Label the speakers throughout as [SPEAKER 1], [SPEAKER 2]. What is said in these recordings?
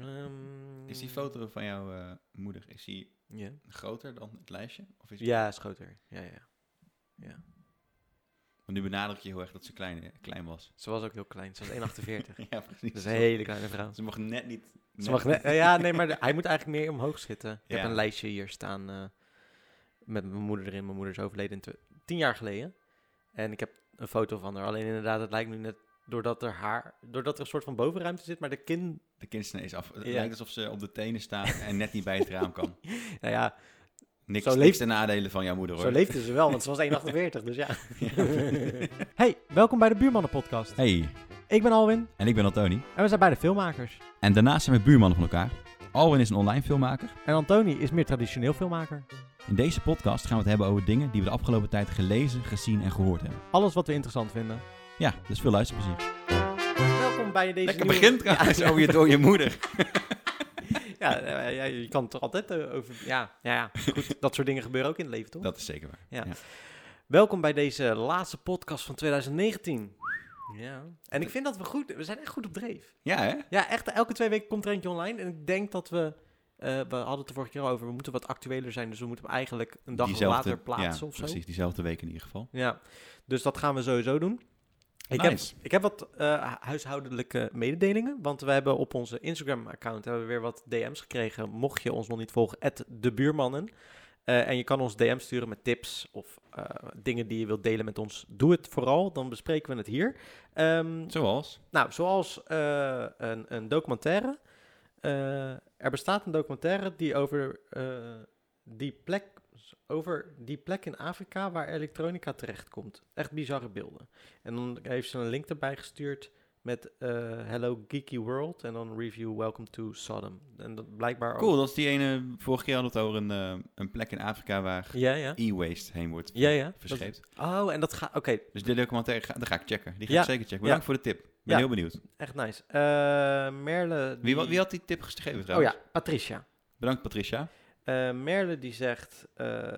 [SPEAKER 1] Ehm,
[SPEAKER 2] Is die foto van jouw eh, moeder, is die
[SPEAKER 1] Ja,
[SPEAKER 2] groter dan het lijstje? Of is die-
[SPEAKER 1] ja is groter. Ja, ja.
[SPEAKER 2] Want nu benadruk je heel erg dat ze klein, eh, klein was.
[SPEAKER 1] Ze was ook heel klein. Ze was 1,48.
[SPEAKER 2] ja, precies.
[SPEAKER 1] Dat is een hele kleine vrouw.
[SPEAKER 2] Ze mag net niet...
[SPEAKER 1] Ze mag net- ja, nee, maar de- hij moet eigenlijk meer omhoog zitten. Ik
[SPEAKER 2] Ja.
[SPEAKER 1] heb een lijstje hier staan eh, met mijn moeder erin. Mijn moeder is overleden in twe- tien jaar geleden. En ik heb een foto van haar. Alleen inderdaad, het lijkt nu net doordat er haar, doordat er een soort van bovenruimte zit, maar de kin,
[SPEAKER 2] De kindsnee is af. Het
[SPEAKER 1] Ja.
[SPEAKER 2] lijkt alsof ze op de tenen staat en net niet bij het raam kan.
[SPEAKER 1] nou ja,
[SPEAKER 2] Niks,
[SPEAKER 1] Zo
[SPEAKER 2] niks
[SPEAKER 1] leeft-
[SPEAKER 2] ten nadele van jouw moeder hoor.
[SPEAKER 1] zo leefde ze wel, want ze was 1,48, dus ja. hey, welkom bij de Buurmannen Podcast.
[SPEAKER 2] Hey,
[SPEAKER 1] Ik ben Alwin
[SPEAKER 2] en ik ben Antoni.
[SPEAKER 1] en we zijn beide filmmakers.
[SPEAKER 2] En daarnaast zijn we buurmannen van elkaar. Alwin is een online filmmaker.
[SPEAKER 1] En Antoni is meer traditioneel filmmaker.
[SPEAKER 2] In deze podcast gaan we het hebben over dingen die we de afgelopen tijd gelezen, gezien en gehoord hebben.
[SPEAKER 1] Alles wat we interessant vinden.
[SPEAKER 2] Ja, dus veel luisterplezier.
[SPEAKER 1] Welkom bij deze
[SPEAKER 2] Lekker
[SPEAKER 1] nieuwe-
[SPEAKER 2] begint trouwens over je dode moeder.
[SPEAKER 1] Ja, eh, ja, je kan het er altijd eh, over. Ja, ja, ja. Goed, dat soort dingen gebeuren ook in het leven, toch?
[SPEAKER 2] Dat is zeker waar.
[SPEAKER 1] Ja.
[SPEAKER 2] Ja.
[SPEAKER 1] Welkom bij deze laatste podcast van 2019. Ja. En ik vind dat we goed, we zijn echt goed op dreef.
[SPEAKER 2] Ja, hè?
[SPEAKER 1] Ja, echt, elke twee weken komt er eentje online. En ik denk dat we, eh, we hadden het de vorige keer al over, we moeten wat actueler zijn. Dus we moeten hem eigenlijk een dag later plaatsen
[SPEAKER 2] ja,
[SPEAKER 1] of zo.
[SPEAKER 2] precies. Diezelfde week in ieder geval.
[SPEAKER 1] Ja, dus dat gaan we sowieso doen. Ik,
[SPEAKER 2] Nice.
[SPEAKER 1] heb, ik heb wat eh, huishoudelijke mededelingen, want we hebben op onze Instagram-account hebben we weer wat DM's gekregen. Mocht je ons nog niet volgen, de buurmannen. Eh, en je kan ons DM sturen met tips of eh, dingen die je wilt delen met ons. Doe het vooral, dan bespreken we het hier. Ehm,
[SPEAKER 2] Zoals?
[SPEAKER 1] nou, zoals eh, een, een documentaire. Eh, er bestaat een documentaire die over, eh, die plek, over die plek in Afrika waar elektronica terechtkomt. Echt bizarre beelden. En dan heeft ze een link erbij gestuurd met eh, Hello Geeky World en dan review Welcome to Sodom. En dat blijkbaar ook-
[SPEAKER 2] Cool, dat is die ene... Vorige keer hadden we het over een, eh, een plek in Afrika waar
[SPEAKER 1] Ja, ja.
[SPEAKER 2] e-waste heen wordt
[SPEAKER 1] Ja, ja. Dat-
[SPEAKER 2] verscheept.
[SPEAKER 1] Oh, en dat gaat... Oké,
[SPEAKER 2] Dus dit documentaire, ga, dat ga ik checken. Die ga
[SPEAKER 1] Ja.
[SPEAKER 2] ik zeker checken. Bedankt voor de tip. Ik ben
[SPEAKER 1] Ja.
[SPEAKER 2] heel benieuwd.
[SPEAKER 1] echt nice. Eh, Merle...
[SPEAKER 2] Wie, wa-
[SPEAKER 1] die-
[SPEAKER 2] wie had die tip geschreven
[SPEAKER 1] Oh
[SPEAKER 2] trouwens?
[SPEAKER 1] ja, Patricia.
[SPEAKER 2] Bedankt Patricia.
[SPEAKER 1] Eh, Merle die zegt eh,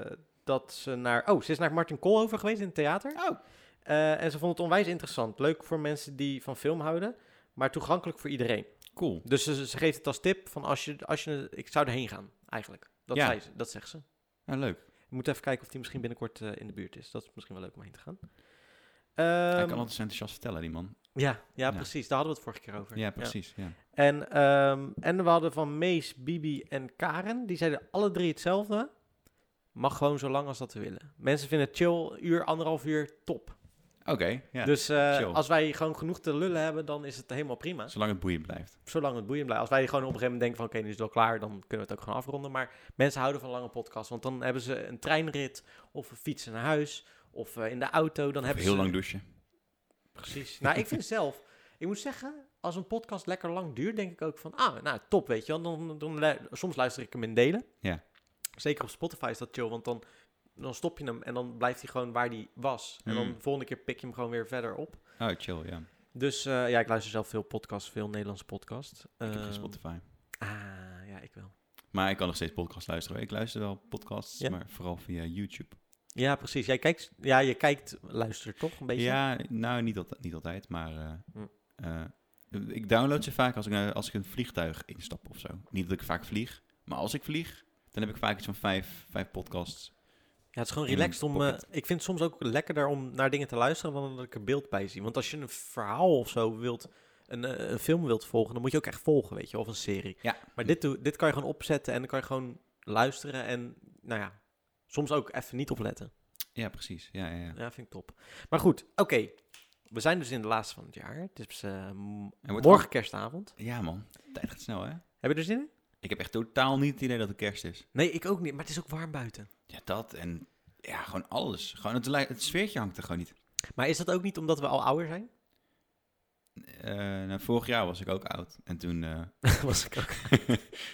[SPEAKER 1] dat ze naar... Oh, ze is naar Martin Koolhoven geweest in het theater.
[SPEAKER 2] Oh.
[SPEAKER 1] Eh, en ze vond het onwijs interessant. Leuk voor mensen die van film houden, maar toegankelijk voor iedereen.
[SPEAKER 2] Cool.
[SPEAKER 1] Dus ze, ze geeft het als tip van als je... Als je ik zou erheen gaan, eigenlijk. Dat,
[SPEAKER 2] Ja.
[SPEAKER 1] zei ze, dat zegt ze.
[SPEAKER 2] Nou, leuk.
[SPEAKER 1] We moeten even kijken of die misschien binnenkort eh, in de buurt is. Dat is misschien wel leuk om heen te gaan.
[SPEAKER 2] Hij
[SPEAKER 1] Ehm,
[SPEAKER 2] kan altijd zo enthousiast vertellen, die man.
[SPEAKER 1] ja, ja,
[SPEAKER 2] Ja.
[SPEAKER 1] precies. Daar hadden we het vorige keer over.
[SPEAKER 2] Ja, precies. Ja.
[SPEAKER 1] En, ehm, en we hadden van Mees, Bibi en Karen. Die zeiden alle drie hetzelfde. Mag gewoon zo lang als dat we willen. Mensen vinden het chill, uur, anderhalf uur, top.
[SPEAKER 2] Oké, ja.
[SPEAKER 1] dus eh,
[SPEAKER 2] chill.
[SPEAKER 1] als wij gewoon genoeg te lullen hebben, dan is het helemaal prima.
[SPEAKER 2] Zolang het boeiend blijft.
[SPEAKER 1] Zolang het boeiend blijft. Als wij gewoon op een gegeven moment denken van oké, nu is het wel klaar, dan kunnen we het ook gewoon afronden. Maar mensen houden van lange podcasts, want dan hebben ze een treinrit of een fietsen naar huis of eh, in de auto. Dan
[SPEAKER 2] Of
[SPEAKER 1] hebben
[SPEAKER 2] heel
[SPEAKER 1] ze...
[SPEAKER 2] lang douchen.
[SPEAKER 1] Precies. Nou, ik vind zelf, ik moet zeggen, als een podcast lekker lang duurt, denk ik ook van, ah, nou, top, weet je wel. Dan, dan, lu- soms luister ik hem in delen.
[SPEAKER 2] Ja.
[SPEAKER 1] Zeker op Spotify is dat chill, want dan, dan stop je hem en dan blijft hij gewoon waar hij was. En dan
[SPEAKER 2] Mm.
[SPEAKER 1] de volgende keer pik je hem gewoon weer verder op.
[SPEAKER 2] Oh, chill, ja.
[SPEAKER 1] Dus eh, ja, ik luister zelf veel podcasts, veel Nederlandse podcasts.
[SPEAKER 2] Ik heb
[SPEAKER 1] Ehm,
[SPEAKER 2] geen Spotify.
[SPEAKER 1] Ah, ja, ik wel.
[SPEAKER 2] Maar ik kan nog steeds podcasts luisteren. Ik luister wel podcasts,
[SPEAKER 1] Ja.
[SPEAKER 2] maar vooral via YouTube.
[SPEAKER 1] Ja, precies. Jij kijkt, ja, je kijkt, luistert toch een beetje?
[SPEAKER 2] Ja, nou, niet, altijd, niet altijd, maar... eh,
[SPEAKER 1] Hm.
[SPEAKER 2] eh, ik download ze vaak als ik, naar- als ik een vliegtuig instap of zo. Niet dat ik vaak vlieg, maar als ik vlieg, dan heb ik vaak iets van vijf, vijf podcasts.
[SPEAKER 1] Ja, het is gewoon
[SPEAKER 2] In
[SPEAKER 1] relaxed om. eh,
[SPEAKER 2] pocket.
[SPEAKER 1] ik vind het soms ook lekkerder om naar dingen te luisteren dan dat ik er beeld bij zie. Want als je een verhaal of zo wilt, een, eh, een film wilt volgen, dan moet je ook echt volgen, weet je, of een serie.
[SPEAKER 2] Ja.
[SPEAKER 1] Maar dit, doe- dit kan je gewoon opzetten en dan kan je gewoon luisteren en, nou ja, soms ook even niet opletten.
[SPEAKER 2] Ja, precies. Ja, ja, ja.
[SPEAKER 1] Ja, vind ik top. Maar goed, oké. We zijn dus in de laatste van het jaar. Het is eh, m-
[SPEAKER 2] wordt
[SPEAKER 1] morgen kerstavond.
[SPEAKER 2] ja man. Tijd gaat snel, hè?
[SPEAKER 1] Heb je er zin in?
[SPEAKER 2] Ik heb echt totaal niet het idee dat het kerst is.
[SPEAKER 1] Nee, ik ook niet. Maar het is ook warm buiten.
[SPEAKER 2] Ja, dat en ja, gewoon alles. Gewoon het, lij- het sfeertje hangt er gewoon niet.
[SPEAKER 1] Maar is dat ook niet omdat we al ouder zijn?
[SPEAKER 2] Eh, nou, vorig jaar was ik ook oud. En toen, eh,
[SPEAKER 1] Was ik ook.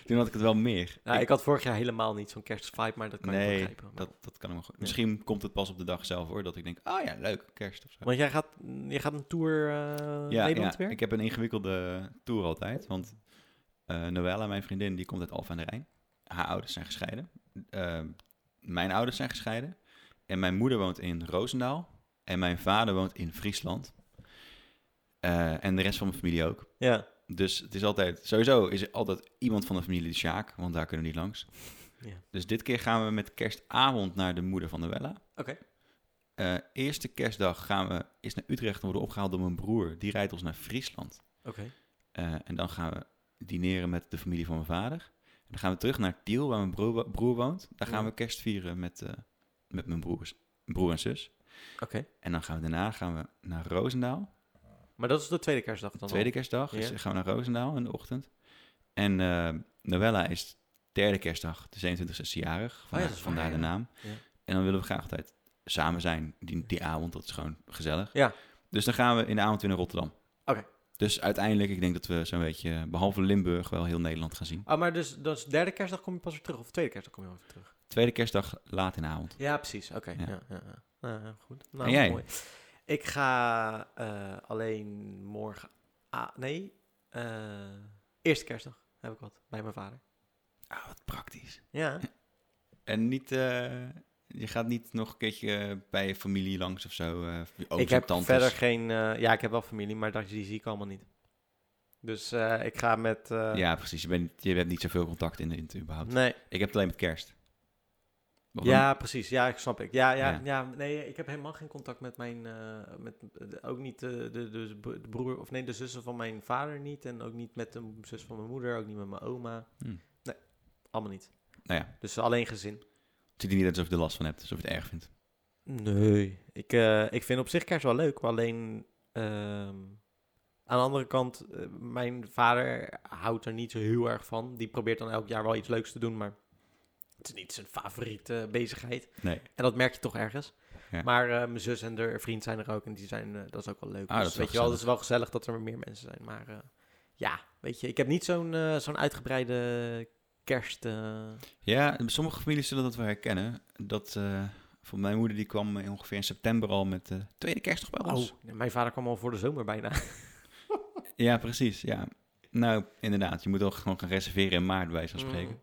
[SPEAKER 2] toen had ik het wel meer.
[SPEAKER 1] Nou,
[SPEAKER 2] Ik-
[SPEAKER 1] ik had vorig jaar helemaal niet zo'n kerstvibe, maar dat kan ik
[SPEAKER 2] Nee,
[SPEAKER 1] begrijpen. Maar-
[SPEAKER 2] dat, dat kan ik wel goed. Misschien komt het pas op de dag zelf hoor. Dat ik denk, oh ja, leuk, kerst of zo.
[SPEAKER 1] Want jij gaat, jij gaat een tour eh
[SPEAKER 2] ja,
[SPEAKER 1] Nederland
[SPEAKER 2] ja,
[SPEAKER 1] weer?
[SPEAKER 2] ik heb een ingewikkelde tour altijd. Want eh Noella, mijn vriendin, die komt uit Alphen aan de Rijn. Haar ouders zijn gescheiden. Eh, mijn ouders zijn gescheiden. En mijn moeder woont in Roosendaal. En mijn vader woont in Friesland. Eh, en de rest van mijn familie ook.
[SPEAKER 1] Ja.
[SPEAKER 2] Dus het is altijd, sowieso is er altijd iemand van de familie de Sjaak, want daar kunnen we niet langs.
[SPEAKER 1] Ja.
[SPEAKER 2] Dus dit keer gaan we met kerstavond naar de moeder van de Wella.
[SPEAKER 1] Oké.
[SPEAKER 2] Eh, eerste kerstdag gaan we eerst naar Utrecht en worden opgehaald door mijn broer. Die rijdt ons naar Friesland.
[SPEAKER 1] Oké.
[SPEAKER 2] Eh, en dan gaan we dineren met de familie van mijn vader. En dan gaan we terug naar Tiel, waar mijn broer, wo- broer woont. Daar gaan
[SPEAKER 1] Ja.
[SPEAKER 2] we kerst vieren met, eh, met mijn broers, broer en zus.
[SPEAKER 1] Oké.
[SPEAKER 2] En dan gaan we daarna gaan we naar Roosendaal.
[SPEAKER 1] Maar dat is de tweede kerstdag dan?
[SPEAKER 2] tweede kerstdag. Dus
[SPEAKER 1] Ja.
[SPEAKER 2] dan gaan we naar Roosendaal in de ochtend. En eh Novella is derde kerstdag, de 27e is ze jarig. Vandaar,
[SPEAKER 1] dat is
[SPEAKER 2] vandaar
[SPEAKER 1] waar,
[SPEAKER 2] de
[SPEAKER 1] Oh ja.
[SPEAKER 2] naam.
[SPEAKER 1] Ja.
[SPEAKER 2] En dan willen we graag altijd samen zijn die, die avond. Dat is gewoon gezellig.
[SPEAKER 1] Ja.
[SPEAKER 2] Dus dan gaan we in de avond weer naar Rotterdam.
[SPEAKER 1] Oké.
[SPEAKER 2] Dus uiteindelijk, ik denk dat we zo'n beetje, behalve Limburg, wel heel Nederland gaan zien.
[SPEAKER 1] Oh, maar dus, dus derde kerstdag kom je pas weer terug? Of tweede kerstdag kom je wel weer terug?
[SPEAKER 2] Tweede kerstdag, laat in de avond.
[SPEAKER 1] Ja, precies. Oké.
[SPEAKER 2] Ja.
[SPEAKER 1] Ja. Ja, ja. Nou, ja, goed. Nou,
[SPEAKER 2] jij?
[SPEAKER 1] mooi. Ik ga eh, alleen morgen... ah, nee, eh, eerste kerstdag heb ik wat bij mijn vader.
[SPEAKER 2] Ah, wat praktisch.
[SPEAKER 1] Ja.
[SPEAKER 2] En niet, eh, je gaat niet nog een keertje eh, bij je familie langs of zo. eh, je ooms
[SPEAKER 1] ik
[SPEAKER 2] en
[SPEAKER 1] heb
[SPEAKER 2] tantes.
[SPEAKER 1] verder geen... eh, ja, ik heb wel familie, maar dat, die zie ik allemaal niet. Dus eh, ik ga met... eh,
[SPEAKER 2] Ja, precies. Je, bent, niet- je hebt niet zoveel contact in de in, überhaupt.
[SPEAKER 1] Nee,
[SPEAKER 2] Ik heb het alleen met kerst. Of
[SPEAKER 1] ja, precies. Ja, ik snap ik. Ja, ja,
[SPEAKER 2] Ja.
[SPEAKER 1] ja. nee, ik heb helemaal geen contact met mijn... eh, met, de- ook niet de, de, de bro- de broer... Of nee, de zussen van mijn vader niet. En ook niet met de zus van mijn moeder. Ook niet met mijn oma.
[SPEAKER 2] Hmm.
[SPEAKER 1] Nee, allemaal niet.
[SPEAKER 2] Nou ja.
[SPEAKER 1] Dus alleen gezin.
[SPEAKER 2] Het ziet er niet uit alsof je er last van hebt, alsof je het erg vindt.
[SPEAKER 1] Nee, ik, eh, ik vind op zich kerst wel leuk. maar Alleen ehm, aan de andere kant, eh, mijn vader houdt er niet zo heel erg van. Die probeert dan elk jaar wel iets leuks te doen, maar het is niet zijn favoriete bezigheid.
[SPEAKER 2] Nee.
[SPEAKER 1] En dat merk je toch ergens.
[SPEAKER 2] Ja.
[SPEAKER 1] Maar eh, mijn zus en haar vriend zijn er ook en die zijn, eh, dat is ook wel leuk.
[SPEAKER 2] Ah, dat
[SPEAKER 1] dus,
[SPEAKER 2] is wel
[SPEAKER 1] weet je wel, het is wel gezellig dat er meer mensen zijn. Maar eh, ja, weet je, ik heb niet zo'n eh, zo'n uitgebreide kerst. eh,
[SPEAKER 2] Ja, sommige families zullen dat wel herkennen. Dat, eh, van mijn moeder die kwam eh, ongeveer in september al met de tweede kerstdag bij ons.
[SPEAKER 1] Oh, mijn vader kwam al voor de zomer bijna.
[SPEAKER 2] Ja, precies. Ja. Nou, inderdaad. Je moet ook gewoon gaan reserveren in maart, bij wijze van spreken.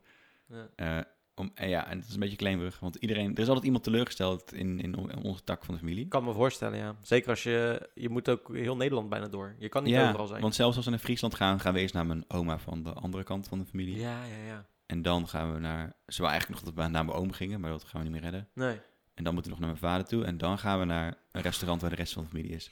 [SPEAKER 1] Mm. Ja.
[SPEAKER 2] Eh, om, en ja, en het is een beetje claimerig, want iedereen, er is altijd iemand teleurgesteld in, in, on- in onze tak van de familie.
[SPEAKER 1] Ik kan me voorstellen, ja. Zeker als je... Je moet ook heel Nederland bijna door. Je kan niet
[SPEAKER 2] ja,
[SPEAKER 1] overal zijn.
[SPEAKER 2] want zelfs als we naar Friesland gaan, gaan we eerst naar mijn oma van de andere kant van de familie.
[SPEAKER 1] Ja, ja, ja.
[SPEAKER 2] En dan gaan we naar. Ze wou eigenlijk nog dat we naar mijn oom gingen, maar dat gaan we niet meer redden.
[SPEAKER 1] Nee.
[SPEAKER 2] En dan moeten we nog naar mijn vader toe. En dan gaan we naar een restaurant waar de rest van de familie is.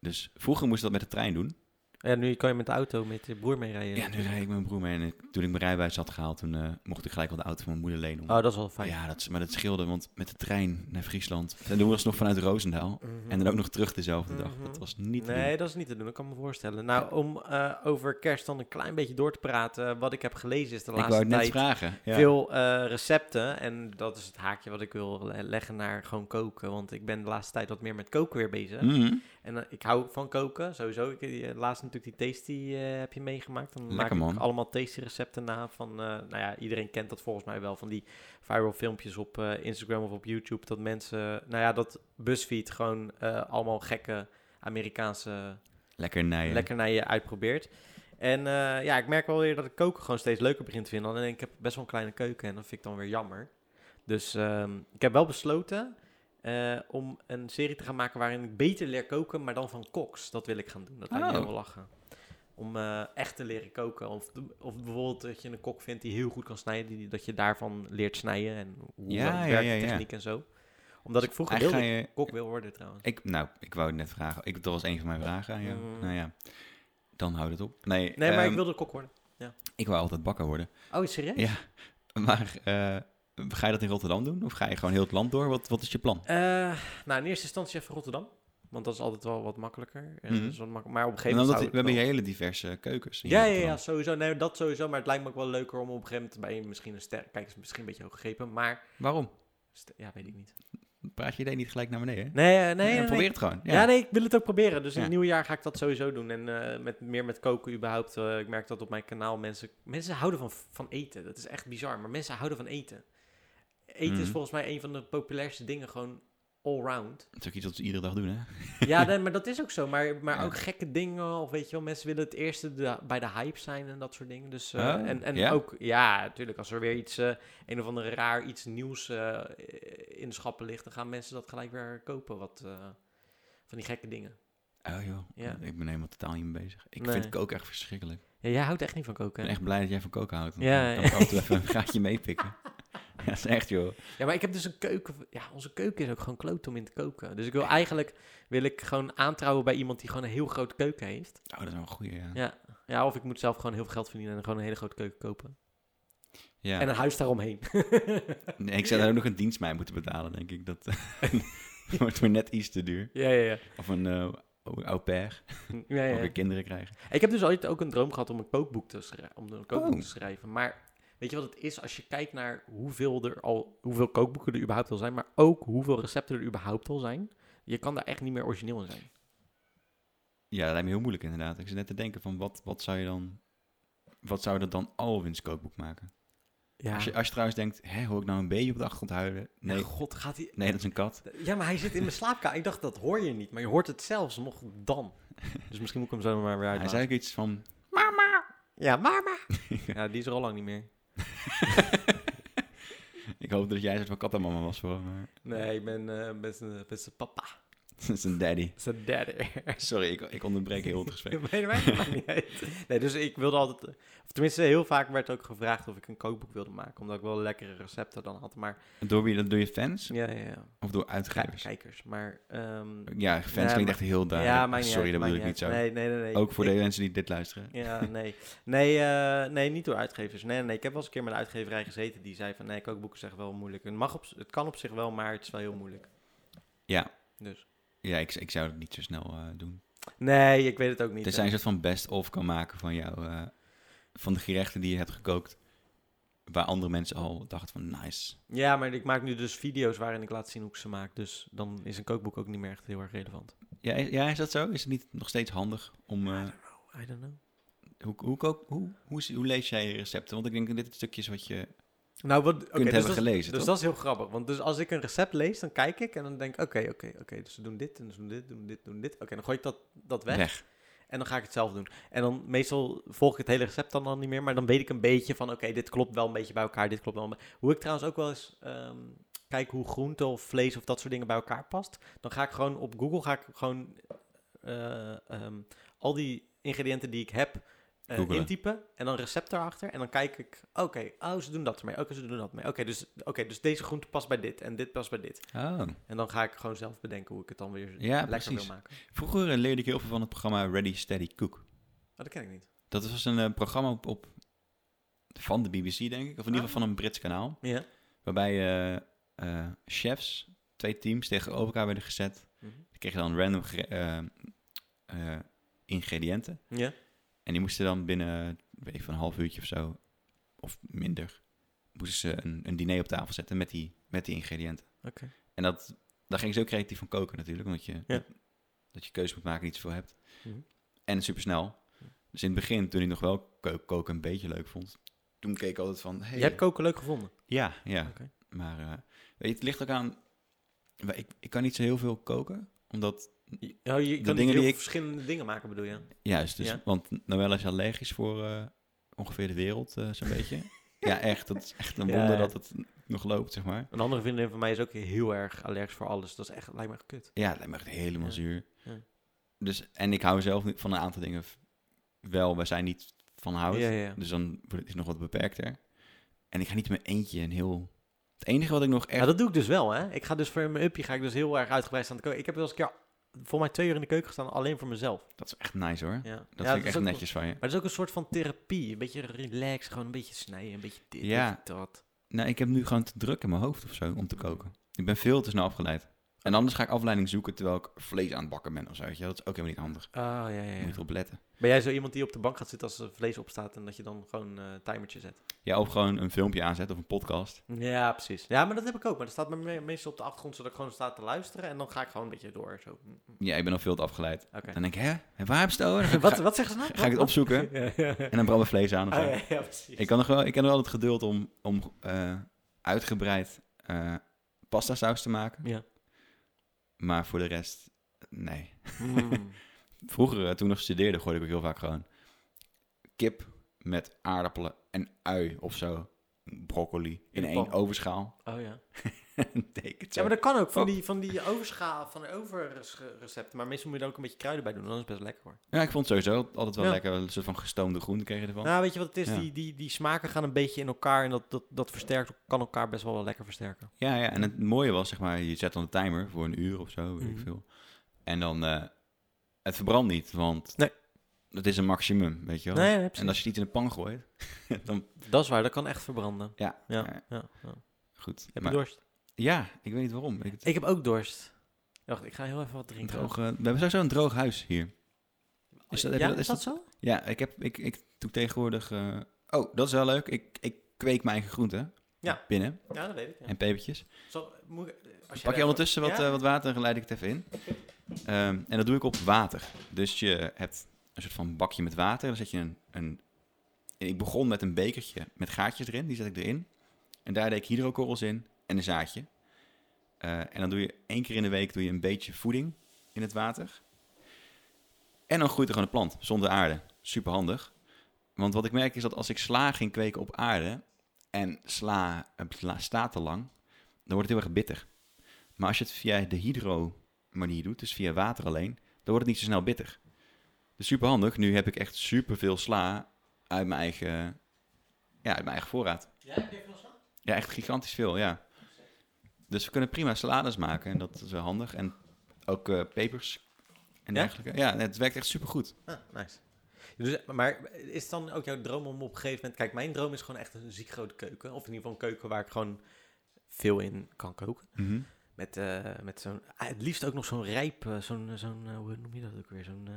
[SPEAKER 2] Dus vroeger moest je dat met de trein doen.
[SPEAKER 1] Ja, nu kan je met de auto met je broer mee rijden.
[SPEAKER 2] Ja, nu rijd ik mijn broer mee. En ik- toen ik mijn rijbewijs had gehaald, toen eh, mocht ik gelijk wel de auto van mijn moeder lenen. om-
[SPEAKER 1] Oh, dat is wel fijn.
[SPEAKER 2] ja, dat, is- maar dat scheelde, want met de trein naar Friesland. En doen we ons nog vanuit Roosendaal.
[SPEAKER 1] Mhm.
[SPEAKER 2] En dan ook nog terug dezelfde dag.
[SPEAKER 1] Mhm.
[SPEAKER 2] Dat was niet te
[SPEAKER 1] Nee,
[SPEAKER 2] doen.
[SPEAKER 1] dat is niet te doen. Ik kan me voorstellen. Nou, om eh, over kerst dan een klein beetje door te praten. Wat ik heb gelezen is de
[SPEAKER 2] Ik wou
[SPEAKER 1] laatste
[SPEAKER 2] het net
[SPEAKER 1] tijd...
[SPEAKER 2] vragen. Ja.
[SPEAKER 1] Veel eh, recepten. En dat is het haakje wat ik wil le- leggen naar gewoon koken. Want ik ben de laatste tijd wat meer met koken weer bezig.
[SPEAKER 2] Mhm.
[SPEAKER 1] En eh, ik hou van koken, sowieso. Ik, eh, laatst natuurlijk die tasty eh, heb je meegemaakt. Dan
[SPEAKER 2] Lekker,
[SPEAKER 1] maak
[SPEAKER 2] man.
[SPEAKER 1] ik allemaal tasty recepten na. Van, eh, nou ja, iedereen kent dat volgens mij wel. Van die viral filmpjes op eh, Instagram of op YouTube. Dat mensen, nou ja, dat BuzzFeed gewoon eh, allemaal gekke Amerikaanse
[SPEAKER 2] Lekker nijen.
[SPEAKER 1] lekker naar je uitprobeert. En eh, ja, ik merk wel weer dat ik koken gewoon steeds leuker begin te vinden. Alleen ik heb best wel een kleine keuken en dat vind ik dan weer jammer. Dus ehm, ik heb wel besloten eh, om een serie te gaan maken waarin ik beter leer koken, maar dan van koks. Dat wil ik gaan doen. Dat lijkt me
[SPEAKER 2] Oh.
[SPEAKER 1] heel wel lachen. Om eh, echt te leren koken. Of, of bijvoorbeeld dat je een kok vindt die heel goed kan snijden. Die, dat je daarvan leert snijden en hoe
[SPEAKER 2] Ja,
[SPEAKER 1] ja,
[SPEAKER 2] ja,
[SPEAKER 1] werkt
[SPEAKER 2] ja,
[SPEAKER 1] de
[SPEAKER 2] ja.
[SPEAKER 1] techniek en zo. Omdat ik vroeger wilde
[SPEAKER 2] Eigenlijk ga je-
[SPEAKER 1] kok wil worden trouwens.
[SPEAKER 2] Ik, nou, ik wou het net vragen. Ik, dat was een van mijn vragen aan jou.
[SPEAKER 1] Mm.
[SPEAKER 2] Nou ja, dan houdt het op. Nee,
[SPEAKER 1] Nee, maar
[SPEAKER 2] ehm,
[SPEAKER 1] ik wilde kok worden.
[SPEAKER 2] ik wou altijd bakker worden.
[SPEAKER 1] Oh, serieus?
[SPEAKER 2] Ja, maar eh, ga je dat in Rotterdam doen? Of ga je gewoon heel het land door? Wat, wat is je plan?
[SPEAKER 1] Eh, nou, in eerste instantie even Rotterdam. Want dat is altijd wel wat makkelijker. En
[SPEAKER 2] Mhm.
[SPEAKER 1] dat is wat mak- maar op een
[SPEAKER 2] En
[SPEAKER 1] gegeven moment.
[SPEAKER 2] omdat
[SPEAKER 1] zou
[SPEAKER 2] we
[SPEAKER 1] ik
[SPEAKER 2] hebben hier
[SPEAKER 1] wel-
[SPEAKER 2] hele diverse keukens. in
[SPEAKER 1] ja, ja, ja,
[SPEAKER 2] Rotterdam.
[SPEAKER 1] sowieso. Nee, dat sowieso. Maar het lijkt me ook wel leuker om op een gegeven moment bij misschien een ster. Kijk, is misschien een beetje hoog gegrepen. Maar.
[SPEAKER 2] Waarom?
[SPEAKER 1] st- ja, weet ik niet.
[SPEAKER 2] Praat je idee niet gelijk naar beneden? Hè?
[SPEAKER 1] Nee, eh, nee. nee,
[SPEAKER 2] Ja,
[SPEAKER 1] nee.
[SPEAKER 2] probeer het gewoon. Ja.
[SPEAKER 1] Ja. nee, ik wil het ook proberen. Dus in het
[SPEAKER 2] Ja.
[SPEAKER 1] nieuwe jaar ga ik dat sowieso doen. En eh, met, meer met koken überhaupt. Eh, ik merk dat op mijn kanaal mensen... Mensen houden van, van eten. Dat is echt bizar. Maar mensen houden van eten. Eten is
[SPEAKER 2] Mhm.
[SPEAKER 1] volgens mij een van de populairste dingen gewoon allround.
[SPEAKER 2] Dat is ook iets wat we iedere dag doen, hè?
[SPEAKER 1] Ja, nee, maar dat is ook zo. Maar, maar
[SPEAKER 2] Ja.
[SPEAKER 1] ook gekke dingen, of weet je wel, mensen willen het eerste de- bij de hype zijn en dat soort dingen. Dus, eh,
[SPEAKER 2] Oh,
[SPEAKER 1] en en
[SPEAKER 2] ja?
[SPEAKER 1] ook, ja, natuurlijk, als er weer iets, eh, een of ander raar iets nieuws eh, in de schappen ligt, dan gaan mensen dat gelijk weer kopen, wat eh, van die gekke dingen.
[SPEAKER 2] Oh joh,
[SPEAKER 1] Ja.
[SPEAKER 2] ik ben helemaal totaal niet mee bezig. Ik
[SPEAKER 1] Nee.
[SPEAKER 2] vind koken echt verschrikkelijk.
[SPEAKER 1] Ja, jij houdt echt niet van
[SPEAKER 2] Ik
[SPEAKER 1] koken.
[SPEAKER 2] ben
[SPEAKER 1] hè?
[SPEAKER 2] echt blij dat jij van koken houdt. want
[SPEAKER 1] Ja,
[SPEAKER 2] dan kan ik af en toe even een gaatje meepikken. Ja, dat is echt joh. Oh,
[SPEAKER 1] Ja, maar ik heb dus een keuken. Ja, onze keuken is ook gewoon kloot om in te koken. Dus ik wil eigenlijk wil ik gewoon aantrouwen bij iemand die gewoon een heel grote keuken heeft.
[SPEAKER 2] Oh, dat is wel een goeie, ja.
[SPEAKER 1] Ja. Ja, of ik moet zelf gewoon heel veel geld verdienen en gewoon een hele grote keuken kopen.
[SPEAKER 2] Ja.
[SPEAKER 1] En een huis daaromheen.
[SPEAKER 2] Nee, ik zou daar ook nog een dienst mee moeten betalen, denk ik. Dat wordt me net iets te duur.
[SPEAKER 1] ja, ja, ja.
[SPEAKER 2] Of een eh au- au pair,
[SPEAKER 1] ja,
[SPEAKER 2] ook
[SPEAKER 1] ja.
[SPEAKER 2] weer kinderen krijgen.
[SPEAKER 1] Ik heb dus ooit ook een droom gehad om een kookboek te, schrij- om een kookboek
[SPEAKER 2] Oh.
[SPEAKER 1] te schrijven. Maar weet je wat het is als je kijkt naar hoeveel, er al, hoeveel kookboeken er überhaupt al zijn, maar ook hoeveel recepten er überhaupt al zijn. Je kan daar echt niet meer origineel in zijn.
[SPEAKER 2] Ja, dat lijkt me heel moeilijk inderdaad. Ik zit net te denken van, wat, wat zou je dan... Wat zou dat dan Alwin's kookboek maken?
[SPEAKER 1] Ja,
[SPEAKER 2] Als, je, als je trouwens denkt, hè, hoor ik nou een beetje op de achtergrond huilen? Nee,
[SPEAKER 1] god, gaat hij...
[SPEAKER 2] nee dat is een kat.
[SPEAKER 1] Ja, maar hij zit in mijn slaapkamer. Ik dacht, dat hoor je niet. Maar je hoort het zelfs nog dan. Dus misschien moet ik hem zo maar weer
[SPEAKER 2] Hij
[SPEAKER 1] uitlaten.
[SPEAKER 2] zei ook iets van...
[SPEAKER 1] Ja, maar maar. ja, die is er al lang niet meer.
[SPEAKER 2] Ik hoop dat jij een soort van kattenmama was voor hem, maar...
[SPEAKER 1] Nee, ik ben eh, best, een, best een papa.
[SPEAKER 2] Dat is een daddy.
[SPEAKER 1] Zijn daddy.
[SPEAKER 2] Sorry, ik, ik onderbreek heel het gesprek.
[SPEAKER 1] Nee, dat maakt niet uit. Nee, dus ik wilde altijd... Of tenminste, heel vaak werd ook gevraagd of ik een kookboek wilde maken. Omdat ik wel lekkere recepten dan had. Maar
[SPEAKER 2] Door wie? Door je fans?
[SPEAKER 1] ja, ja, ja.
[SPEAKER 2] Of door
[SPEAKER 1] Kijk-
[SPEAKER 2] uitgevers?
[SPEAKER 1] kijkers. Maar... ehm,
[SPEAKER 2] Ja, fans
[SPEAKER 1] Nee,
[SPEAKER 2] klinkt
[SPEAKER 1] maar-
[SPEAKER 2] echt heel duidelijk.
[SPEAKER 1] ja, maar
[SPEAKER 2] Sorry, dat bedoel ik niet zo.
[SPEAKER 1] Nee, nee, nee. nee.
[SPEAKER 2] Ook voor
[SPEAKER 1] Ik-
[SPEAKER 2] de mensen die dit luisteren.
[SPEAKER 1] Ja, nee. Nee, eh, nee, niet door uitgevers. Nee, nee, ik heb wel eens een keer met een uitgeverij gezeten die zei van... Nee, kookboeken zijn wel moeilijk. Het, mag op, z- het kan op zich wel, maar het is wel heel moeilijk. Dus.
[SPEAKER 2] Ja, ik, ik zou het niet zo snel eh, doen.
[SPEAKER 1] Nee, ik weet het ook niet. Eh,
[SPEAKER 2] Tenzij je een soort van best-of kan maken van jou, eh, van de gerechten die je hebt gekookt, waar andere mensen al dachten van nice.
[SPEAKER 1] Ja, maar ik maak nu dus video's waarin ik laat zien hoe ik ze maak. Dus dan is een kookboek ook niet meer echt heel erg relevant.
[SPEAKER 2] Ja, is, ja, is dat zo? Is het niet nog steeds handig om... eh,
[SPEAKER 1] I don't know.
[SPEAKER 2] hoe, hoe, kook- hoe, hoe, is- hoe lees jij je recepten? Want ik denk dat dit het stukje is wat je...
[SPEAKER 1] Nou, wat, oké,
[SPEAKER 2] hebben
[SPEAKER 1] dus dat,
[SPEAKER 2] gelezen,
[SPEAKER 1] Dus
[SPEAKER 2] toch?
[SPEAKER 1] dat is heel grappig. Want dus als ik een recept lees, dan kijk ik en dan denk ik... Oké, oké, oké. dus ze doen dit en ze doen dit, doen dit, doen dit. Oké, dan gooi ik dat, dat weg. En dan ga ik het zelf doen. En dan meestal volg ik het hele recept dan, dan niet meer. Maar dan weet ik een beetje van, oké, dit klopt wel een beetje bij elkaar. Dit klopt wel. een be- Hoe ik trouwens ook wel eens ehm, kijk hoe groente of vlees of dat soort dingen bij elkaar past. Dan ga ik gewoon op Google, ga ik gewoon eh, ehm, al die ingrediënten die ik heb eh,
[SPEAKER 2] Googelen.
[SPEAKER 1] intypen. En dan recept erachter. En dan kijk ik, oké, oh, ze doen dat ermee. Oké, ze doen dat ermee. Oké, dus, oké, dus deze groente past bij dit en dit past bij dit.
[SPEAKER 2] Oh.
[SPEAKER 1] En dan ga ik gewoon zelf bedenken hoe ik het dan weer
[SPEAKER 2] Ja,
[SPEAKER 1] lekker
[SPEAKER 2] precies.
[SPEAKER 1] wil maken.
[SPEAKER 2] Vroeger eh, leerde ik heel veel van het programma Ready, Steady, Cook.
[SPEAKER 1] Oh, dat ken ik niet.
[SPEAKER 2] Dat was een eh, programma op, op... Van de BBC, denk ik. Of in ieder geval
[SPEAKER 1] Ah.
[SPEAKER 2] van een Brits kanaal.
[SPEAKER 1] Ja.
[SPEAKER 2] Waarbij eh, eh, chefs, twee teams, tegenover elkaar werden gezet.
[SPEAKER 1] Mhm.
[SPEAKER 2] Dan kreeg je dan random gere- eh, eh, ingrediënten.
[SPEAKER 1] Ja.
[SPEAKER 2] En die moesten dan binnen, weet ik, van een half uurtje of zo, of minder, moesten ze een, een diner op tafel zetten met die, met die ingrediënten.
[SPEAKER 1] Oké.
[SPEAKER 2] En dat, daar ging ze ook creatief van koken natuurlijk, omdat je,
[SPEAKER 1] Ja.
[SPEAKER 2] dat je keuze moet maken die je voor hebt.
[SPEAKER 1] Mhm.
[SPEAKER 2] En supersnel. Dus in het begin, toen ik nog wel ko- koken een beetje leuk vond, toen keek ik altijd van... Hey,
[SPEAKER 1] Je hebt koken leuk gevonden.
[SPEAKER 2] ja, ja.
[SPEAKER 1] Oké.
[SPEAKER 2] Maar eh, weet je, het ligt ook aan... maar Ik, ik kan niet zo heel veel koken, omdat...
[SPEAKER 1] Ja, je kan niet heel
[SPEAKER 2] dingen die
[SPEAKER 1] veel
[SPEAKER 2] ik-
[SPEAKER 1] verschillende dingen maken, bedoel je?
[SPEAKER 2] Juist, dus,
[SPEAKER 1] Ja.
[SPEAKER 2] want Noël is allergisch voor eh, ongeveer de wereld, eh, zo'n beetje. Ja, echt. Dat is echt een
[SPEAKER 1] Ja,
[SPEAKER 2] wonder
[SPEAKER 1] ja.
[SPEAKER 2] dat het nog loopt, zeg maar.
[SPEAKER 1] Een andere vriendin van mij is ook heel erg allergisch voor alles. Dat is echt, lijkt me echt kut.
[SPEAKER 2] Ja, het lijkt me echt helemaal
[SPEAKER 1] Ja.
[SPEAKER 2] zuur.
[SPEAKER 1] Ja.
[SPEAKER 2] Dus, en ik hou zelf niet- van een aantal dingen v- wel, wij zijn niet van hout.
[SPEAKER 1] Ja, ja.
[SPEAKER 2] Dus dan wordt het- is het nog wat beperkter. En ik ga niet met eentje een heel... Het enige wat ik nog echt...
[SPEAKER 1] Ja, dat doe ik dus wel, hè. Ik ga dus voor mijn upje ga ik dus heel erg uitgebreid staan te koken. Ik heb wel eens een keer, volgens mij twee uur in de keuken gestaan, alleen voor mezelf.
[SPEAKER 2] Dat is echt nice hoor.
[SPEAKER 1] Ja.
[SPEAKER 2] Dat
[SPEAKER 1] ja,
[SPEAKER 2] vind ik
[SPEAKER 1] is
[SPEAKER 2] echt
[SPEAKER 1] ook-
[SPEAKER 2] netjes van je.
[SPEAKER 1] Maar het is ook een soort van therapie. Een beetje relax, gewoon een beetje snijden, een beetje dit,
[SPEAKER 2] Ja.
[SPEAKER 1] een beetje dat.
[SPEAKER 2] Nou, ik heb nu gewoon te druk in mijn hoofd of zo om te koken. Ik ben veel te snel afgeleid. En anders ga ik afleiding zoeken terwijl ik vlees aan het bakken ben of zo. Weet je? wel. Dat is ook helemaal niet handig.
[SPEAKER 1] Oh, ja, ja,
[SPEAKER 2] Je
[SPEAKER 1] ja.
[SPEAKER 2] moet erop letten.
[SPEAKER 1] Ben jij zo iemand die op de bank gaat zitten als er vlees opstaat en dat je dan gewoon eh, een timertje zet?
[SPEAKER 2] Ja, of gewoon een filmpje aanzetten of een podcast.
[SPEAKER 1] Ja, precies. Ja, maar dat heb ik ook. Maar dat staat me me- meestal op de achtergrond, zodat ik gewoon sta te luisteren en dan ga ik gewoon een beetje door. Zo. Mm, mm.
[SPEAKER 2] Ja, ik ben al veel te afgeleid.
[SPEAKER 1] Oké.
[SPEAKER 2] Dan denk ik, hè? En Waar hebben ze het over? Dan ga ik-
[SPEAKER 1] Wat, wat zeggen ze nou?
[SPEAKER 2] Ga ik het opzoeken
[SPEAKER 1] Ja, ja.
[SPEAKER 2] en dan brand ik vlees aan of zo.
[SPEAKER 1] Ah, ja, ja, precies.
[SPEAKER 2] Ik, kan nog wel, ik heb nog wel het geduld om, om eh, uitgebreid eh pasta saus te maken.
[SPEAKER 1] Ja.
[SPEAKER 2] Maar voor de rest, nee.
[SPEAKER 1] Mm.
[SPEAKER 2] Vroeger, eh, toen ik nog studeerde, gooide ik ook heel vaak gewoon kip met aardappelen en ui of zo. broccoli in
[SPEAKER 1] de
[SPEAKER 2] één
[SPEAKER 1] pan.
[SPEAKER 2] overschaal.
[SPEAKER 1] Oh ja.
[SPEAKER 2] Take it,
[SPEAKER 1] Ja, maar dat kan ook van
[SPEAKER 2] Oh.
[SPEAKER 1] die, van die overschaal, van de overrecepten. Maar meestal moet je er ook een beetje kruiden bij doen, dan is het best lekker hoor.
[SPEAKER 2] Ja, ik vond het sowieso altijd wel
[SPEAKER 1] Ja.
[SPEAKER 2] lekker. Een soort van gestoomde groenten kreeg je ervan.
[SPEAKER 1] Nou, weet je wat het is?
[SPEAKER 2] Ja.
[SPEAKER 1] Die, die, die smaken gaan een beetje in elkaar en dat, dat, dat versterkt, kan elkaar best wel wel lekker versterken.
[SPEAKER 2] Ja, ja, en het mooie was, zeg maar, je zet dan de timer voor een uur of zo, weet ik
[SPEAKER 1] Mhm.
[SPEAKER 2] veel. En dan, eh, het verbrandt niet, want
[SPEAKER 1] Nee.
[SPEAKER 2] dat is een maximum, weet je wel.
[SPEAKER 1] Nee, nee, precies.
[SPEAKER 2] en als je het niet in de pan gooit, dan
[SPEAKER 1] Dat is waar, dat kan echt verbranden.
[SPEAKER 2] Ja,
[SPEAKER 1] Ja,
[SPEAKER 2] ja.
[SPEAKER 1] ja. ja.
[SPEAKER 2] goed.
[SPEAKER 1] Heb
[SPEAKER 2] Maar-
[SPEAKER 1] je dorst?
[SPEAKER 2] ja, ik weet niet waarom. Ik,
[SPEAKER 1] Ik heb ook dorst. Wacht, ik ga heel even wat
[SPEAKER 2] een
[SPEAKER 1] drinken.
[SPEAKER 2] droog, eh, we hebben sowieso een droog huis hier. Is dat- heb
[SPEAKER 1] ja,
[SPEAKER 2] je dat- is
[SPEAKER 1] is dat, zo?
[SPEAKER 2] Ja, ik, heb, ik, ik doe tegenwoordig... eh, oh, dat is wel leuk. Ik, ik kweek mijn eigen groenten
[SPEAKER 1] Ja.
[SPEAKER 2] binnen
[SPEAKER 1] Ja, dat weet ik.
[SPEAKER 2] en pepertjes.
[SPEAKER 1] Zal, moet ik- als
[SPEAKER 2] Pak je ondertussen wat,
[SPEAKER 1] Ja?
[SPEAKER 2] eh, wat water en leid ik het even in. Ehm, en dat doe ik op water. Dus je hebt een soort van bakje met water. Dan zet je een, een... en Ik begon met een bekertje met gaatjes erin. Die zet ik erin. En daar deed ik hydrokorrels in en een zaadje. Eh, en dan doe je één keer in de week doe je een beetje voeding in het water. En dan groeit er gewoon een plant zonder aarde. Super handig. Want wat ik merk is dat als ik sla ging kweken op aarde... en sla, eh, sla staat te lang, dan wordt het heel erg bitter. Maar als je het via de hydro-manier doet, dus via water alleen, dan wordt het niet zo snel bitter. Dus super handig. Nu heb ik echt super veel sla uit mijn eigen, ja, uit mijn eigen voorraad. Ja, echt gigantisch veel, ja. Dus we kunnen prima salades maken en dat is wel handig. En ook eh, pepers en
[SPEAKER 1] Ja?
[SPEAKER 2] dergelijke. Ja, nee, het werkt echt super goed.
[SPEAKER 1] Ah, nice. Dus, maar is het dan ook jouw droom om op een gegeven moment... Kijk, mijn droom is gewoon echt een ziek grote keuken. Of in ieder geval een keuken waar ik gewoon veel in kan koken. Met, eh, met zo'n... ah, het liefst ook nog zo'n rijp... eh, Zo'n, zo'n eh, hoe noem je dat ook weer? Zo'n, eh,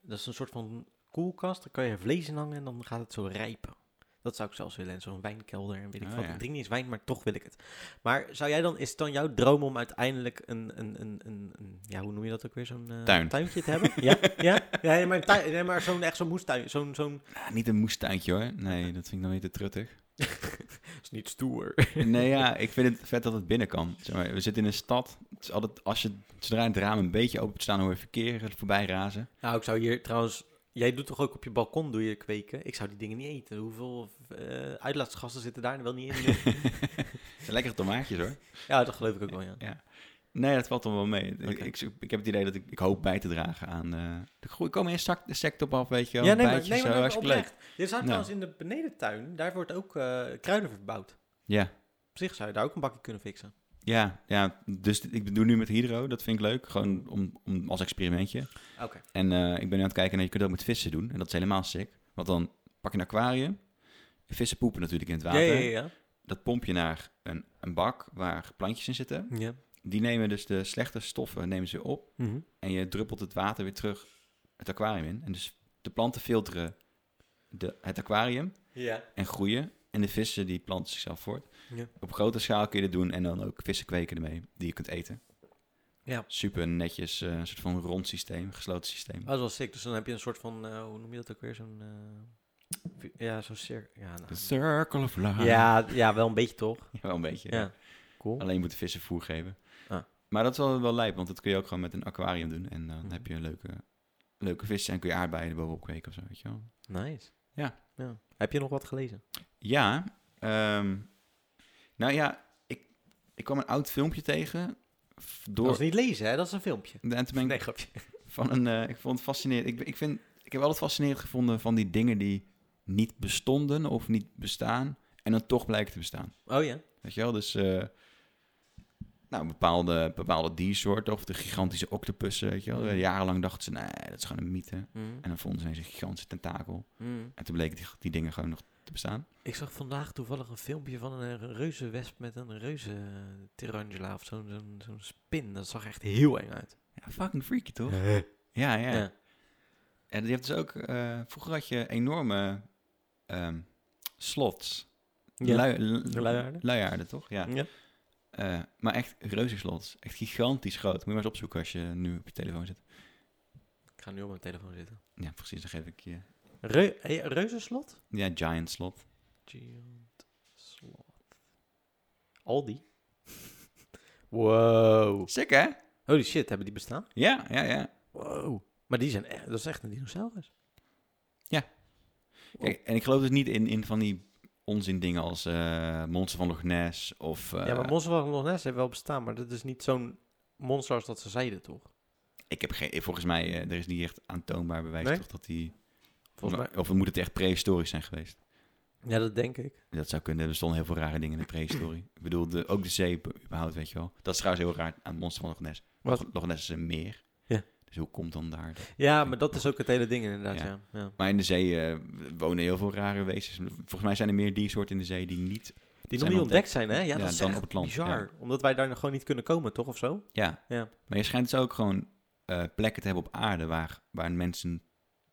[SPEAKER 1] dat is een soort van koelkast. Daar kan je vlees in hangen en dan gaat het zo rijpen. Dat zou ik zelfs willen. En zo'n wijnkelder en weet ik
[SPEAKER 2] Ah,
[SPEAKER 1] wat.
[SPEAKER 2] ja.
[SPEAKER 1] Ik drink niet eens wijn, maar toch wil ik het. Maar zou jij dan... Is het dan jouw droom om uiteindelijk een... een, een, een, een- ja, hoe noem je dat ook weer? Zo'n eh,
[SPEAKER 2] Tuin.
[SPEAKER 1] tuintje te hebben? ja, ja? ja nee, maar, een tuin, nee, maar zo'n, echt zo'n moestuin. Zo'n... zo'n
[SPEAKER 2] Nou, niet een moestuintje hoor. Nee, dat vind ik dan weer te truttig.
[SPEAKER 1] is niet stoer.
[SPEAKER 2] Nee, ja, ik vind het vet dat het binnen kan. Zeg maar, we zitten in een stad. Het is altijd, als je, zodra het raam een beetje open staan, hoor je verkeer voorbij razen.
[SPEAKER 1] Nou, ik zou hier trouwens... Jij doet toch ook op je balkon doe je kweken? Ik zou die dingen niet eten. Hoeveel eh uitlaatgassen zitten daar wel niet in?
[SPEAKER 2] Het zijn lekkere tomaatjes hoor.
[SPEAKER 1] ja, dat geloof ik ook wel, ja.
[SPEAKER 2] Nee, dat valt dan wel mee. Ik,
[SPEAKER 1] Oké.
[SPEAKER 2] ik, ik heb het idee dat ik, ik hoop bij te dragen aan... eh de groei komen insect- insecten op af, weet je wel.
[SPEAKER 1] ja, nee, maar,
[SPEAKER 2] bijtjes,
[SPEAKER 1] nee,
[SPEAKER 2] zo,
[SPEAKER 1] maar dat is
[SPEAKER 2] hartstikke leuk.
[SPEAKER 1] oprecht. Je zou
[SPEAKER 2] Ja.
[SPEAKER 1] trouwens in de benedentuin, daar wordt ook eh, kruiden verbouwd.
[SPEAKER 2] Ja,
[SPEAKER 1] Op zich zou je daar ook een bakje kunnen fixen.
[SPEAKER 2] ja, ja. Dus dit- ik doe nu met hydro, dat vind ik leuk. Gewoon om, om, als experimentje.
[SPEAKER 1] Oké.
[SPEAKER 2] En eh, ik ben nu aan het kijken naar, je kunt het ook met vissen doen. En dat is helemaal sick. Want dan pak je een aquarium. Vissen poepen natuurlijk in het
[SPEAKER 1] Ja,
[SPEAKER 2] water.
[SPEAKER 1] ja, ja.
[SPEAKER 2] Dat pomp je naar een, een bak waar plantjes in zitten.
[SPEAKER 1] ja. Mhm.
[SPEAKER 2] Die nemen dus de slechte stoffen nemen ze op. En je druppelt het water weer terug het aquarium in. En dus de planten filteren de, het aquarium
[SPEAKER 1] ja.
[SPEAKER 2] en groeien. En de vissen die planten zichzelf voort.
[SPEAKER 1] Ja.
[SPEAKER 2] Op grote schaal kun je dit doen en dan ook vissen kweken ermee die je kunt eten.
[SPEAKER 1] Ja.
[SPEAKER 2] Super netjes, eh, een soort van rond systeem, gesloten systeem.
[SPEAKER 1] Oh, dat is wel sick. Dus dan heb je een soort van, eh, hoe noem je dat ook weer? Zo'n, eh, vi- ja, zo'n cirkel. Ja, nou.
[SPEAKER 2] The circle of life.
[SPEAKER 1] ja, ja, wel een beetje toch?
[SPEAKER 2] Ja, wel een beetje.
[SPEAKER 1] Ja. Cool.
[SPEAKER 2] Alleen moet de vissen voer geven.
[SPEAKER 1] Ah.
[SPEAKER 2] Maar dat is wel, wel lijp, want dat kun je ook gewoon met een aquarium doen. En dan
[SPEAKER 1] Mhm.
[SPEAKER 2] heb je leuke, leuke vissen en kun je aardbeien erbovenop kweken of zo, weet je wel.
[SPEAKER 1] Nice.
[SPEAKER 2] Ja.
[SPEAKER 1] ja. Heb je nog wat gelezen?
[SPEAKER 2] Ja, ehm, nou ja, ik, ik kwam een oud filmpje tegen. f- Door,
[SPEAKER 1] Dat is niet lezen, hè? Dat is een filmpje.
[SPEAKER 2] en toen ben ik
[SPEAKER 1] Nee, grapje.
[SPEAKER 2] van een. eh, ik vond het fascinerend. Ik, ik, vind, ik heb altijd fascinerend gevonden van die dingen die niet bestonden of niet bestaan. En dan toch blijken te bestaan.
[SPEAKER 1] Oh ja.
[SPEAKER 2] Weet je wel? Dus. eh, nou, bepaalde, bepaalde diersoorten of de gigantische octopussen. Weet je wel?
[SPEAKER 1] Mhm.
[SPEAKER 2] Jarenlang dachten ze, nee, dat is gewoon een mythe.
[SPEAKER 1] Hm,
[SPEAKER 2] En dan vonden ze ineens een gigantische tentakel. En toen bleken die, die dingen gewoon nog te bestaan.
[SPEAKER 1] Ik zag vandaag toevallig een filmpje van een eh, reuzenwesp met een reuzen tarantula of zo'n zo'n zo'n spin. Dat zag echt heel eng uit.
[SPEAKER 2] Ja, fucking freaky toch? Ja, ja.
[SPEAKER 1] Ja.
[SPEAKER 2] En je hebt dus ook... eh, vroeger had je enorme ehm, slots.
[SPEAKER 1] Ja.
[SPEAKER 2] Lui- lu-
[SPEAKER 1] Luiaarden.
[SPEAKER 2] luiaarden, toch? Ja.
[SPEAKER 1] Ja.
[SPEAKER 2] Eh, maar echt reuze slots. Echt gigantisch groot. Moet je maar eens opzoeken als je nu op je telefoon zit.
[SPEAKER 1] Ik ga nu op mijn telefoon zitten.
[SPEAKER 2] Ja, precies. Dan geef ik je...
[SPEAKER 1] Reu hey, reuzenslot?
[SPEAKER 2] Ja, giant slot.
[SPEAKER 1] Giant slot. Aldi. wow.
[SPEAKER 2] Sick, hè?
[SPEAKER 1] Holy shit, hebben die bestaan?
[SPEAKER 2] Ja, ja, ja.
[SPEAKER 1] Wow. Maar die zijn e- echt, dat is echt een dinosaurus.
[SPEAKER 2] Kijk, en ik geloof dus niet in, in van die onzin dingen als eh, Monster van Loch Ness of... eh,
[SPEAKER 1] ja, maar Monster van Loch Ness heeft wel bestaan, maar dat is niet zo'n monster als dat ze zeiden, toch?
[SPEAKER 2] Ik heb geen... Volgens mij, eh, er is niet echt aantoonbaar bewijs
[SPEAKER 1] Nee?
[SPEAKER 2] toch dat die...
[SPEAKER 1] Volgens mij.
[SPEAKER 2] Of moet het echt prehistorisch zijn geweest?
[SPEAKER 1] Ja, dat denk ik.
[SPEAKER 2] Dat zou kunnen. Er stonden heel veel rare dingen in de prehistorie. ik bedoel, de, ook de zee überhaupt, weet je wel. Dat is trouwens heel raar aan Monster van Loch Ness.
[SPEAKER 1] Wat?
[SPEAKER 2] Loch Ness is een meer.
[SPEAKER 1] Ja.
[SPEAKER 2] Dus hoe komt dan daar...
[SPEAKER 1] Ja, maar dat is ook het hele ding inderdaad,
[SPEAKER 2] Ja.
[SPEAKER 1] ja. ja.
[SPEAKER 2] Maar in de zee eh, wonen heel veel rare wezens. Volgens mij zijn er meer die soort in de zee die niet...
[SPEAKER 1] Die nog
[SPEAKER 2] Zijn
[SPEAKER 1] niet
[SPEAKER 2] ontdekt.
[SPEAKER 1] ontdekt zijn, hè? Ja,
[SPEAKER 2] Ja,
[SPEAKER 1] dat is
[SPEAKER 2] dan
[SPEAKER 1] echt
[SPEAKER 2] op het land,
[SPEAKER 1] bizar. Omdat wij daar nog gewoon niet kunnen komen, toch? Of zo?
[SPEAKER 2] Ja.
[SPEAKER 1] Ja.
[SPEAKER 2] Maar je schijnt dus ook gewoon eh, plekken te hebben op aarde waar, waar mensen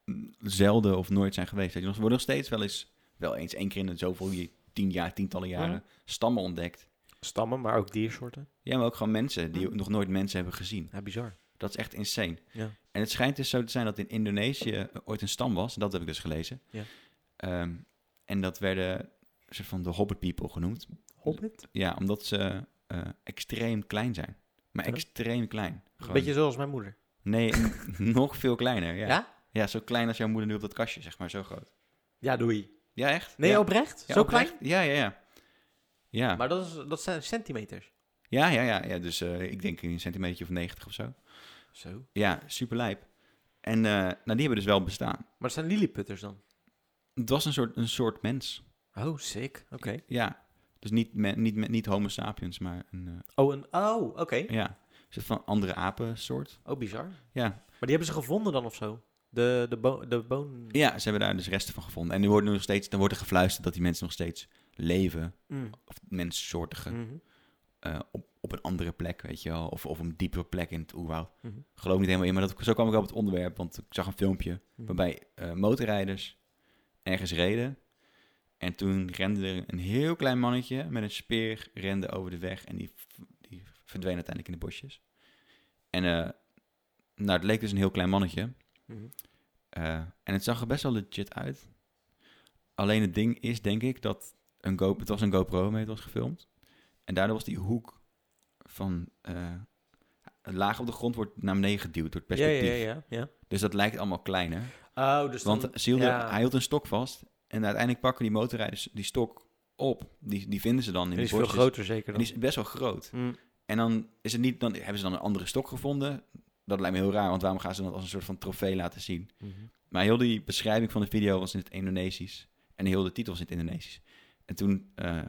[SPEAKER 2] mm, zelden of nooit zijn geweest. Weet je, nog- er worden nog steeds wel eens, wel eens één keer in de zoveel je- tien jaar, tientallen jaren, stammen ontdekt.
[SPEAKER 1] Stammen, maar ook diersoorten.
[SPEAKER 2] Ja, maar ook gewoon mensen die
[SPEAKER 1] Hm.
[SPEAKER 2] nog nooit mensen hebben gezien.
[SPEAKER 1] Ja, bizar.
[SPEAKER 2] Dat is echt insane.
[SPEAKER 1] Ja.
[SPEAKER 2] En het schijnt dus zo te zijn dat in Indonesië ooit een stam was. Dat heb ik dus gelezen.
[SPEAKER 1] Ja.
[SPEAKER 2] Ehm, en dat werden een soort van de hobbit people genoemd.
[SPEAKER 1] Hobbit?
[SPEAKER 2] Ja, omdat ze eh, extreem klein zijn. Maar
[SPEAKER 1] Ja.
[SPEAKER 2] extreem klein. Gewoon-
[SPEAKER 1] Een beetje zoals mijn moeder.
[SPEAKER 2] Nee, nog veel kleiner. Ja.
[SPEAKER 1] Ja?
[SPEAKER 2] ja?
[SPEAKER 1] Ja,
[SPEAKER 2] zo klein als jouw moeder nu op dat kastje, zeg maar. Zo groot.
[SPEAKER 1] doei.
[SPEAKER 2] Ja, echt?
[SPEAKER 1] Nee,
[SPEAKER 2] ja.
[SPEAKER 1] oprecht?
[SPEAKER 2] Ja,
[SPEAKER 1] zo
[SPEAKER 2] oprecht?
[SPEAKER 1] klein?
[SPEAKER 2] Ja, ja, ja. Ja,
[SPEAKER 1] Maar dat, is, dat zijn centimeters.
[SPEAKER 2] ja, ja, ja, ja. Dus eh, ik denk een centimeter of 90 of zo.
[SPEAKER 1] Zo.
[SPEAKER 2] Ja, super lijp. En eh, nou, die hebben dus wel bestaan.
[SPEAKER 1] Maar dat zijn lilliputters dan?
[SPEAKER 2] Het was een soort, een soort mens.
[SPEAKER 1] Oh, sick. Oké.
[SPEAKER 2] Ja. Dus niet, me- niet, me- niet homo sapiens, maar een... eh,
[SPEAKER 1] Oh, een, oh oké.
[SPEAKER 2] ja, een soort van andere apensoort.
[SPEAKER 1] Oh, bizar. Maar
[SPEAKER 2] Ja,
[SPEAKER 1] die hebben ze gevonden dan of zo? De, de, bo de boon...
[SPEAKER 2] Ja, ze hebben daar dus resten van gevonden. En er wordt, nu nog steeds, er wordt er gefluisterd dat die mensen nog steeds leven.
[SPEAKER 1] Mm.
[SPEAKER 2] Of menssoortige.
[SPEAKER 1] Mhm.
[SPEAKER 2] eh, op, op een andere plek, weet je wel. Of, of een diepere plek in het oerwoud.
[SPEAKER 1] Mhm.
[SPEAKER 2] Geloof niet helemaal in, maar dat, zo kwam ik op het onderwerp. Want ik zag een filmpje
[SPEAKER 1] Mhm.
[SPEAKER 2] waarbij eh, motorrijders ergens reden. En toen rende er een heel klein mannetje met een speer rende over de weg. En die, v- die verdween uiteindelijk in de bosjes. En eh, nou, het leek dus een heel klein mannetje.
[SPEAKER 1] Mhm.
[SPEAKER 2] Eh, en het zag er best wel legit uit. Alleen het ding is, denk ik, dat een Go het was een GoPro mee het was gefilmd. En daardoor was die hoek van eh, laag op de grond wordt naar beneden geduwd door het
[SPEAKER 1] Ja,
[SPEAKER 2] perspectief.
[SPEAKER 1] ja, ja, ja.
[SPEAKER 2] Dus dat lijkt allemaal kleiner.
[SPEAKER 1] Oh, dus
[SPEAKER 2] Want
[SPEAKER 1] dan...
[SPEAKER 2] ze hielden-
[SPEAKER 1] ja.
[SPEAKER 2] hij hield een stok vast. En uiteindelijk pakken die motorrijders die stok op. Die, die vinden ze dan in
[SPEAKER 1] Die
[SPEAKER 2] de
[SPEAKER 1] is veel
[SPEAKER 2] bosjes.
[SPEAKER 1] groter zeker
[SPEAKER 2] En
[SPEAKER 1] dan.
[SPEAKER 2] die is best wel groot.
[SPEAKER 1] Mm.
[SPEAKER 2] En dan, is het niet, dan hebben ze dan een andere stok gevonden. Dat lijkt me heel raar, want waarom gaan ze dat als een soort van trofee laten zien?
[SPEAKER 1] Mhm.
[SPEAKER 2] Maar heel die beschrijving van de video was in het Indonesisch. En heel de titel was in het Indonesisch. En toen eh,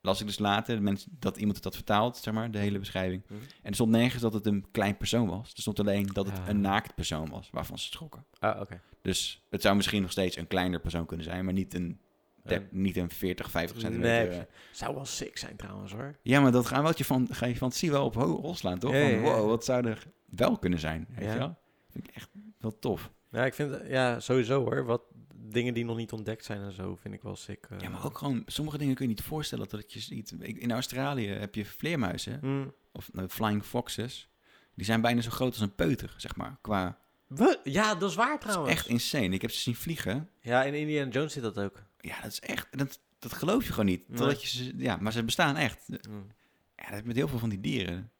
[SPEAKER 2] las ik dus later de mensen- dat iemand het had vertaald, zeg maar, de hele beschrijving.
[SPEAKER 1] Mhm.
[SPEAKER 2] En er stond nergens dat het een klein persoon was. Er stond alleen dat het
[SPEAKER 1] Ah.
[SPEAKER 2] een naakt persoon was, waarvan ze schrokken.
[SPEAKER 1] Ah, oké.
[SPEAKER 2] Dus het zou misschien nog steeds een kleiner persoon kunnen zijn, maar niet een, dep-
[SPEAKER 1] Eh,
[SPEAKER 2] niet een 40, 50 centimeter.
[SPEAKER 1] Nee,
[SPEAKER 2] eh.
[SPEAKER 1] zou wel sick zijn trouwens hoor.
[SPEAKER 2] Ja, maar dat gaat wel je van, ga je fantasie wel op ho- hol slaan, toch?
[SPEAKER 1] Ja,
[SPEAKER 2] Van,
[SPEAKER 1] ja, ja.
[SPEAKER 2] wow, wat zou er wel kunnen zijn, weet
[SPEAKER 1] Ja.
[SPEAKER 2] je wel? Vind ik echt wel tof.
[SPEAKER 1] Ja, ik vind, ja, sowieso hoor. Wat dingen die nog niet ontdekt zijn en zo, vind ik wel sick. eh.
[SPEAKER 2] Ja, maar ook gewoon, sommige dingen kun je niet voorstellen dat het je ziet. Ik- In Australië heb je vleermuizen,
[SPEAKER 1] Mm.
[SPEAKER 2] of nou, flying foxes. Die zijn bijna zo groot als een peuter, zeg maar. Qua,
[SPEAKER 1] Wat? Eh, Ja, Oh, dat is waar
[SPEAKER 2] dat
[SPEAKER 1] trouwens.
[SPEAKER 2] is echt insane. Ik heb ze zien vliegen.
[SPEAKER 1] Ja, in Indiana Jones zit dat ook.
[SPEAKER 2] Ja, dat is echt, dat, dat geloof je gewoon niet.
[SPEAKER 1] Nee.
[SPEAKER 2] Totdat je ze, ja, maar ze bestaan echt.
[SPEAKER 1] Mm.
[SPEAKER 2] Ja, dat heb je met heel veel van die dieren. Dat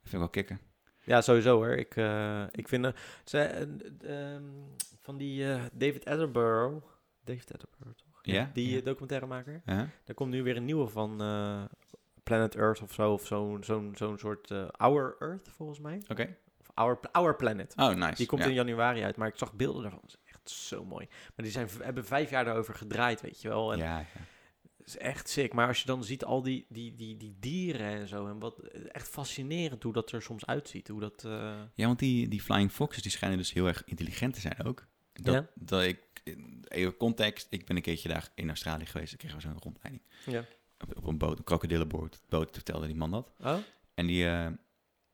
[SPEAKER 2] vind ik wel kicken.
[SPEAKER 1] Ja, sowieso hoor. Ik, eh, ik vind eh, ze, eh, ehm, van die eh, David Attenborough. David Attenborough, toch?
[SPEAKER 2] Ja?
[SPEAKER 1] Die
[SPEAKER 2] Ja.
[SPEAKER 1] eh, documentairemaker.
[SPEAKER 2] Huh?
[SPEAKER 1] Er komt nu weer een nieuwe van eh, Planet Earth of zo. Of zo'n zo'n zo'n soort eh, Our Earth, volgens mij.
[SPEAKER 2] Oké.
[SPEAKER 1] Of Our, Our Planet.
[SPEAKER 2] Oh, nice.
[SPEAKER 1] Die komt
[SPEAKER 2] ja.
[SPEAKER 1] in januari uit, maar ik zag beelden daarvan. Dat is echt zo mooi. Maar die zijn, hebben vijf jaar daarover gedraaid, weet je wel. En
[SPEAKER 2] Ja, ja.
[SPEAKER 1] het is echt sick. Maar als je dan ziet al die, die, die, die dieren en zo. En wat echt fascinerend hoe dat er soms uitziet. Hoe dat. eh,
[SPEAKER 2] Ja, want die, die flying foxes die schijnen dus heel erg intelligent te zijn ook. Dat,
[SPEAKER 1] Ja.
[SPEAKER 2] dat ik, even context, ik ben een keertje daar in Australië geweest. Ik kreeg we zo'n rondleiding.
[SPEAKER 1] Ja.
[SPEAKER 2] Op, op een boot, een krokodillenboot. Boot vertelde die man dat.
[SPEAKER 1] Oh?
[SPEAKER 2] En die, eh,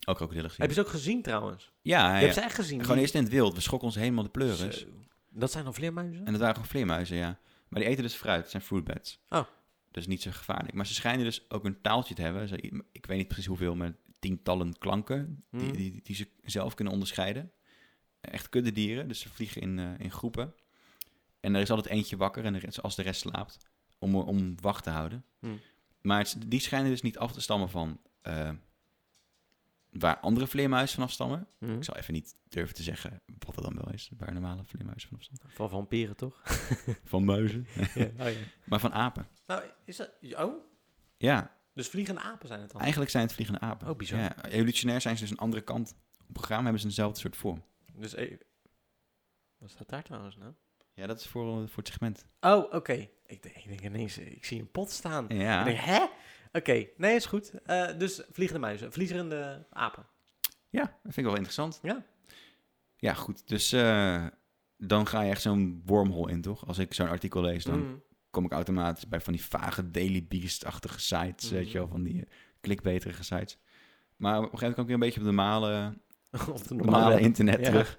[SPEAKER 2] ook krokodillen gezien.
[SPEAKER 1] Heb je ze ook gezien trouwens?
[SPEAKER 2] Ja, ja,
[SPEAKER 1] Je hebt
[SPEAKER 2] Ah, ja.
[SPEAKER 1] ze echt gezien.
[SPEAKER 2] gewoon
[SPEAKER 1] die-
[SPEAKER 2] eerst in het wild. We schrokken ons helemaal de pleuris.
[SPEAKER 1] Zo. Dat zijn dan vleermuizen?
[SPEAKER 2] En dat waren gewoon vleermuizen, ja. Maar die eten dus fruit, het zijn fruitbats.
[SPEAKER 1] Oh.
[SPEAKER 2] Dus niet zo gevaarlijk. Maar ze schijnen dus ook een taaltje te hebben. Ze- Ik weet niet precies hoeveel, maar tientallen klanken die,
[SPEAKER 1] Hmm.
[SPEAKER 2] die, die ze zelf kunnen onderscheiden. Echt kuddedieren, dus ze vliegen in, eh, in groepen. En er is altijd eentje wakker en de rest- als de rest slaapt, om, om wacht te houden.
[SPEAKER 1] Hmm.
[SPEAKER 2] Maar het- die schijnen dus niet af te stammen van eh, waar andere vleermuizen vanaf stammen.
[SPEAKER 1] Mhm.
[SPEAKER 2] Ik zal even niet durven te zeggen wat dat dan wel is, waar normale vleermuizen vanaf stammen.
[SPEAKER 1] Van vampieren, toch?
[SPEAKER 2] Van muizen.
[SPEAKER 1] ja. Oh, ja.
[SPEAKER 2] maar van apen.
[SPEAKER 1] Nou, is dat... Oh,
[SPEAKER 2] Ja,
[SPEAKER 1] dus vliegende apen zijn het dan?
[SPEAKER 2] eigenlijk zijn het vliegende apen.
[SPEAKER 1] Oh, bizar.
[SPEAKER 2] Ja, evolutionair zijn ze dus een andere kant op gegaan, maar hebben ze dezelfde soort vorm.
[SPEAKER 1] Dus e- Wat staat daar trouwens nou?
[SPEAKER 2] Ja, dat is voor, voor het segment.
[SPEAKER 1] Oh, oké. Ik, denk- ik denk ineens, eh, ik zie een pot staan. Ik
[SPEAKER 2] Ja,
[SPEAKER 1] denk, hè? Oké, nee, is goed. Eh, dus vliegende muizen, vliegende apen.
[SPEAKER 2] ja dat vind ik wel interessant.
[SPEAKER 1] Ja.
[SPEAKER 2] Ja, goed. Dus eh, dan ga je echt zo'n wormhole in, toch? Als ik zo'n artikel lees, Dus dan
[SPEAKER 1] Mm.
[SPEAKER 2] kom ik automatisch bij van die vage Daily Beast-achtige sites,
[SPEAKER 1] Mhm.
[SPEAKER 2] weet je wel, van die eh, clickbaiterige sites. Maar op een gegeven moment kwam ik weer een beetje op de normale,
[SPEAKER 1] Op de
[SPEAKER 2] normale internet
[SPEAKER 1] Ja.
[SPEAKER 2] terug.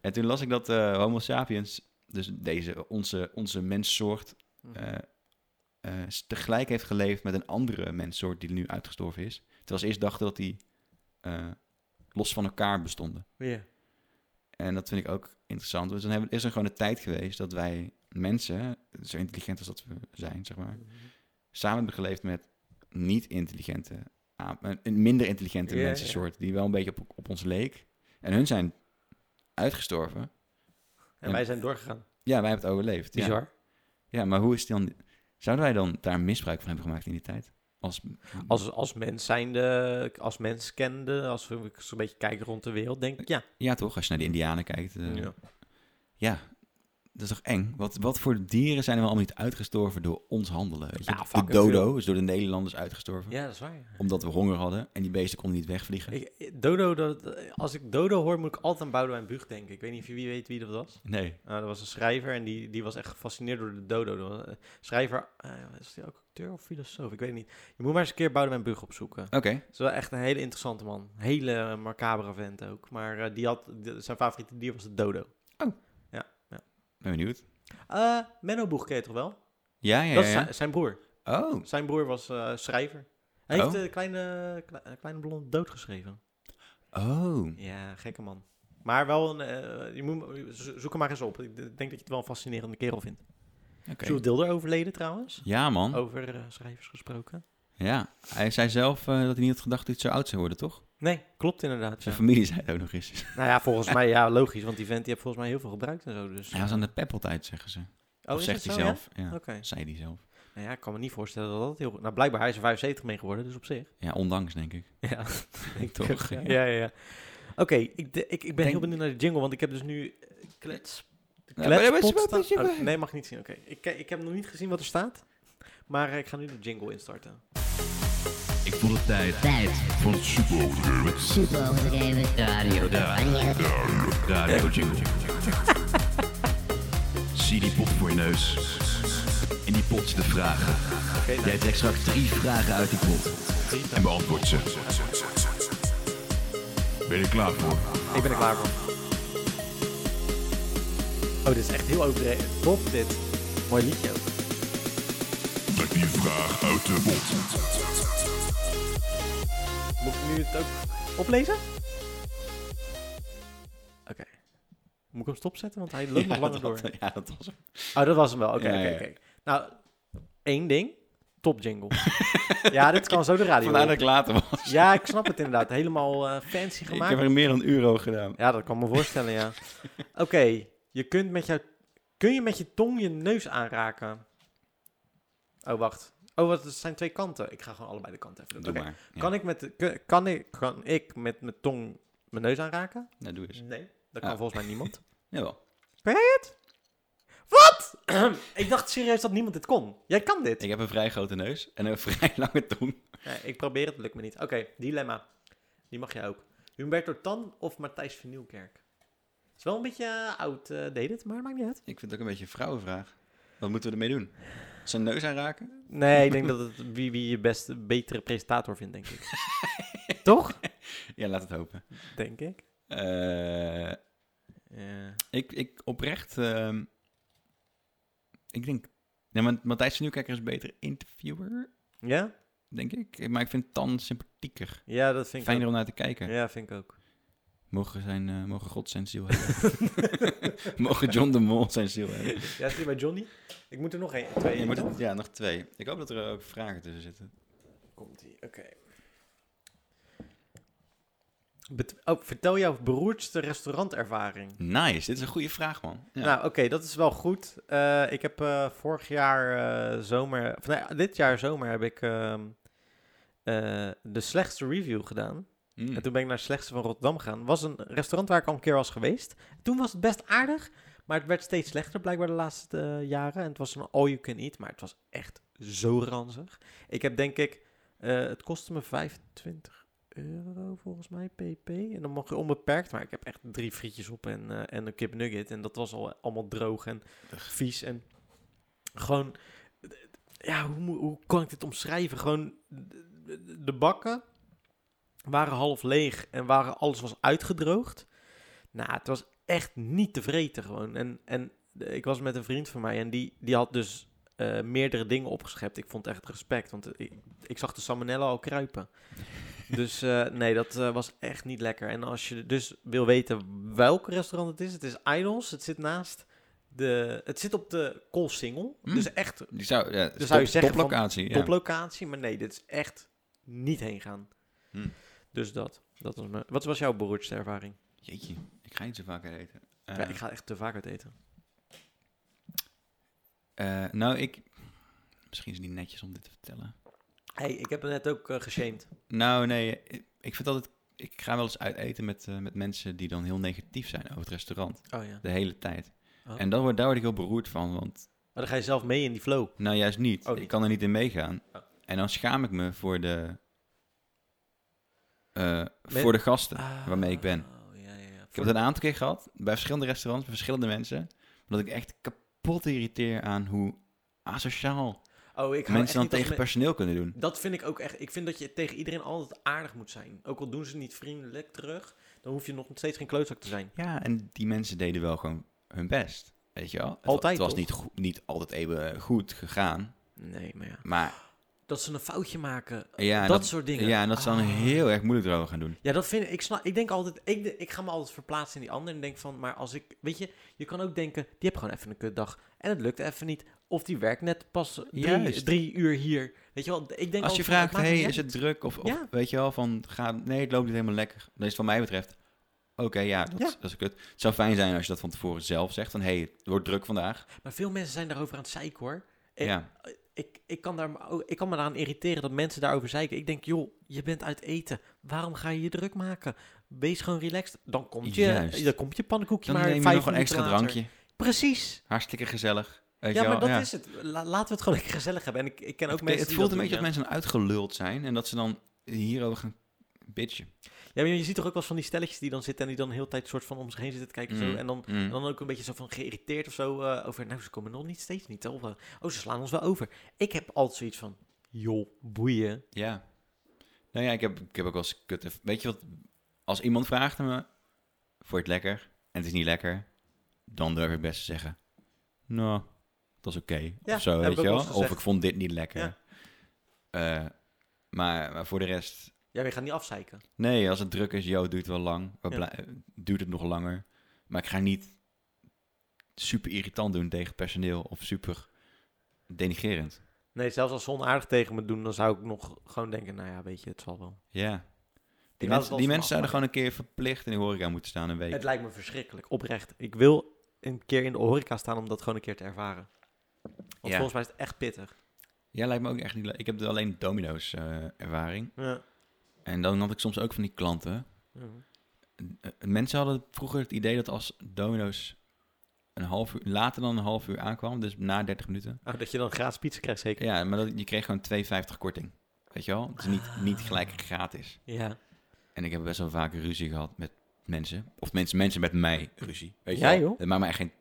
[SPEAKER 2] En toen las ik dat eh, Homo sapiens, dus deze, onze, onze menssoort,
[SPEAKER 1] Mm.
[SPEAKER 2] eh, eh, s- tegelijk heeft geleefd met een andere menssoort die nu uitgestorven is. Terwijl ze eerst dachten dat die eh, los van elkaar bestonden.
[SPEAKER 1] Ja.
[SPEAKER 2] En dat vind ik ook interessant. Dus dan hebben, is er gewoon een tijd geweest dat wij mensen, zo intelligent als dat we zijn, zeg maar, samen hebben geleefd met niet-intelligente, aap- een- een minder intelligente
[SPEAKER 1] Ja, ja.
[SPEAKER 2] mensensoort, die wel een beetje op, op ons leek. En hun zijn uitgestorven.
[SPEAKER 1] En wij zijn doorgegaan.
[SPEAKER 2] Ja, wij hebben het overleefd. Ja.
[SPEAKER 1] Bizar.
[SPEAKER 2] ja, maar hoe is het dan? Zouden wij dan daar misbruik van hebben gemaakt in die tijd? Als,
[SPEAKER 1] Als, als mens zijnde, als mens kende, als we zo'n beetje kijken rond de wereld, denk ik, ja.
[SPEAKER 2] ja, toch? Als je naar de Indianen kijkt. eh, ja.
[SPEAKER 1] Ja.
[SPEAKER 2] dat is toch eng? Wat, wat voor dieren zijn er wel allemaal niet uitgestorven door ons handelen? Weet je?
[SPEAKER 1] Ja,
[SPEAKER 2] de
[SPEAKER 1] fucking
[SPEAKER 2] dodo
[SPEAKER 1] veel.
[SPEAKER 2] is door de Nederlanders uitgestorven.
[SPEAKER 1] Ja, dat is waar. ja.
[SPEAKER 2] Omdat we honger hadden en die beesten konden niet wegvliegen.
[SPEAKER 1] Ik, dodo, dat, als ik Dodo hoor, moet ik altijd aan Boudewijn Buug denken. Ik weet niet of wie weet wie dat was.
[SPEAKER 2] Nee.
[SPEAKER 1] Nou, dat was een schrijver en die, die was echt gefascineerd door de dodo. Dat was een Schrijver, eh, is die ook acteur of filosoof? Ik weet het niet. Je moet maar eens een keer Boudewijn Bug opzoeken.
[SPEAKER 2] Oké.
[SPEAKER 1] Het is wel echt een hele interessante man. Hele macabere vent ook. Maar eh, die had, de- zijn favoriete dier was de dodo.
[SPEAKER 2] Ben benieuwd.
[SPEAKER 1] Eh Menno Boeg ken je toch wel?
[SPEAKER 2] Ja, ja, ja.
[SPEAKER 1] Dat is
[SPEAKER 2] ja.
[SPEAKER 1] zijn, zijn broer.
[SPEAKER 2] Oh,
[SPEAKER 1] Zijn broer was eh, schrijver. Hij heeft
[SPEAKER 2] Oh.
[SPEAKER 1] eh, kleine, kle- eh, kleine blonde dood geschreven.
[SPEAKER 2] Oh,
[SPEAKER 1] Ja, gekke man. Maar wel een, eh, je moet, zo- zoek hem maar eens op. Ik denk dat je het wel een fascinerende kerel vindt.
[SPEAKER 2] oké.
[SPEAKER 1] Jules Dilder overleden trouwens.
[SPEAKER 2] Ja, man.
[SPEAKER 1] Over eh, schrijvers gesproken.
[SPEAKER 2] Ja. Hij zei zelf eh, dat hij niet had gedacht dat hij zo oud zou worden, toch?
[SPEAKER 1] Nee, klopt inderdaad.
[SPEAKER 2] Zijn
[SPEAKER 1] ja.
[SPEAKER 2] familie zei het ook nog eens.
[SPEAKER 1] Nou ja, volgens mij, ja, logisch. Want die vent die heeft volgens mij heel veel gebruikt en zo. Dus.
[SPEAKER 2] Hij was aan de peppeltijd, zeggen ze.
[SPEAKER 1] oh,
[SPEAKER 2] of
[SPEAKER 1] is
[SPEAKER 2] zegt
[SPEAKER 1] dat
[SPEAKER 2] hij
[SPEAKER 1] zo, ja?
[SPEAKER 2] zelf. Ja,
[SPEAKER 1] Oké.
[SPEAKER 2] zei hij zelf.
[SPEAKER 1] Nou ja, ik kan me niet voorstellen dat dat heel goed... Nou, blijkbaar hij is er 75 mee geworden, dus op zich.
[SPEAKER 2] Ja, ondanks, denk ik.
[SPEAKER 1] Ja, ik
[SPEAKER 2] Toch,
[SPEAKER 1] Ja, ja,
[SPEAKER 2] ja.
[SPEAKER 1] ja. Oké, ik, de- ik, ik ben
[SPEAKER 2] Denk-
[SPEAKER 1] heel benieuwd naar de jingle, want ik heb dus nu... eh, Klets... de
[SPEAKER 2] Ja, maar- maar-
[SPEAKER 1] kletspot
[SPEAKER 2] maar- maar-
[SPEAKER 1] staan-
[SPEAKER 2] maar-
[SPEAKER 1] Oh, nee, mag ik niet zien. Oké, ik, ke- ik heb nog niet gezien wat er staat. Maar eh, ik ga nu de jingle instarten.
[SPEAKER 3] Ik vond het tijd
[SPEAKER 4] Tijd
[SPEAKER 3] voor het super overdreven.
[SPEAKER 4] super overdreven. Radio, radio.
[SPEAKER 3] Radio Jingle. Zie die pot voor je neus. In die pot zitten vragen. Jij trekt straks drie vragen uit die pot. En beantwoord ze. Ben je er klaar voor?
[SPEAKER 1] Ik ben er klaar voor. Oh, dit is echt heel overdreven. Top, dit. Mooi liedje ook.
[SPEAKER 3] Trek die vraag uit de pot.
[SPEAKER 1] Moet ik nu het ook oplezen? Oké. Moet ik hem stopzetten? Want hij Oh, loopt nog
[SPEAKER 2] Ja,
[SPEAKER 1] langer door.
[SPEAKER 2] dat- Ja, dat was hem.
[SPEAKER 1] Oh, dat was hem wel. Oké,
[SPEAKER 2] Ja,
[SPEAKER 1] oké,
[SPEAKER 2] ja.
[SPEAKER 1] oké. Nou, één ding. Top jingle. ja, dit kan zo de radio.
[SPEAKER 2] Vandaar dat
[SPEAKER 1] op.
[SPEAKER 2] ik later was.
[SPEAKER 1] Ja, ik snap het inderdaad. Helemaal eh, fancy
[SPEAKER 2] Ik
[SPEAKER 1] gemaakt.
[SPEAKER 2] heb er meer dan een uur over gedaan.
[SPEAKER 1] Ja, dat kan me voorstellen, ja. Oké, je kunt met jouw... Kun je met je tong je neus aanraken? Oh, wacht. Oh, wat, het zijn twee kanten. Ik ga gewoon allebei de kanten even
[SPEAKER 2] Doe
[SPEAKER 1] doen. Oké.
[SPEAKER 2] maar. Ja.
[SPEAKER 1] Kan ik met de- kun- kan ik, kan ik met mijn tong mijn neus aanraken?
[SPEAKER 2] Nou, doe eens.
[SPEAKER 1] Nee, dat kan
[SPEAKER 2] Ah.
[SPEAKER 1] volgens mij niemand.
[SPEAKER 2] Jawel.
[SPEAKER 1] Wat? ik dacht serieus dat niemand dit kon. Jij kan dit.
[SPEAKER 2] Ik heb een vrij grote neus en een vrij lange tong.
[SPEAKER 1] Nee, ik probeer het, lukt me niet. Oké, dilemma. Die mag jij ook. Humberto Tan of Matthijs van Nieuwkerk? Het is wel een beetje eh, oud, eh, deed het, maar maakt niet uit.
[SPEAKER 2] Ik vind het ook een beetje een vrouwenvraag. Wat moeten we ermee doen? Zijn neus aanraken?
[SPEAKER 1] Nee, ik denk dat het wie, wie je best betere presentator vindt, denk ik. Toch?
[SPEAKER 2] Ja, laat het hopen.
[SPEAKER 1] Denk ik.
[SPEAKER 2] Eh,
[SPEAKER 1] Ja.
[SPEAKER 2] ik, ik oprecht... ehm, ik denk... Ja, maar Matthijs van Nieuwkerker is een betere interviewer,
[SPEAKER 1] ja?
[SPEAKER 2] denk ik. Maar ik vind Tan sympathieker.
[SPEAKER 1] Ja, dat vind ik
[SPEAKER 2] Fijner
[SPEAKER 1] ook.
[SPEAKER 2] om naar te kijken.
[SPEAKER 1] Ja, vind ik ook.
[SPEAKER 2] Mogen, zijn, eh, mogen God zijn ziel hebben. mogen John de Mol zijn ziel hebben.
[SPEAKER 1] Ja, zie je bij Johnny? Ik moet er nog één, twee.
[SPEAKER 2] Je moet
[SPEAKER 1] toch?
[SPEAKER 2] het- ja, nog twee. Ik hoop dat er ook vragen tussen zitten.
[SPEAKER 1] Komt ie, oké. Bet- oh, vertel jouw beroerdste restaurantervaring.
[SPEAKER 2] Nice, dit is een goede vraag, man. Ja.
[SPEAKER 1] Nou, oké, dat is wel goed. Eh, ik heb eh, vorig jaar eh, zomer, of nee, dit jaar zomer heb ik ehm, eh, de slechtste review gedaan.
[SPEAKER 2] Mm.
[SPEAKER 1] En toen ben ik naar het Slechtste van Rotterdam gegaan. Was een restaurant waar ik al een keer was geweest. Toen was het best aardig, maar het werd steeds slechter blijkbaar de laatste eh, jaren. En het was een all-you-can-eat, maar het was echt zo ranzig. Ik heb denk ik, eh, het kostte me 25 euro volgens mij, pp. En dan mocht je onbeperkt, maar ik heb echt drie frietjes op en, eh, en een kipnugget. En dat was al allemaal droog en vies en gewoon... Ja, hoe, moet- hoe kan ik dit omschrijven? Gewoon de- de bakken waren half leeg en waren, alles was uitgedroogd. Nou, het was echt niet te vreten gewoon. En, en eh, ik was met een vriend van mij en die, die had dus eh, meerdere dingen opgeschept. Ik vond echt respect, want eh, ik, ik zag de salmonella al kruipen. dus eh, nee, dat eh, was echt niet lekker. En als je dus wil weten welk restaurant het is, het is Idols. Het zit naast de... Het zit op de Koolsingel.
[SPEAKER 2] Mm.
[SPEAKER 1] Dus echt
[SPEAKER 2] Die zou, ja,
[SPEAKER 1] Dus zou
[SPEAKER 2] top-
[SPEAKER 1] je zeggen van-
[SPEAKER 2] toplocatie. ja.
[SPEAKER 1] toplocatie. Maar nee, dit is echt niet heen gaan.
[SPEAKER 2] Hmm.
[SPEAKER 1] Dus dat. dat was mijn, wat was jouw beroerdste ervaring?
[SPEAKER 2] Jeetje, ik ga niet zo vaak uit eten. Eh,
[SPEAKER 1] ja, ik ga echt te vaak uit eten.
[SPEAKER 2] eh, nou, ik... Misschien is het niet netjes om dit te vertellen.
[SPEAKER 1] hey, ik heb het net ook eh, geshamed.
[SPEAKER 2] Nou, nee, ik, ik vind altijd... Ik ga wel eens uit eten met, eh, met mensen die dan heel negatief zijn over het restaurant.
[SPEAKER 1] Oh ja.
[SPEAKER 2] De hele tijd.
[SPEAKER 1] Oh.
[SPEAKER 2] En dan word, daar word ik heel beroerd van, want...
[SPEAKER 1] Maar dan ga je zelf mee in die flow.
[SPEAKER 2] Nou, juist niet.
[SPEAKER 1] Oh,
[SPEAKER 2] Ik
[SPEAKER 1] niet.
[SPEAKER 2] kan er niet in meegaan.
[SPEAKER 1] Oh.
[SPEAKER 2] En dan schaam ik me voor de... eh,
[SPEAKER 1] Men-
[SPEAKER 2] voor de gasten Ah, waarmee ik ben.
[SPEAKER 1] Oh, ja, ja, ja.
[SPEAKER 2] Ik heb het een aantal keer gehad, bij verschillende restaurants, bij verschillende mensen, dat ik echt kapot irriteer aan hoe asociaal
[SPEAKER 1] oh, ik hou echt
[SPEAKER 2] mensen dan
[SPEAKER 1] niet als
[SPEAKER 2] tegen
[SPEAKER 1] me-
[SPEAKER 2] personeel kunnen doen.
[SPEAKER 1] Dat vind ik ook echt. Ik vind dat je tegen iedereen altijd aardig moet zijn. Ook al doen ze niet vriendelijk terug, dan hoef je nog steeds geen klootzak te zijn.
[SPEAKER 2] Ja, en die mensen deden wel gewoon hun best, weet je wel. Het, wa-
[SPEAKER 1] Altijd,
[SPEAKER 2] Het was
[SPEAKER 1] toch?
[SPEAKER 2] niet, goe- niet altijd even goed gegaan,
[SPEAKER 1] Nee, maar ja.
[SPEAKER 2] maar
[SPEAKER 1] Dat ze een foutje maken.
[SPEAKER 2] ja, en
[SPEAKER 1] dat, soort dingen.
[SPEAKER 2] Ja, en Ah, dat ze dan
[SPEAKER 1] Ah.
[SPEAKER 2] heel erg moeilijk erover gaan doen.
[SPEAKER 1] Ja, dat vind ik. Ik, snap, ik denk altijd. Ik, de- ik ga me altijd verplaatsen in die ander. En denk van. Maar als ik. Weet je, je kan ook denken. Die heb gewoon even een kutdag. En het lukt even niet. Of die werkt net pas drie,
[SPEAKER 2] Juist.
[SPEAKER 1] drie uur hier. Weet je wel. Ik denk
[SPEAKER 2] Als je
[SPEAKER 1] altijd van,
[SPEAKER 2] vraagt,
[SPEAKER 1] maakt
[SPEAKER 2] hey,
[SPEAKER 1] niet uit.
[SPEAKER 2] is het druk? Of, of
[SPEAKER 1] Ja.
[SPEAKER 2] weet je wel, van, ga, nee, het loopt niet helemaal lekker. Dan is het wat mij betreft, oké, ja, dat,
[SPEAKER 1] Ja.
[SPEAKER 2] is- dat is kut. Het zou fijn zijn als je dat van tevoren zelf zegt, van, hey, het wordt druk vandaag.
[SPEAKER 1] Maar veel mensen zijn daarover aan het zeiken hoor. En-
[SPEAKER 2] ja.
[SPEAKER 1] Ik, ik, kan daar, maar ook- ik kan me daaraan irriteren dat mensen daarover zeiken. Ik denk, joh, je bent uit eten. Waarom ga je je druk maken? Wees gewoon relaxed. Dan komt je,
[SPEAKER 2] Juist.
[SPEAKER 1] dan komt je pannenkoekje
[SPEAKER 2] Dan
[SPEAKER 1] maar
[SPEAKER 2] neem je
[SPEAKER 1] vijf
[SPEAKER 2] nog een
[SPEAKER 1] minuten
[SPEAKER 2] extra
[SPEAKER 1] later.
[SPEAKER 2] drankje.
[SPEAKER 1] Precies.
[SPEAKER 2] Hartstikke gezellig. Weet
[SPEAKER 1] Ja,
[SPEAKER 2] je
[SPEAKER 1] maar
[SPEAKER 2] wel,
[SPEAKER 1] dat is het. La- laten we het gewoon lekker gezellig hebben. En ik, ik ken ook
[SPEAKER 2] Het-
[SPEAKER 1] mensen
[SPEAKER 2] het
[SPEAKER 1] die
[SPEAKER 2] voelt
[SPEAKER 1] dat
[SPEAKER 2] een beetje
[SPEAKER 1] doen,
[SPEAKER 2] dat
[SPEAKER 1] ja.
[SPEAKER 2] mensen uitgeluld zijn en dat ze dan hierover gaan bitchen.
[SPEAKER 1] Ja, maar je ziet toch ook wel eens van die stelletjes die dan zitten en die dan heel de tijd soort van om zich heen zitten te kijken.
[SPEAKER 2] Mm,
[SPEAKER 1] Zo, en dan,
[SPEAKER 2] mm.
[SPEAKER 1] en dan ook een beetje zo van geïrriteerd of zo eh, over, nou, ze komen nog niet steeds niet. Of, eh, oh, ze slaan ons wel over. Ik heb altijd zoiets van, joh, boeien.
[SPEAKER 2] Ja. Nou ja, ik heb, ik heb ook wel eens kutte... Weet je wat? Als iemand vraagt aan me, vond je het lekker? En het is niet lekker, dan durf ik best te zeggen, nou, dat is oké.
[SPEAKER 1] Ja,
[SPEAKER 2] of zo,
[SPEAKER 1] heb ik
[SPEAKER 2] weet je
[SPEAKER 1] ook wel
[SPEAKER 2] wel?
[SPEAKER 1] eens
[SPEAKER 2] Of
[SPEAKER 1] gezegd.
[SPEAKER 2] ik vond dit niet lekker.
[SPEAKER 1] Ja.
[SPEAKER 2] Eh, maar, maar voor de rest...
[SPEAKER 1] Ja, we gaan niet afzeiken.
[SPEAKER 2] Nee, als het druk is, joh, het duurt wel lang. Wat
[SPEAKER 1] Ja.
[SPEAKER 2] blij- Duurt het nog langer. Maar ik ga niet super irritant doen tegen personeel of super denigerend.
[SPEAKER 1] Nee, zelfs als ze onaardig tegen me doen, dan zou ik nog gewoon denken, nou ja, weet je, het zal wel.
[SPEAKER 2] Ja. Die,
[SPEAKER 1] laat het
[SPEAKER 2] mensen,
[SPEAKER 1] wel van
[SPEAKER 2] die mensen zouden
[SPEAKER 1] afhangen.
[SPEAKER 2] gewoon een keer verplicht in de horeca moeten staan een week.
[SPEAKER 1] Het lijkt me verschrikkelijk, oprecht. Ik wil een keer in de horeca staan om dat gewoon een keer te ervaren. Want
[SPEAKER 2] Ja.
[SPEAKER 1] volgens mij is het echt pittig.
[SPEAKER 2] Ja, lijkt me ook echt niet leuk. Ik heb dus alleen domino's eh, ervaring.
[SPEAKER 1] Ja.
[SPEAKER 2] En dan had ik soms ook van die klanten. Eh, Mensen hadden vroeger het idee dat als domino's een half uur, later dan een half uur aankwam, dus na 30 minuten,
[SPEAKER 1] Oh, dat je dan gratis pizza krijgt, zeker?
[SPEAKER 2] Ja, maar dat, je kreeg gewoon 2,50 korting. Weet je wel? Het is niet, niet gelijk gratis.
[SPEAKER 1] Ja.
[SPEAKER 2] En ik heb best wel vaak ruzie gehad met mensen. Of mensen, mensen met mij ruzie. Weet je
[SPEAKER 1] Ja,
[SPEAKER 2] wel?
[SPEAKER 1] joh.
[SPEAKER 2] Het maakt mij echt geen,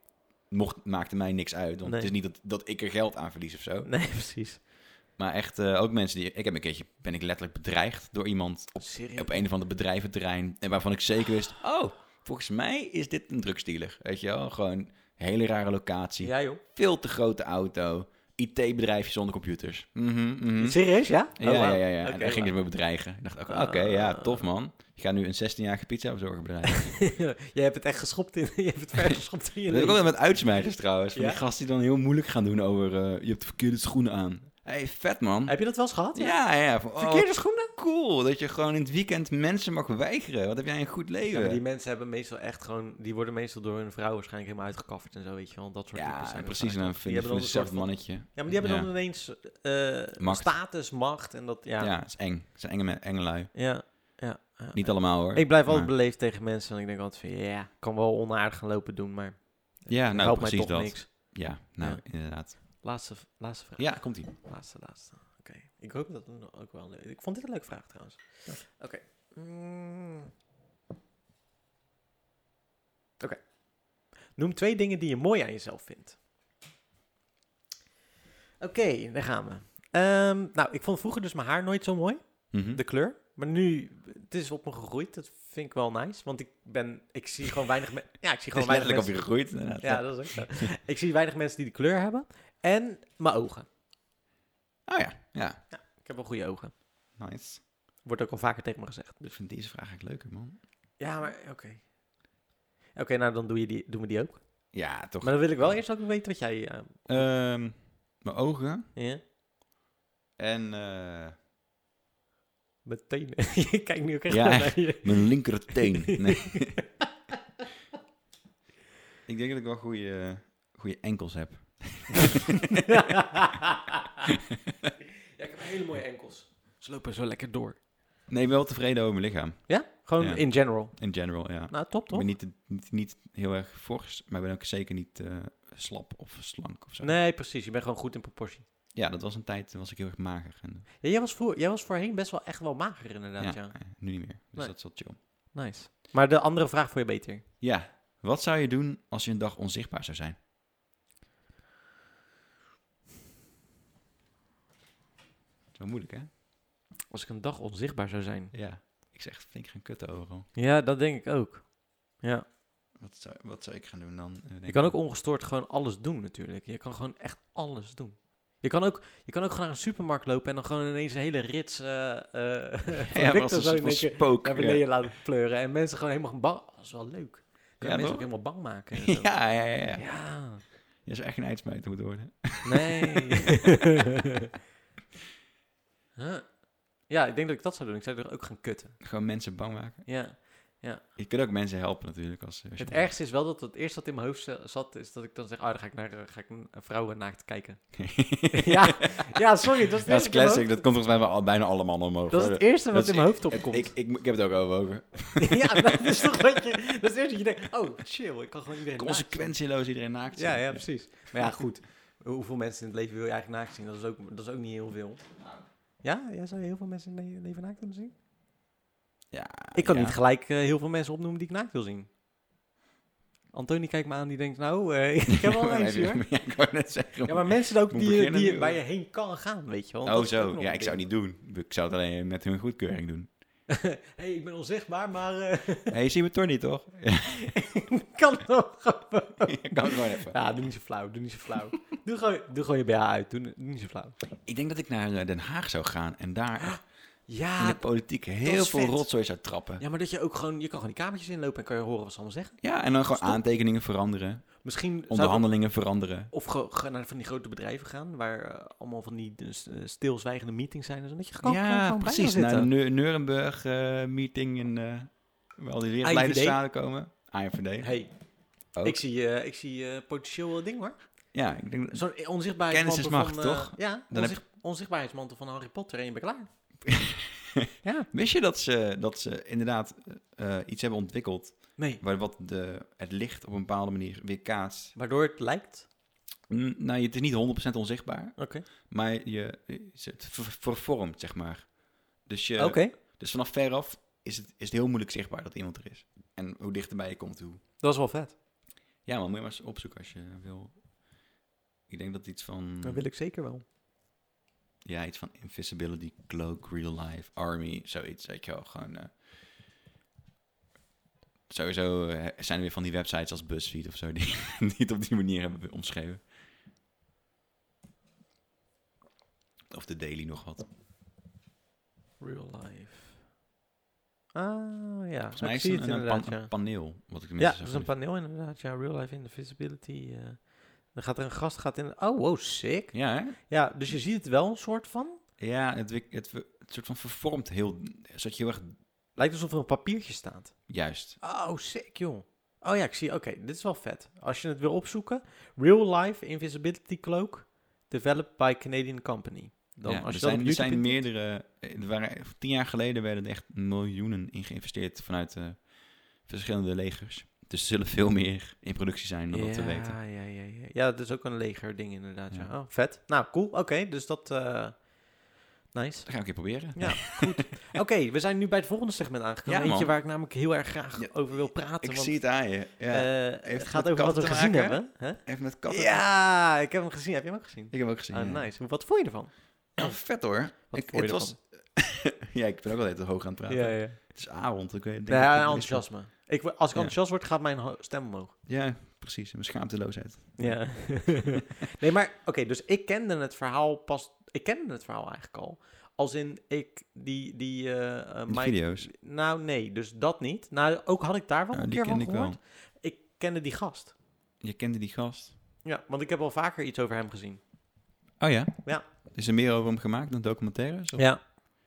[SPEAKER 2] mocht, maakte mij niks uit. Want het
[SPEAKER 1] Nee.
[SPEAKER 2] is niet dat, dat ik er geld aan verlies of zo.
[SPEAKER 1] Nee, precies.
[SPEAKER 2] Maar echt eh, ook mensen die... Ik heb een keertje, ben ik letterlijk bedreigd door iemand op,
[SPEAKER 1] Serieus?
[SPEAKER 2] op een of ander bedrijventerrein. En waarvan ik zeker wist, oh, volgens mij is dit een drugsdealer. Weet je wel? Gewoon een hele rare locatie.
[SPEAKER 1] Ja, joh.
[SPEAKER 2] Veel te grote auto. IT-bedrijfje zonder computers. Mhm, mhm.
[SPEAKER 1] Serieus, ja?
[SPEAKER 2] Ja,
[SPEAKER 1] Oh,
[SPEAKER 2] ja,
[SPEAKER 1] wauw. Ah.
[SPEAKER 2] ja, ja.
[SPEAKER 1] Oké,
[SPEAKER 2] en daar ging ze me bedreigen. Ik dacht, ook, oké, ja, tof man. Je gaat nu een 16-jarige pizza bezorger bedreigen.
[SPEAKER 1] wauw. Jij hebt het echt geschopt in. Je hebt het ver geschopt in je
[SPEAKER 2] dat heb ik ook
[SPEAKER 1] leven.
[SPEAKER 2] wel met uitsmijters trouwens. Van
[SPEAKER 1] Ja?
[SPEAKER 2] die gasten die dan heel moeilijk gaan doen over, eh, je hebt de verkeerde schoenen aan. Hé, hey, vet man.
[SPEAKER 1] Heb je dat wel eens gehad?
[SPEAKER 2] Ja, ja. Van, oh,
[SPEAKER 1] Verkeerde schoenen?
[SPEAKER 2] cool dat je gewoon in het weekend mensen mag weigeren. Wat heb jij een goed
[SPEAKER 1] Ja,
[SPEAKER 2] leven?
[SPEAKER 1] maar
[SPEAKER 2] Ja,
[SPEAKER 1] die mensen hebben meestal echt gewoon... Die worden meestal door hun vrouw waarschijnlijk helemaal uitgekafferd en zo, weet je wel. Dat soort types zijn
[SPEAKER 2] en
[SPEAKER 1] het
[SPEAKER 2] precies. En dan
[SPEAKER 1] waarschijnlijk. Die
[SPEAKER 2] vind je
[SPEAKER 1] hebben
[SPEAKER 2] van
[SPEAKER 1] dan een soort
[SPEAKER 2] hetzelfde
[SPEAKER 1] van-
[SPEAKER 2] mannetje.
[SPEAKER 1] Ja, maar die hebben
[SPEAKER 2] Ja.
[SPEAKER 1] dan ineens eh,
[SPEAKER 2] Macht.
[SPEAKER 1] status, macht en dat... Ja,
[SPEAKER 2] Ja,
[SPEAKER 1] ja.
[SPEAKER 2] het is eng. Het zijn enge, me- enge lui.
[SPEAKER 1] ja, ja,
[SPEAKER 2] Niet allemaal hoor.
[SPEAKER 1] Ik blijf altijd
[SPEAKER 2] maar-
[SPEAKER 1] beleefd tegen mensen. En ik denk altijd van, ja, kan wel onaardig gaan lopen doen, maar...
[SPEAKER 2] Ja,
[SPEAKER 1] het
[SPEAKER 2] nou
[SPEAKER 1] helpt mij
[SPEAKER 2] precies
[SPEAKER 1] toch
[SPEAKER 2] dat.
[SPEAKER 1] niks.
[SPEAKER 2] Ja, nou
[SPEAKER 1] Ja.
[SPEAKER 2] inderdaad.
[SPEAKER 1] Laatste, laatste vraag.
[SPEAKER 2] Ja, komt ie.
[SPEAKER 1] Laatste, laatste. Oké. Ik hoop dat we nog ook wel... een- Ik vond dit een leuke vraag trouwens. Oké. Mm. Oké. Noem twee dingen die je mooi aan jezelf vindt. Oké, daar gaan we. Ehm, nou, ik vond vroeger dus mijn haar nooit zo mooi.
[SPEAKER 2] Mhm.
[SPEAKER 1] De kleur. Maar nu, het is op me gegroeid. Dat vind ik wel nice. Want ik ben, ik zie gewoon weinig mensen. Ja, ik zie
[SPEAKER 2] Het is
[SPEAKER 1] gewoon weinig
[SPEAKER 2] letterlijk op
[SPEAKER 1] mensen.
[SPEAKER 2] je gegroeid. Inderdaad.
[SPEAKER 1] Ja, dat is ook zo. ik zie weinig mensen die de kleur hebben. En mijn ogen.
[SPEAKER 2] Oh ja, ja.
[SPEAKER 1] Ik heb wel goede ogen.
[SPEAKER 2] Nice.
[SPEAKER 1] Wordt ook al vaker tegen me gezegd.
[SPEAKER 2] Ik vind deze vraag eigenlijk leuker, man.
[SPEAKER 1] Ja, maar oké. Oké, nou dan doe je die, doen we die ook.
[SPEAKER 2] Ja, toch.
[SPEAKER 1] Maar dan wil ik wel eerst ook weten wat jij... eh,
[SPEAKER 2] Ehm, mijn ogen
[SPEAKER 1] ja,
[SPEAKER 2] en eh,
[SPEAKER 1] meteen... je kijkt nu ook echt
[SPEAKER 2] Ja.
[SPEAKER 1] naar je.
[SPEAKER 2] mijn linker teen. Nee. ik denk dat ik wel goede, goede enkels heb.
[SPEAKER 1] ja, ik heb hele mooie enkels. Ze lopen zo lekker door.
[SPEAKER 2] Nee, ik ben wel tevreden over mijn lichaam.
[SPEAKER 1] Ja? Gewoon
[SPEAKER 2] Ja.
[SPEAKER 1] in general.
[SPEAKER 2] In general, ja.
[SPEAKER 1] Nou, top
[SPEAKER 2] Ik
[SPEAKER 1] toch?
[SPEAKER 2] ben niet, niet, niet heel erg fors, maar ik ben ook zeker niet eh, slap of slank of zo.
[SPEAKER 1] Nee, precies. Je bent gewoon goed in proportie.
[SPEAKER 2] Ja, dat was een tijd, toen was ik heel erg mager. En,
[SPEAKER 1] Ja, jij, was voor, jij was voorheen best wel echt wel mager inderdaad, ja.
[SPEAKER 2] ja, eh, nu niet meer. Dus
[SPEAKER 1] Nee.
[SPEAKER 2] dat is wel chill.
[SPEAKER 1] Nice. Maar de andere vraag voor je beter.
[SPEAKER 2] Ja, wat zou je doen als je een dag onzichtbaar zou zijn? Dat is wel moeilijk, hè?
[SPEAKER 1] Als ik een dag onzichtbaar zou zijn.
[SPEAKER 2] Ja. Ik zeg echt flink gaan kutten overal.
[SPEAKER 1] Ja, dat denk ik ook. Ja.
[SPEAKER 2] Wat zou, wat zou ik gaan doen dan? eh, denk
[SPEAKER 1] Je kan
[SPEAKER 2] ik.
[SPEAKER 1] ook ongestoord gewoon alles doen natuurlijk. Je kan gewoon echt alles doen. Je kan ook, je kan ook gewoon naar een supermarkt lopen en dan gewoon ineens een hele rits eh, eh,
[SPEAKER 2] ja, maar
[SPEAKER 1] producten
[SPEAKER 2] als
[SPEAKER 1] zo
[SPEAKER 2] een soort
[SPEAKER 1] in
[SPEAKER 2] van
[SPEAKER 1] één keer
[SPEAKER 2] spook.
[SPEAKER 1] naar
[SPEAKER 2] Ja.
[SPEAKER 1] beneden laten pleuren. En mensen gewoon helemaal bang. Dat is wel leuk. Kan je
[SPEAKER 2] Ja,
[SPEAKER 1] mensen
[SPEAKER 2] toch?
[SPEAKER 1] ook helemaal bang maken. en zo.
[SPEAKER 2] Ja, ja, ja, ja.
[SPEAKER 1] ja.
[SPEAKER 2] Je zou echt een uitsmijter moeten worden.
[SPEAKER 1] Nee. Huh. Ja, ik denk dat ik dat zou doen. Ik zou er ook gaan kutten.
[SPEAKER 2] Gewoon mensen bang maken.
[SPEAKER 1] Ja.
[SPEAKER 2] Je kunt ook mensen helpen natuurlijk. Als, als je
[SPEAKER 1] Het ergste is wel dat het eerste wat in mijn hoofd za- zat, is dat ik dan zeg, ah, dan ga ik naar eh, ga ik een- een vrouwen naakt kijken. ja, ja, sorry, dat is, het eerste in
[SPEAKER 2] Dat is
[SPEAKER 1] mijn
[SPEAKER 2] classic. Dat
[SPEAKER 1] hoofd-
[SPEAKER 2] komt volgens mij wel al- bijna alle mannen omhoog.
[SPEAKER 1] dat is
[SPEAKER 2] hoor.
[SPEAKER 1] het eerste
[SPEAKER 2] dat
[SPEAKER 1] wat
[SPEAKER 2] is-
[SPEAKER 1] in mijn hoofd
[SPEAKER 2] Het-
[SPEAKER 1] opkomt.
[SPEAKER 2] ik, ik, ik heb het ook overwogen.
[SPEAKER 1] ja, dat is toch dat je, dat is het eerste dat je denkt, oh, chill, ik kan gewoon iedereen naakt zien.
[SPEAKER 2] Consequentieloos iedereen naakt
[SPEAKER 1] Ja,
[SPEAKER 2] zijn.
[SPEAKER 1] ja, precies. Maar ja, goed, hoeveel mensen in het leven wil je eigenlijk naakt zien? Dat is ook, dat is ook niet heel veel. Ja, ja, zou je heel veel mensen in het leven naakt willen zien?
[SPEAKER 2] Ja,
[SPEAKER 1] Ik kan
[SPEAKER 2] ja.
[SPEAKER 1] niet gelijk eh, heel veel mensen opnoemen die ik naakt wil zien. Antonie kijkt me aan, die denkt, nou, eh, ik heb wel
[SPEAKER 2] Dan
[SPEAKER 1] een hoor.
[SPEAKER 2] je- Ja, ik wou net zeggen.
[SPEAKER 1] Ja, maar mensen ook
[SPEAKER 2] Moet
[SPEAKER 1] die, je-
[SPEAKER 2] beginnen
[SPEAKER 1] die, je-
[SPEAKER 2] nu,
[SPEAKER 1] waar
[SPEAKER 2] hoor.
[SPEAKER 1] je heen kan gaan, weet je wel.
[SPEAKER 2] oh
[SPEAKER 1] Dat is ook
[SPEAKER 2] zo,
[SPEAKER 1] nog
[SPEAKER 2] ja,
[SPEAKER 1] een
[SPEAKER 2] ik zou het
[SPEAKER 1] ding.
[SPEAKER 2] niet doen. Ik zou het alleen met hun goedkeuring doen.
[SPEAKER 1] hey, ik ben onzichtbaar, maar eh,
[SPEAKER 2] Hé, hey, je ziet me toch niet, toch?
[SPEAKER 1] ik kan nog gewoon.
[SPEAKER 2] Ik kan het gewoon even.
[SPEAKER 1] Ja, doe niet zo flauw, doe niet zo flauw. doe, gewoon, doe gewoon je BH uit, doe, doe niet zo flauw.
[SPEAKER 2] Ik denk dat ik naar eh, Den Haag zou gaan en daar in de
[SPEAKER 1] Ja,
[SPEAKER 2] politiek heel
[SPEAKER 1] Ah, is
[SPEAKER 2] veel
[SPEAKER 1] vet.
[SPEAKER 2] rotzooi zou trappen. Ja,
[SPEAKER 1] ja, maar dat je ook gewoon, je kan gewoon die kamertjes inlopen en kan je horen wat ze allemaal zeggen.
[SPEAKER 2] en dan gewoon aantekeningen veranderen,
[SPEAKER 1] Misschien zou ik-
[SPEAKER 2] onderhandelingen veranderen.
[SPEAKER 1] of ge- ge- naar van die grote bedrijven gaan, waar eh, allemaal van die dus, eh, stilzwijgende meetings zijn. en zo, dat je gewoon, gewoon,
[SPEAKER 2] ja,
[SPEAKER 1] gewoon bij kan
[SPEAKER 2] precies. Naar de
[SPEAKER 1] zitten.
[SPEAKER 2] Neu- Nuremberg eh, meeting en eh waar al die
[SPEAKER 1] IVD.
[SPEAKER 2] leiders samen komen. AFD.
[SPEAKER 1] hey,
[SPEAKER 2] Ook.
[SPEAKER 1] ik zie, eh, ik zie eh, potentieel wel ding hoor.
[SPEAKER 2] Ja, ik denk dat-
[SPEAKER 1] Zo'n onzichtbaarheid.
[SPEAKER 2] Kennis is macht,
[SPEAKER 1] van, eh,
[SPEAKER 2] toch?
[SPEAKER 1] Ja,
[SPEAKER 2] Dan heb
[SPEAKER 1] onzicht- onzichtbaarheidsmantel van Harry Potter en je bent klaar.
[SPEAKER 2] Wist je dat ze, dat ze inderdaad eh, eh, iets hebben ontwikkeld
[SPEAKER 1] Nee.
[SPEAKER 2] waar wat de, het licht op een bepaalde manier weerkaatst?
[SPEAKER 1] Waardoor het lijkt.
[SPEAKER 2] Mm, nou, het is niet 100% onzichtbaar,
[SPEAKER 1] Oké.
[SPEAKER 2] maar je, je- het ver- vervormt, zeg maar. Dus, je,
[SPEAKER 1] Oké.
[SPEAKER 2] dus vanaf veraf is het, is het heel moeilijk zichtbaar dat iemand er is. En hoe dichterbij je komt, hoe...
[SPEAKER 1] Dat is wel vet.
[SPEAKER 2] Ja, maar moet je maar eens opzoeken als je wil. Ik denk dat iets van...
[SPEAKER 1] Dat wil ik zeker wel.
[SPEAKER 2] Ja, iets van Invisibility, Cloak, Real Life, Army, zoiets. Weet je wel, gewoon... eh, sowieso eh, zijn er weer van die websites als BuzzFeed of zo... die, die het op die manier hebben omschreven. Of de Daily nog wat.
[SPEAKER 1] Real life. Ah, ja.
[SPEAKER 2] Volgens mij
[SPEAKER 1] ik
[SPEAKER 2] is
[SPEAKER 1] zie
[SPEAKER 2] het
[SPEAKER 1] het
[SPEAKER 2] een, een, pan-
[SPEAKER 1] inderdaad,
[SPEAKER 2] een
[SPEAKER 1] ja.
[SPEAKER 2] paneel. Wat ik
[SPEAKER 1] Ja,
[SPEAKER 2] mensen
[SPEAKER 1] dat
[SPEAKER 2] zag
[SPEAKER 1] is een
[SPEAKER 2] liggen.
[SPEAKER 1] paneel inderdaad. Ja, real life invisibility. eh. dan gaat er een gast gaat in... Oh, wow, sick.
[SPEAKER 2] Ja, hè?
[SPEAKER 1] Ja, dus je ziet het wel een soort van.
[SPEAKER 2] Ja, het, wik- het, ver- het soort van vervormd heel... Zodat je heel erg
[SPEAKER 1] Lijkt alsof er een papiertje staat.
[SPEAKER 2] juist...
[SPEAKER 1] Oh, sick, joh. Oh ja, ik zie. Oké, dit is wel vet. Als je het wil opzoeken, Real Life Invisibility Cloak, developed by Canadian Company. Dan,
[SPEAKER 2] ja,
[SPEAKER 1] als
[SPEAKER 2] er
[SPEAKER 1] je dat
[SPEAKER 2] zijn,
[SPEAKER 1] op YouTube
[SPEAKER 2] er zijn
[SPEAKER 1] in-
[SPEAKER 2] meerdere... eh, Er waren, tien jaar geleden werden er echt miljoenen in geïnvesteerd vanuit eh, verschillende legers. Dus er zullen veel meer in productie zijn dan dat te
[SPEAKER 1] ja,
[SPEAKER 2] weten.
[SPEAKER 1] Ja, ja, ja. ja, dat is ook een leger ding inderdaad. Ja.
[SPEAKER 2] Ja.
[SPEAKER 1] Oh, vet. Nou, cool. Oké, dus dat... eh, nice.
[SPEAKER 2] Dat gaan we een keer proberen.
[SPEAKER 1] Ja, Oké, we zijn nu bij het volgende segment aangekomen.
[SPEAKER 2] Ja,
[SPEAKER 1] Eentje
[SPEAKER 2] man.
[SPEAKER 1] waar ik namelijk heel erg graag
[SPEAKER 2] Ja,
[SPEAKER 1] over wil praten.
[SPEAKER 2] Ik
[SPEAKER 1] want,
[SPEAKER 2] zie het aan je. Ja.
[SPEAKER 1] eh,
[SPEAKER 2] het
[SPEAKER 1] het gaat
[SPEAKER 2] met
[SPEAKER 1] over wat we
[SPEAKER 2] katten te
[SPEAKER 1] gezien
[SPEAKER 2] maken?
[SPEAKER 1] hebben. Hè?
[SPEAKER 2] Even met katten.
[SPEAKER 1] Ja, ik heb hem gezien. Heb je hem ook gezien?
[SPEAKER 2] Ik heb hem ook gezien.
[SPEAKER 1] Ah,
[SPEAKER 2] ja.
[SPEAKER 1] nice. Hoe- Wat vond je ervan?
[SPEAKER 2] Oh, vet hoor.
[SPEAKER 1] Wat vond
[SPEAKER 2] ik,
[SPEAKER 1] je
[SPEAKER 2] het was... ja, ik ben ook wel heel hoog aan het praten.
[SPEAKER 1] ja.
[SPEAKER 2] Het is avond. Ik weet, denk dat
[SPEAKER 1] Nou Ja,
[SPEAKER 2] ik
[SPEAKER 1] en
[SPEAKER 2] het
[SPEAKER 1] enthousiasme. Ik, wo- als ik
[SPEAKER 2] Ja.
[SPEAKER 1] enthousiast word, gaat mijn ho- stem omhoog.
[SPEAKER 2] mis heb. Ja, precies. Mijn schaamteloosheid.
[SPEAKER 1] Ja. nee, maar oké, dus ik kende het verhaal pas... Ik kende het verhaal eigenlijk al. Als in, ik die... die eh, eh,
[SPEAKER 2] In de
[SPEAKER 1] Mike-
[SPEAKER 2] video's.
[SPEAKER 1] Nou, nee, dus dat niet. Nou, ook had ik daar wel
[SPEAKER 2] Ja,
[SPEAKER 1] een
[SPEAKER 2] die
[SPEAKER 1] keer van
[SPEAKER 2] kende ik wel.
[SPEAKER 1] gehoord. Ik kende die gast.
[SPEAKER 2] Je kende die gast.
[SPEAKER 1] Ja, want ik heb al vaker iets over hem gezien.
[SPEAKER 2] Oh ja?
[SPEAKER 1] Ja.
[SPEAKER 2] Is er meer over hem gemaakt dan documentaires? Of-
[SPEAKER 1] Ja.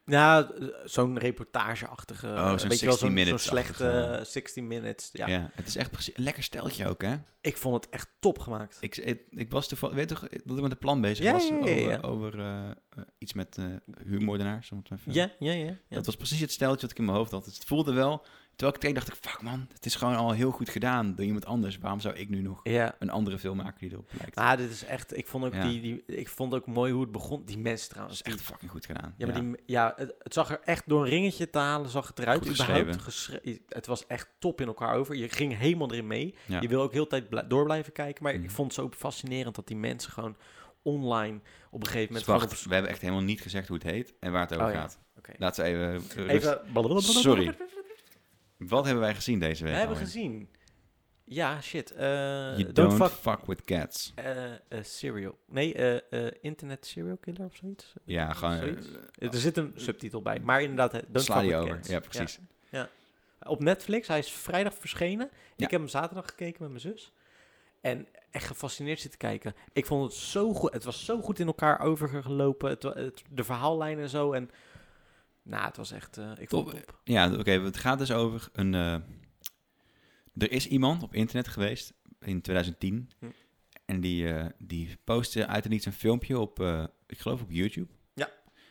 [SPEAKER 1] Ja, zo'n reportageachtige... eh,
[SPEAKER 2] Oh, zo'n
[SPEAKER 1] weet je wel, zo'n
[SPEAKER 2] 60
[SPEAKER 1] zo'n
[SPEAKER 2] minutes
[SPEAKER 1] slechte
[SPEAKER 2] achtige.
[SPEAKER 1] eh, 60 minutes. Ja.
[SPEAKER 2] Ja, Het is echt precies... een Lekker steltje ook, hè?
[SPEAKER 1] Ik vond het echt top gemaakt.
[SPEAKER 2] Ik, ik, ik was toevallig... Weet toch dat ik met een plan bezig
[SPEAKER 1] Ja,
[SPEAKER 2] was?
[SPEAKER 1] ja, ja,
[SPEAKER 2] over
[SPEAKER 1] ja.
[SPEAKER 2] over eh, eh, iets met eh huurmoordenaars. om het maar even-
[SPEAKER 1] Ja, ja, ja. ja.
[SPEAKER 2] eh, Dat was precies het steltje wat ik in mijn hoofd had. Dus het voelde wel... Terwijl ik keek dacht ik... Fuck man, het is gewoon al heel goed gedaan door iemand anders. Waarom zou ik nu nog
[SPEAKER 1] ja.
[SPEAKER 2] een andere film maken die erop lijkt?
[SPEAKER 1] Ah, dit is echt. Ik vond ook,
[SPEAKER 2] Ja.
[SPEAKER 1] die, die, ik vond ook mooi hoe het begon. Die mensen
[SPEAKER 2] Dat
[SPEAKER 1] trouwens.
[SPEAKER 2] is
[SPEAKER 1] die-
[SPEAKER 2] echt fucking goed gedaan.
[SPEAKER 1] ja, maar Die, ja, het, het zag er echt door een ringetje te halen, zag het eruit.
[SPEAKER 2] Goed
[SPEAKER 1] überhaupt geschre- het was echt top in elkaar over. Je ging helemaal erin mee.
[SPEAKER 2] Ja.
[SPEAKER 1] Je wil ook heel de tijd bla- door blijven kijken. Maar ik
[SPEAKER 2] Mhm.
[SPEAKER 1] vond het zo fascinerend dat die mensen gewoon online op een gegeven moment.
[SPEAKER 2] Dus
[SPEAKER 1] gewoon
[SPEAKER 2] wacht, we hebben echt helemaal niet gezegd hoe het heet en waar het over
[SPEAKER 1] Oh ja,
[SPEAKER 2] gaat.
[SPEAKER 1] oké.
[SPEAKER 2] Laten we even... eh,
[SPEAKER 1] op-
[SPEAKER 2] rust-
[SPEAKER 1] Even.
[SPEAKER 2] Sorry. Wat hebben wij gezien deze
[SPEAKER 1] We
[SPEAKER 2] week?
[SPEAKER 1] hebben
[SPEAKER 2] Alwin?
[SPEAKER 1] gezien. Ja, shit. eh,
[SPEAKER 2] You
[SPEAKER 1] don't, fuck.
[SPEAKER 2] with cats.
[SPEAKER 1] eh, eh, serial. Nee, eh, eh, internet serial killer of zoiets.
[SPEAKER 2] Ja, gewoon... eh,
[SPEAKER 1] Zoiets? Er zit een subtitel bij, maar inderdaad, hè, Don't
[SPEAKER 2] sla
[SPEAKER 1] Fuck
[SPEAKER 2] die
[SPEAKER 1] With
[SPEAKER 2] over.
[SPEAKER 1] Cats.
[SPEAKER 2] Ja, precies.
[SPEAKER 1] Op Netflix, hij is vrijdag verschenen.
[SPEAKER 2] Ja.
[SPEAKER 1] Ik heb hem zaterdag gekeken met mijn zus. En echt gefascineerd zitten kijken. Ik vond het zo goed, het was zo goed in elkaar overgelopen. Het, wa- het- de verhaallijn en zo. En nou, het was echt, eh, ik vond
[SPEAKER 2] Top.
[SPEAKER 1] het top.
[SPEAKER 2] Ja, oké. het gaat dus over een. eh, er is iemand op internet geweest in 2010.
[SPEAKER 1] Hm.
[SPEAKER 2] En die, eh, die postte uit en niets een filmpje op, eh, ik geloof op YouTube.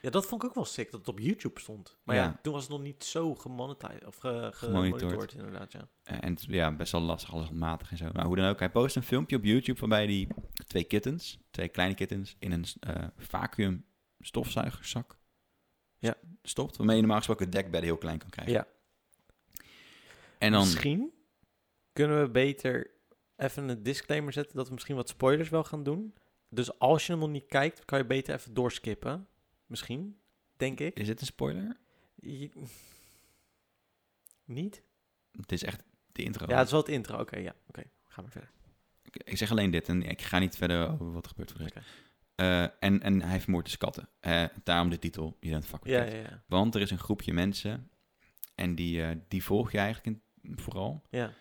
[SPEAKER 1] Ja, dat vond ik ook wel sick, dat het op YouTube stond. Maar ja,
[SPEAKER 2] Ja.
[SPEAKER 1] toen was het nog niet zo gemonetized, of ge-
[SPEAKER 2] Gemonitord.
[SPEAKER 1] gemonitord inderdaad, ja.
[SPEAKER 2] Eh, en het- ja, best wel lastig, alles handmatig en zo. Maar hoe dan ook, hij postte een filmpje op YouTube waarbij die twee kittens, twee kleine kittens, in een eh vacuüm stofzuigerzak
[SPEAKER 1] Ja.
[SPEAKER 2] stopt. Waarmee je normaal gesproken het dekbed heel klein kan krijgen.
[SPEAKER 1] Ja.
[SPEAKER 2] En dan,
[SPEAKER 1] Misschien kunnen we beter even een disclaimer zetten dat we misschien wat spoilers wel gaan doen. Dus als je hem nog niet kijkt, kan je beter even doorskippen. Misschien, denk ik.
[SPEAKER 2] is dit een spoiler?
[SPEAKER 1] Je- Niet?
[SPEAKER 2] Het is echt de intro.
[SPEAKER 1] Ja, het is wel het intro. Oké, ja. Oké, ga maar verder.
[SPEAKER 2] Ik- Ik zeg alleen dit en ik ga niet verder over wat er gebeurt voor de rest.
[SPEAKER 1] Oké.
[SPEAKER 2] Eh, en, en hij vermoordt dus katten. Eh, daarom de titel, je bent fuck with
[SPEAKER 1] Ja,
[SPEAKER 2] cats.
[SPEAKER 1] ja, ja.
[SPEAKER 2] Want er is een groepje mensen en die, eh, die volg je eigenlijk in- vooral.
[SPEAKER 1] ja.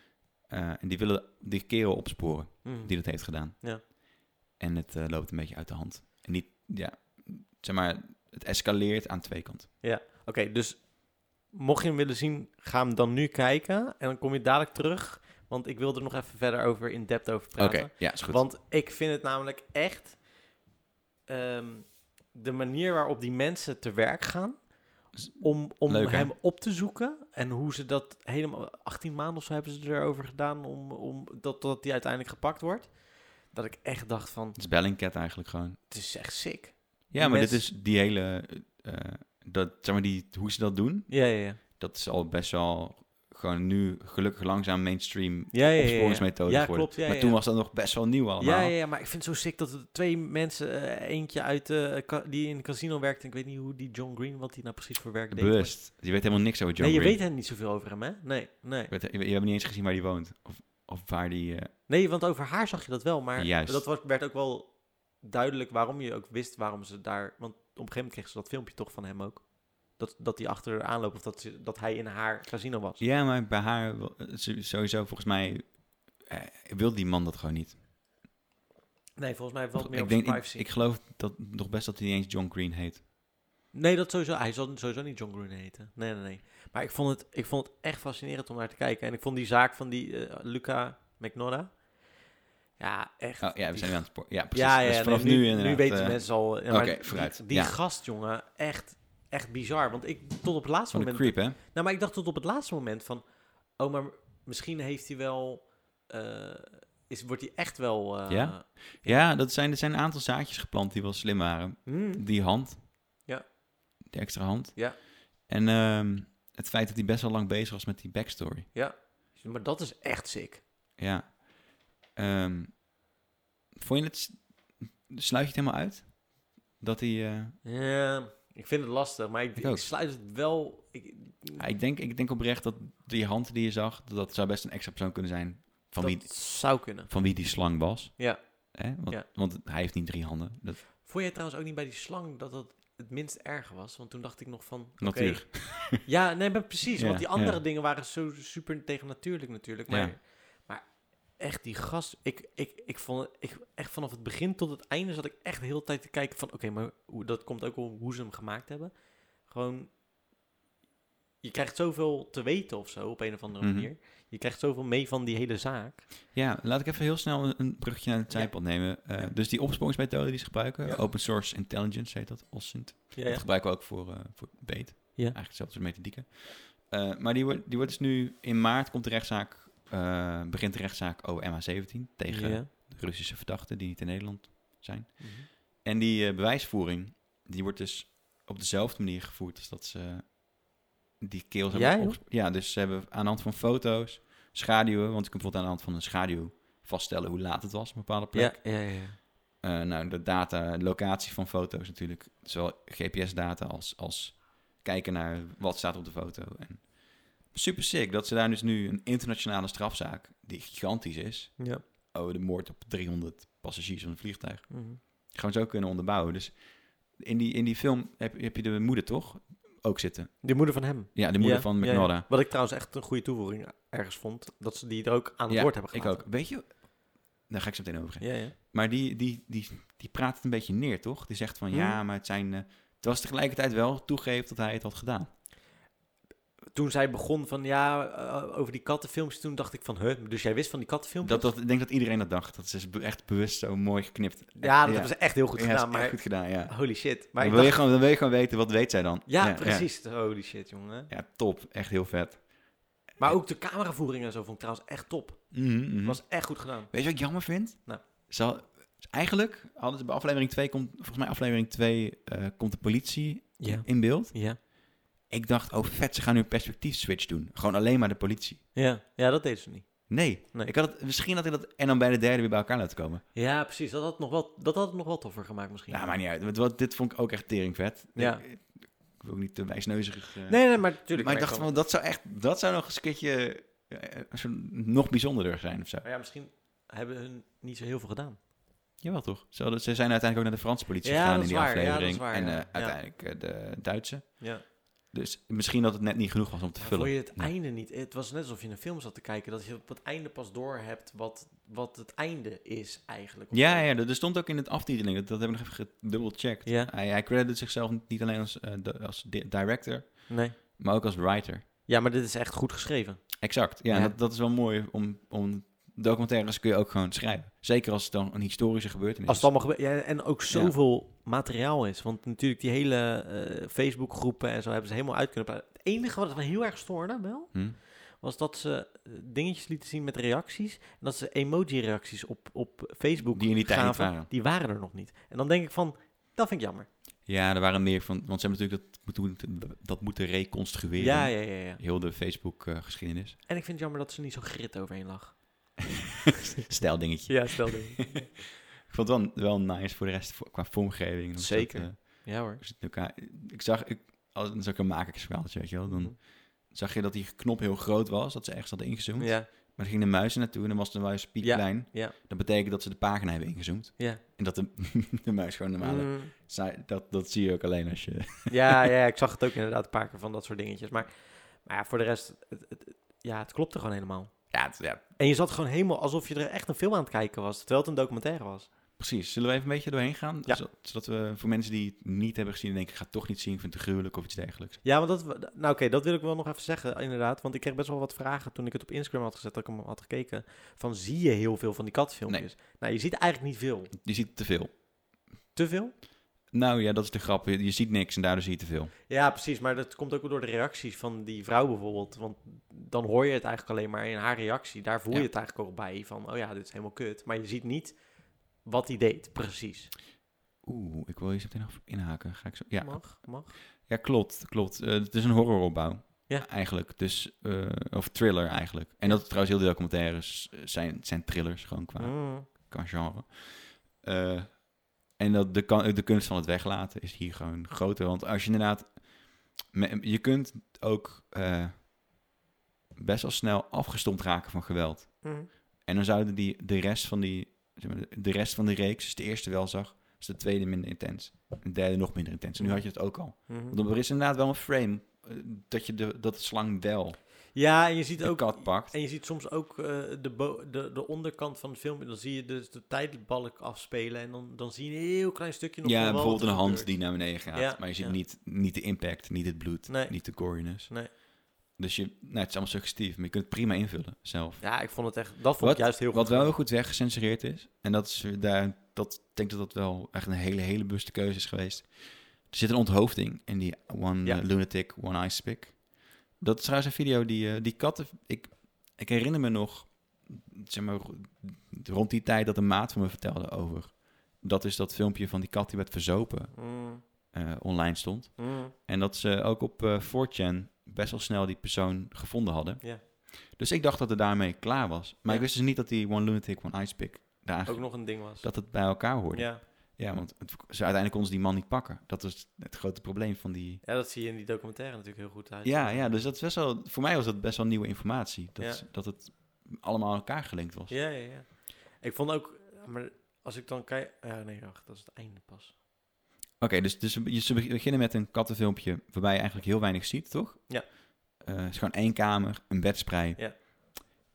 [SPEAKER 2] Eh, en die willen die kerel opsporen
[SPEAKER 1] Mm.
[SPEAKER 2] die dat heeft gedaan.
[SPEAKER 1] Ja.
[SPEAKER 2] En het eh, loopt een beetje uit de hand. En niet, ja, zeg maar, het escaleert aan twee kanten.
[SPEAKER 1] Oké, dus mocht je hem willen zien, ga hem dan nu kijken. En dan kom je dadelijk terug, want ik wil er nog even verder over in depth over
[SPEAKER 2] Oké,
[SPEAKER 1] praten.
[SPEAKER 2] ja, is goed.
[SPEAKER 1] Want ik vind het namelijk echt ehm, de manier waarop die mensen te werk gaan
[SPEAKER 2] Is
[SPEAKER 1] om, om
[SPEAKER 2] leuk, hè?
[SPEAKER 1] hem op te zoeken en hoe ze dat helemaal 18 maanden of zo hebben ze erover gedaan om, om dat, dat die uiteindelijk gepakt wordt. Dat ik echt dacht van,
[SPEAKER 2] het is Bellingcat eigenlijk gewoon.
[SPEAKER 1] het is echt sick.
[SPEAKER 2] Ja, maar
[SPEAKER 1] mens-
[SPEAKER 2] dit is die hele, eh, dat, zeg maar, die, hoe ze dat doen.
[SPEAKER 1] Ja, ja, ja.
[SPEAKER 2] dat is al best wel gewoon nu gelukkig langzaam mainstream
[SPEAKER 1] Ja, ja, ja, ja.
[SPEAKER 2] opsporingsmethode
[SPEAKER 1] Ja,
[SPEAKER 2] geworden.
[SPEAKER 1] klopt, ja,
[SPEAKER 2] maar
[SPEAKER 1] ja,
[SPEAKER 2] toen
[SPEAKER 1] ja.
[SPEAKER 2] was dat nog best wel nieuw allemaal.
[SPEAKER 1] Ja, ja, ja, maar ik vind het zo sick dat er twee mensen, eh, eentje uit eh, ka- die in een casino werkt, en ik weet niet hoe die John Green, wat die nou precies voor werk deed. maar-
[SPEAKER 2] Bewust. Je weet helemaal niks over John
[SPEAKER 1] nee, je
[SPEAKER 2] Green.
[SPEAKER 1] weet helemaal niet zoveel over hem, hè? Nee, nee.
[SPEAKER 2] Je weet- Je, je hebt niet eens gezien waar hij woont. Of, of waar die. eh,
[SPEAKER 1] Nee, want over haar zag je dat wel, maar
[SPEAKER 2] Juist.
[SPEAKER 1] dat was, werd ook wel duidelijk waarom je ook wist waarom ze daar... Want op een gegeven moment kreeg ze dat filmpje toch van hem ook. Dat, dat die achter haar aanloopt of dat, ze, dat hij in haar casino was.
[SPEAKER 2] Ja, maar bij haar wel- eh, zo- sowieso volgens mij eh, wil die man dat gewoon niet.
[SPEAKER 1] Nee, volgens mij valt het meer
[SPEAKER 2] ik,
[SPEAKER 1] op
[SPEAKER 2] denk,
[SPEAKER 1] zijn
[SPEAKER 2] ik,
[SPEAKER 1] privacy.
[SPEAKER 2] ik geloof dat nog best dat hij niet eens John Green heet.
[SPEAKER 1] Nee, dat sowieso. Hij zal sowieso niet John Green heten. Nee, nee, nee. Maar ik vond het, ik vond het echt fascinerend om naar te kijken. En ik vond die zaak van die eh, Luca McNora. Ja, echt.
[SPEAKER 2] Oh, ja, we
[SPEAKER 1] Die-
[SPEAKER 2] zijn weer aan het spoor. Ja, precies.
[SPEAKER 1] ja, ja,
[SPEAKER 2] Dus
[SPEAKER 1] nee,
[SPEAKER 2] vanaf
[SPEAKER 1] nu,
[SPEAKER 2] nu
[SPEAKER 1] nu,
[SPEAKER 2] inderdaad,
[SPEAKER 1] weten
[SPEAKER 2] eh,
[SPEAKER 1] mensen al. ja,
[SPEAKER 2] oké,
[SPEAKER 1] maar die-
[SPEAKER 2] vooruit,
[SPEAKER 1] Die,
[SPEAKER 2] ja.
[SPEAKER 1] gast, jongen, echt, echt bizar. Want ik tot op het laatste
[SPEAKER 2] Van de
[SPEAKER 1] moment.
[SPEAKER 2] creep, hè?
[SPEAKER 1] Nou, maar ik dacht tot op het laatste moment van... Oh, maar misschien heeft hij wel... eh, is, wordt hij echt wel... eh,
[SPEAKER 2] Ja? Ja, dat zijn, er zijn een aantal zaadjes geplant die wel slim waren.
[SPEAKER 1] hmm.
[SPEAKER 2] Die hand.
[SPEAKER 1] Ja.
[SPEAKER 2] Die extra hand.
[SPEAKER 1] Ja.
[SPEAKER 2] En ehm, het feit dat hij best wel lang bezig was met die backstory.
[SPEAKER 1] Maar dat is echt sick.
[SPEAKER 2] Ja. Ehm, vond je het... s- Sluit je het helemaal uit? Dat hij... eh,
[SPEAKER 1] Ja, ik vind het lastig, maar ik,
[SPEAKER 2] Ik
[SPEAKER 1] ik,
[SPEAKER 2] ook.
[SPEAKER 1] sluit het wel... Ik,
[SPEAKER 2] ja, ik, denk, ik denk oprecht dat die hand die je zag... Dat, dat zou best een extra persoon kunnen zijn van,
[SPEAKER 1] dat
[SPEAKER 2] wie,
[SPEAKER 1] zou kunnen.
[SPEAKER 2] van wie die slang was.
[SPEAKER 1] Ja.
[SPEAKER 2] Hè? Want,
[SPEAKER 1] Ja.
[SPEAKER 2] want hij heeft niet drie handen. Dat,
[SPEAKER 1] Vond jij trouwens ook niet bij die slang dat dat het minst erg was? Want toen dacht ik nog van... oké,
[SPEAKER 2] Natuur.
[SPEAKER 1] Ja, nee, maar precies.
[SPEAKER 2] Ja,
[SPEAKER 1] want die andere
[SPEAKER 2] ja.
[SPEAKER 1] dingen waren zo super tegennatuurlijk natuurlijk. Maar,
[SPEAKER 2] Ja.
[SPEAKER 1] maar echt, die gast... Ik, ik, ik vond het- ik, echt vanaf het begin tot het einde zat ik echt de hele tijd te kijken van... Oké, maar hoe, dat komt ook wel hoe ze hem gemaakt hebben. Gewoon... Je krijgt zoveel te weten of zo, op een of andere
[SPEAKER 2] Mhm.
[SPEAKER 1] manier. Je krijgt zoveel mee van die hele zaak.
[SPEAKER 2] Ja, laat ik even heel snel een, een bruggetje naar het
[SPEAKER 1] Ja.
[SPEAKER 2] zijpad nemen. Eh, Dus die opsporingsmethode die ze gebruiken,
[SPEAKER 1] Ja.
[SPEAKER 2] open source intelligence heet dat, OSINT.
[SPEAKER 1] Ja,
[SPEAKER 2] Dat gebruiken we ook voor, eh voor Beet.
[SPEAKER 1] Ja.
[SPEAKER 2] Eigenlijk hetzelfde soort methodieken. Eh, maar die, wordt- die wordt dus nu, in maart komt de rechtszaak, eh, begint de rechtszaak OMH17 tegen
[SPEAKER 1] Ja. Mhm.
[SPEAKER 2] de Russische verdachten die niet in Nederland zijn. En die eh, bewijsvoering, die wordt dus op dezelfde manier gevoerd als dat ze die keels hebben
[SPEAKER 1] Ja, joh.
[SPEAKER 2] opgespo- Ja, dus ze hebben aan de hand van foto's, schaduwen, want je kunt bijvoorbeeld aan de hand van een schaduw vaststellen hoe laat het was op een bepaalde plek.
[SPEAKER 1] Ja, ja, ja.
[SPEAKER 2] Eh, nou, de data, de locatie van foto's natuurlijk, zowel GPS-data als, als kijken naar wat staat op de foto. En super sick dat ze daar dus nu een internationale strafzaak, die gigantisch is,
[SPEAKER 1] ja.
[SPEAKER 2] over de moord op 300 passagiers van een vliegtuig,
[SPEAKER 1] Mhm.
[SPEAKER 2] gewoon zo kunnen onderbouwen. Dus in die, in die film heb, heb je de moeder toch ook zitten?
[SPEAKER 1] De moeder van hem.
[SPEAKER 2] Ja, de moeder
[SPEAKER 1] Ja,
[SPEAKER 2] van
[SPEAKER 1] ja, ja.
[SPEAKER 2] McNorda.
[SPEAKER 1] Wat ik trouwens echt een goede toevoeging ergens vond. Dat ze die er ook aan het
[SPEAKER 2] Ja,
[SPEAKER 1] woord hebben
[SPEAKER 2] Ik
[SPEAKER 1] gelaten.
[SPEAKER 2] ook. Weet je, daar ga ik zo meteen over.
[SPEAKER 1] Ja, ja.
[SPEAKER 2] Maar die, die, die, die praat het een beetje neer, toch? Die zegt van
[SPEAKER 1] Hmm.
[SPEAKER 2] ja, maar het zijn. eh, het was tegelijkertijd wel toegeeft dat hij het had gedaan.
[SPEAKER 1] Toen zij begon van ja, eh, over die kattenfilmpjes, toen dacht ik van, huh, dus jij wist van die kattenfilmpjes?
[SPEAKER 2] Dat, dat, ik denk dat iedereen dat dacht. Dat is echt bewust zo mooi geknipt.
[SPEAKER 1] ja, dat hebben ze echt heel goed
[SPEAKER 2] Ja, dat is
[SPEAKER 1] gedaan,
[SPEAKER 2] echt
[SPEAKER 1] maar
[SPEAKER 2] goed gedaan, ja.
[SPEAKER 1] holy shit. Maar
[SPEAKER 2] Maar
[SPEAKER 1] ik
[SPEAKER 2] dan, wil je
[SPEAKER 1] dacht-
[SPEAKER 2] gewoon, dan wil je gewoon weten, wat weet zij dan?
[SPEAKER 1] ja, precies, holy shit, jongen.
[SPEAKER 2] Ja. Ja, top. Echt heel vet.
[SPEAKER 1] Maar ook de cameravoering en zo vond ik trouwens echt top.
[SPEAKER 2] Mhm, mhm.
[SPEAKER 1] Was echt goed gedaan.
[SPEAKER 2] Weet je wat ik jammer vind?
[SPEAKER 1] Nou.
[SPEAKER 2] Ze had- eigenlijk hadden ze bij aflevering 2 komt, volgens mij aflevering 2 eh, komt de politie
[SPEAKER 1] Ja.
[SPEAKER 2] in beeld.
[SPEAKER 1] Ja.
[SPEAKER 2] Ik dacht, oh vet, ze gaan nu een perspectief switch doen. Gewoon alleen maar de politie.
[SPEAKER 1] Ja, ja dat deed ze niet.
[SPEAKER 2] Nee,
[SPEAKER 1] Nee.
[SPEAKER 2] Ik had het, misschien had ik dat en dan bij de derde weer bij elkaar laten komen.
[SPEAKER 1] Ja, precies. Dat had het nog wel, dat had het nog wel toffer gemaakt misschien.
[SPEAKER 2] Ja, maar niet uit. Want wat- dit vond ik ook echt teringvet.
[SPEAKER 1] Ja.
[SPEAKER 2] Ik, ik wil ook niet te wijsneuzig. eh,
[SPEAKER 1] Nee, nee, maar natuurlijk.
[SPEAKER 2] maar ik dacht van, dat zou echt, dat zou nog eens een keertje eh, een soort nog bijzonderder zijn of zo.
[SPEAKER 1] Maar ja, misschien hebben hun niet zo heel veel gedaan.
[SPEAKER 2] Jawel toch? Ze, hadden- ze zijn uiteindelijk ook naar de Franse politie
[SPEAKER 1] Ja, dat
[SPEAKER 2] gegaan in
[SPEAKER 1] is
[SPEAKER 2] die
[SPEAKER 1] waar. Ja, dat is
[SPEAKER 2] aflevering.
[SPEAKER 1] waar,
[SPEAKER 2] en
[SPEAKER 1] ja.
[SPEAKER 2] eh,
[SPEAKER 1] Ja.
[SPEAKER 2] uiteindelijk eh, de Duitse.
[SPEAKER 1] Ja.
[SPEAKER 2] Dus misschien dat het net niet genoeg was om te
[SPEAKER 1] Maar
[SPEAKER 2] vullen.
[SPEAKER 1] Vond je het
[SPEAKER 2] Nee.
[SPEAKER 1] einde niet? Het was net alsof je een film zat te kijken. Dat je op het einde pas door hebt wat, wat het einde is eigenlijk. Of
[SPEAKER 2] Ja,
[SPEAKER 1] zo.
[SPEAKER 2] ja, dat er stond ook in het aftiteling. Dat, dat heb ik nog even gedubbelcheckt.
[SPEAKER 1] Ja.
[SPEAKER 2] Hij, hij credit zichzelf niet alleen als, eh, de- als di- director,
[SPEAKER 1] Nee.
[SPEAKER 2] maar ook als writer.
[SPEAKER 1] Ja, maar dit is echt goed geschreven.
[SPEAKER 2] Exact, ja. en
[SPEAKER 1] Ja.
[SPEAKER 2] Dat, dat is wel mooi om, om documentaires kun je ook gewoon schrijven. Zeker als het dan een historische gebeurtenis
[SPEAKER 1] Als het
[SPEAKER 2] is.
[SPEAKER 1] allemaal gebeurt. Ja, en ook zoveel materiaal is. Want natuurlijk die hele eh Facebookgroepen en zo hebben ze helemaal uit kunnen praten. Het enige wat me heel erg stoorde wel,
[SPEAKER 2] Hm?
[SPEAKER 1] was dat ze eh, dingetjes lieten zien met reacties. En dat ze emoji-reacties op, op Facebook
[SPEAKER 2] Die in die tijd niet
[SPEAKER 1] gaven.
[SPEAKER 2] waren.
[SPEAKER 1] Die waren er nog niet. En dan denk ik van, dat vind ik jammer.
[SPEAKER 2] Ja, er waren meer van... Want ze hebben natuurlijk dat moeten, dat moeten reconstrueren.
[SPEAKER 1] Ja, ja, ja, ja.
[SPEAKER 2] Heel de eh, Facebook-geschiedenis.
[SPEAKER 1] En ik vind het jammer dat ze niet zo grit overheen lag.
[SPEAKER 2] Stijl dingetje.
[SPEAKER 1] Ja, stel dit.
[SPEAKER 2] Ik vond het wel, wel nice voor de rest voor- qua vormgeving. Hoe ze
[SPEAKER 1] Zeker.
[SPEAKER 2] dat, eh,
[SPEAKER 1] Ja hoor.
[SPEAKER 2] hoe ze het in elkaar... Ik zag... Ik, als het ook een makersverhaaltje, weet je wel.
[SPEAKER 1] Mhm.
[SPEAKER 2] Dan zag je dat die knop heel groot was. Dat ze ergens hadden ingezoomd.
[SPEAKER 1] Ja,
[SPEAKER 2] Maar dan ging de muis er naartoe en dan was de muis piepklein.
[SPEAKER 1] ja.
[SPEAKER 2] Dat betekent dat ze de pagina hebben ingezoomd.
[SPEAKER 1] ja.
[SPEAKER 2] En dat de, de muis gewoon normale...
[SPEAKER 1] Mm,
[SPEAKER 2] Zij- Dat, dat zie je ook alleen als je...
[SPEAKER 1] ja, ja, ik zag het ook inderdaad een paar keer van dat soort dingetjes. Maar, maar ja, voor de rest, het, het, ja, het klopte gewoon helemaal.
[SPEAKER 2] Ja, het- ja,
[SPEAKER 1] En je zat gewoon helemaal alsof je er echt een film aan het kijken was, terwijl het een documentaire was.
[SPEAKER 2] Precies. Zullen we even een beetje doorheen gaan?
[SPEAKER 1] Ja.
[SPEAKER 2] Zodat, zodat we voor mensen die het niet hebben gezien en denken, ik ga het toch niet zien, ik vind het te gruwelijk of iets dergelijks.
[SPEAKER 1] Ja, want dat, we- nou oké, dat wil ik wel nog even zeggen, inderdaad. Want ik kreeg best wel wat vragen toen ik het op Instagram had gezet, dat ik hem had gekeken. Van zie je heel veel van die kattenfilmpjes? Nou, je ziet eigenlijk niet veel.
[SPEAKER 2] Je ziet te veel.
[SPEAKER 1] Te veel?
[SPEAKER 2] Nou ja, dat is de grap. Je, je ziet niks en daardoor zie je te veel.
[SPEAKER 1] Ja, precies. Maar dat komt ook wel door de reacties van die vrouw bijvoorbeeld. Want dan hoor je het eigenlijk alleen maar in haar reactie. Daar voel
[SPEAKER 2] Ja.
[SPEAKER 1] je het eigenlijk ook bij. Van, oh ja, dit is helemaal kut. Maar je ziet niet wat hij deed, precies.
[SPEAKER 2] Oeh, ik wil je zo meteen nog inhaken. Ga ik zo... Ja,
[SPEAKER 1] Mag, mag.
[SPEAKER 2] Ja, klopt, klopt. Eh, het is een horroropbouw.
[SPEAKER 1] Ja.
[SPEAKER 2] Eigenlijk, dus, eh, of thriller eigenlijk. En dat is trouwens heel de documentaires eh, zijn, zijn thrillers, gewoon qua,
[SPEAKER 1] Mm.
[SPEAKER 2] qua genre. Eh, en dat de, kan- de kunst van het weglaten is hier gewoon groter. Want als je inderdaad... me- Je kunt ook eh, best wel snel afgestomd raken van geweld.
[SPEAKER 1] Mm.
[SPEAKER 2] En dan zouden die, de rest van die, zeg maar, de rest van de reeks, dus de eerste wel zag, dus de tweede minder intens. En de derde nog minder intens. En nu had je het ook al.
[SPEAKER 1] Mhm.
[SPEAKER 2] Want er is inderdaad wel een frame eh, dat, je de, dat de slang wel
[SPEAKER 1] Ja, en je ziet
[SPEAKER 2] de
[SPEAKER 1] ook...
[SPEAKER 2] kat pakt.
[SPEAKER 1] En je ziet soms ook eh, de, bo- de, de onderkant van het filmpje. Dan zie je dus de tijdbalk afspelen. En dan, dan zie je een heel klein stukje nog
[SPEAKER 2] Ja,
[SPEAKER 1] van wel wat
[SPEAKER 2] bijvoorbeeld een
[SPEAKER 1] er
[SPEAKER 2] hand
[SPEAKER 1] gebeurt.
[SPEAKER 2] die naar beneden gaat.
[SPEAKER 1] Ja,
[SPEAKER 2] maar je ziet
[SPEAKER 1] ja.
[SPEAKER 2] niet, niet de impact, niet het bloed,
[SPEAKER 1] Nee.
[SPEAKER 2] niet de goriness.
[SPEAKER 1] Nee.
[SPEAKER 2] Dus je, nou, het is allemaal suggestief, maar je kunt het prima invullen zelf.
[SPEAKER 1] Ja, ik vond het echt... Dat vond
[SPEAKER 2] Wat-
[SPEAKER 1] ik juist heel goed.
[SPEAKER 2] Wat wel heel goed weggecensureerd is, en dat is weer daar, dat ik denk dat dat wel echt een hele, hele bewuste keuze is geweest. Er zit een onthoofding in die One
[SPEAKER 1] Ja.
[SPEAKER 2] eh, Lunatic, One Eye Spick. Dat is trouwens een video die, eh, die katten. Ik, ik herinner me nog, zeg maar, ro- rond die tijd dat een maat van me vertelde over. Dat is dat filmpje van die kat die werd verzopen
[SPEAKER 1] Mm,
[SPEAKER 2] eh, online stond.
[SPEAKER 1] mm.
[SPEAKER 2] En dat ze ook op eh 4chan best wel snel die persoon gevonden hadden.
[SPEAKER 1] Ja.
[SPEAKER 2] Dus ik dacht dat het daarmee klaar was. Maar
[SPEAKER 1] Ja.
[SPEAKER 2] ik wist dus niet dat die One Lunatic, One Icepick, daar
[SPEAKER 1] Ook
[SPEAKER 2] eigenlijk-
[SPEAKER 1] nog een ding was.
[SPEAKER 2] dat het bij elkaar hoorde. Ja,
[SPEAKER 1] ja.
[SPEAKER 2] want het, ze, uiteindelijk konden ze die man niet pakken. Dat is het grote probleem van die...
[SPEAKER 1] ja, dat zie je in die documentaire natuurlijk heel goed uit.
[SPEAKER 2] Ja, ja, dus dat is best wel... Voor mij was dat best wel nieuwe informatie. Dat,
[SPEAKER 1] Ja.
[SPEAKER 2] is- dat het allemaal aan elkaar gelinkt was.
[SPEAKER 1] Ja, ja, ja. Ik vond ook... eh, Maar als ik dan kijk... Ja, nee, wacht. Dat is het einde pas.
[SPEAKER 2] Oké, dus, dus je- ze beginnen met een kattenfilmpje waarbij je eigenlijk heel weinig ziet, toch?
[SPEAKER 1] Ja.
[SPEAKER 2] Eh, het is gewoon één kamer, een bedsprei,
[SPEAKER 1] Ja.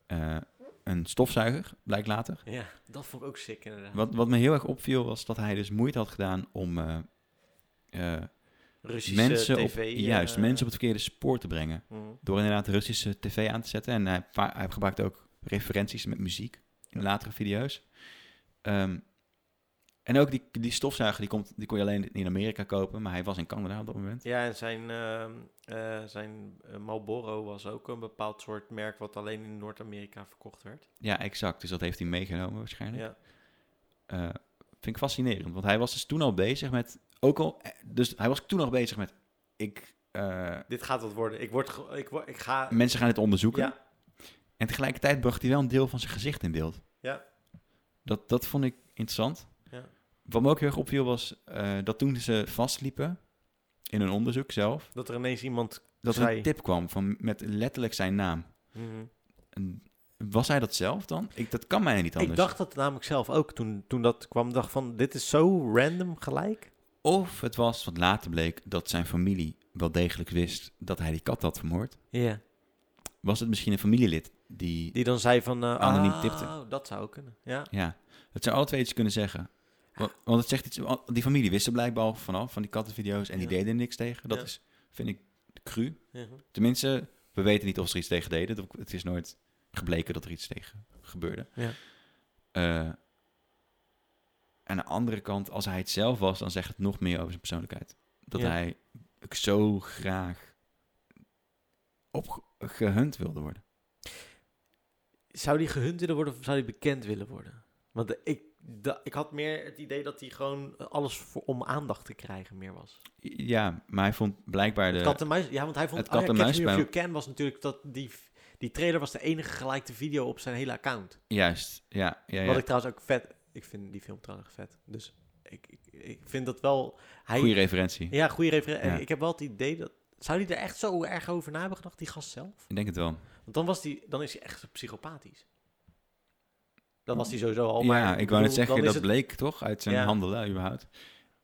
[SPEAKER 2] eh, een stofzuiger, blijkt later.
[SPEAKER 1] Ja, dat vond ik ook sick inderdaad.
[SPEAKER 2] Wat, wat me heel erg opviel was dat hij dus moeite had gedaan om eh, eh,
[SPEAKER 1] Russische
[SPEAKER 2] mensen,
[SPEAKER 1] tv.
[SPEAKER 2] op, juist,
[SPEAKER 1] eh,
[SPEAKER 2] mensen op het verkeerde spoor te brengen.
[SPEAKER 1] mm.
[SPEAKER 2] Door inderdaad Russische tv aan te zetten. En hij, va- hij gebruikt ook referenties met muziek in latere video's. Ehm, en ook die, die stofzuiger, die, komt, die kon je alleen in Amerika kopen. Maar hij was in Canada op dat moment.
[SPEAKER 1] Ja, en zijn, ehm, eh, zijn eh, Marlboro was ook een bepaald soort merk wat alleen in Noord-Amerika verkocht werd.
[SPEAKER 2] Ja, exact. Dus dat heeft hij meegenomen waarschijnlijk.
[SPEAKER 1] Ja.
[SPEAKER 2] Eh, vind ik fascinerend. Want hij was dus toen al bezig met... Ook al, eh, dus hij was toen al bezig met... Ik, eh,
[SPEAKER 1] Dit gaat wat worden. Ik, word ge- ik, wo- ik ga...
[SPEAKER 2] mensen gaan dit onderzoeken.
[SPEAKER 1] Ja,
[SPEAKER 2] En tegelijkertijd bracht hij wel een deel van zijn gezicht in beeld.
[SPEAKER 1] Ja.
[SPEAKER 2] Dat, dat vond ik interessant.
[SPEAKER 1] Ja.
[SPEAKER 2] Wat me ook heel erg opviel was eh, dat toen ze vastliepen in een onderzoek zelf,
[SPEAKER 1] dat er ineens iemand...
[SPEAKER 2] dat er
[SPEAKER 1] Zij.
[SPEAKER 2] een tip kwam van, met letterlijk zijn naam.
[SPEAKER 1] Mhm.
[SPEAKER 2] En was hij dat zelf dan? Ik, dat kan mij niet anders.
[SPEAKER 1] Ik dacht dat namelijk zelf ook toen, toen dat kwam. dacht van, dit is zo random gelijk.
[SPEAKER 2] Of het was, wat later bleek, dat zijn familie wel degelijk wist dat hij die kat had vermoord.
[SPEAKER 1] Ja.
[SPEAKER 2] Was het misschien een familielid die...
[SPEAKER 1] Die dan zei van... eh
[SPEAKER 2] Anoniem
[SPEAKER 1] ah,
[SPEAKER 2] tipte.
[SPEAKER 1] dat zou ook kunnen. Ja.
[SPEAKER 2] Ja, het zou alle twee iets kunnen zeggen. Wa- Want het zegt iets... Die familie wist er blijkbaar al vanaf, van die kattenvideo's. En die
[SPEAKER 1] Ja.
[SPEAKER 2] deden er niks tegen. Dat
[SPEAKER 1] Ja.
[SPEAKER 2] is, vind ik, cru.
[SPEAKER 1] Ja.
[SPEAKER 2] Tenminste, we weten niet of ze er iets tegen deden. Dat- Het is nooit gebleken dat er iets tegen gebeurde.
[SPEAKER 1] Ja.
[SPEAKER 2] Eh, aan de andere kant, als hij het zelf was, dan zegt het nog meer over zijn persoonlijkheid. Dat
[SPEAKER 1] Ja.
[SPEAKER 2] hij ook zo graag opgehunt wilde worden.
[SPEAKER 1] Zou die gehunt willen worden of zou die bekend willen worden? Want eh, ik, da- ik had meer het idee dat hij gewoon alles voor, om aandacht te krijgen meer was.
[SPEAKER 2] Ja, maar hij vond blijkbaar de...
[SPEAKER 1] Kat en muis, ja, want hij vond
[SPEAKER 2] het kat
[SPEAKER 1] oh ja,
[SPEAKER 2] en
[SPEAKER 1] Catch
[SPEAKER 2] muisspel.
[SPEAKER 1] Me If You Can was natuurlijk dat die, die trailer was de enige gelijkte video op zijn hele account.
[SPEAKER 2] Juist, ja. ja, ja.
[SPEAKER 1] Wat ik trouwens ook vet, ik vind die film trouwens vet. Dus ik, ik, ik vind dat wel. Hij,
[SPEAKER 2] Goede referentie.
[SPEAKER 1] Ja, goede referentie.
[SPEAKER 2] Ja.
[SPEAKER 1] Ik heb wel het idee dat. Zou hij er echt zo erg over na hebben gedacht, die gast zelf?
[SPEAKER 2] Ik denk het wel.
[SPEAKER 1] Want dan, was die, dan is hij echt psychopathisch. Dat was hij sowieso al. Oh, Maar
[SPEAKER 2] ja, ik wou
[SPEAKER 1] bedoel,
[SPEAKER 2] net zeggen,
[SPEAKER 1] dan is
[SPEAKER 2] dat
[SPEAKER 1] het-
[SPEAKER 2] bleek toch uit zijn
[SPEAKER 1] Ja.
[SPEAKER 2] handelen überhaupt.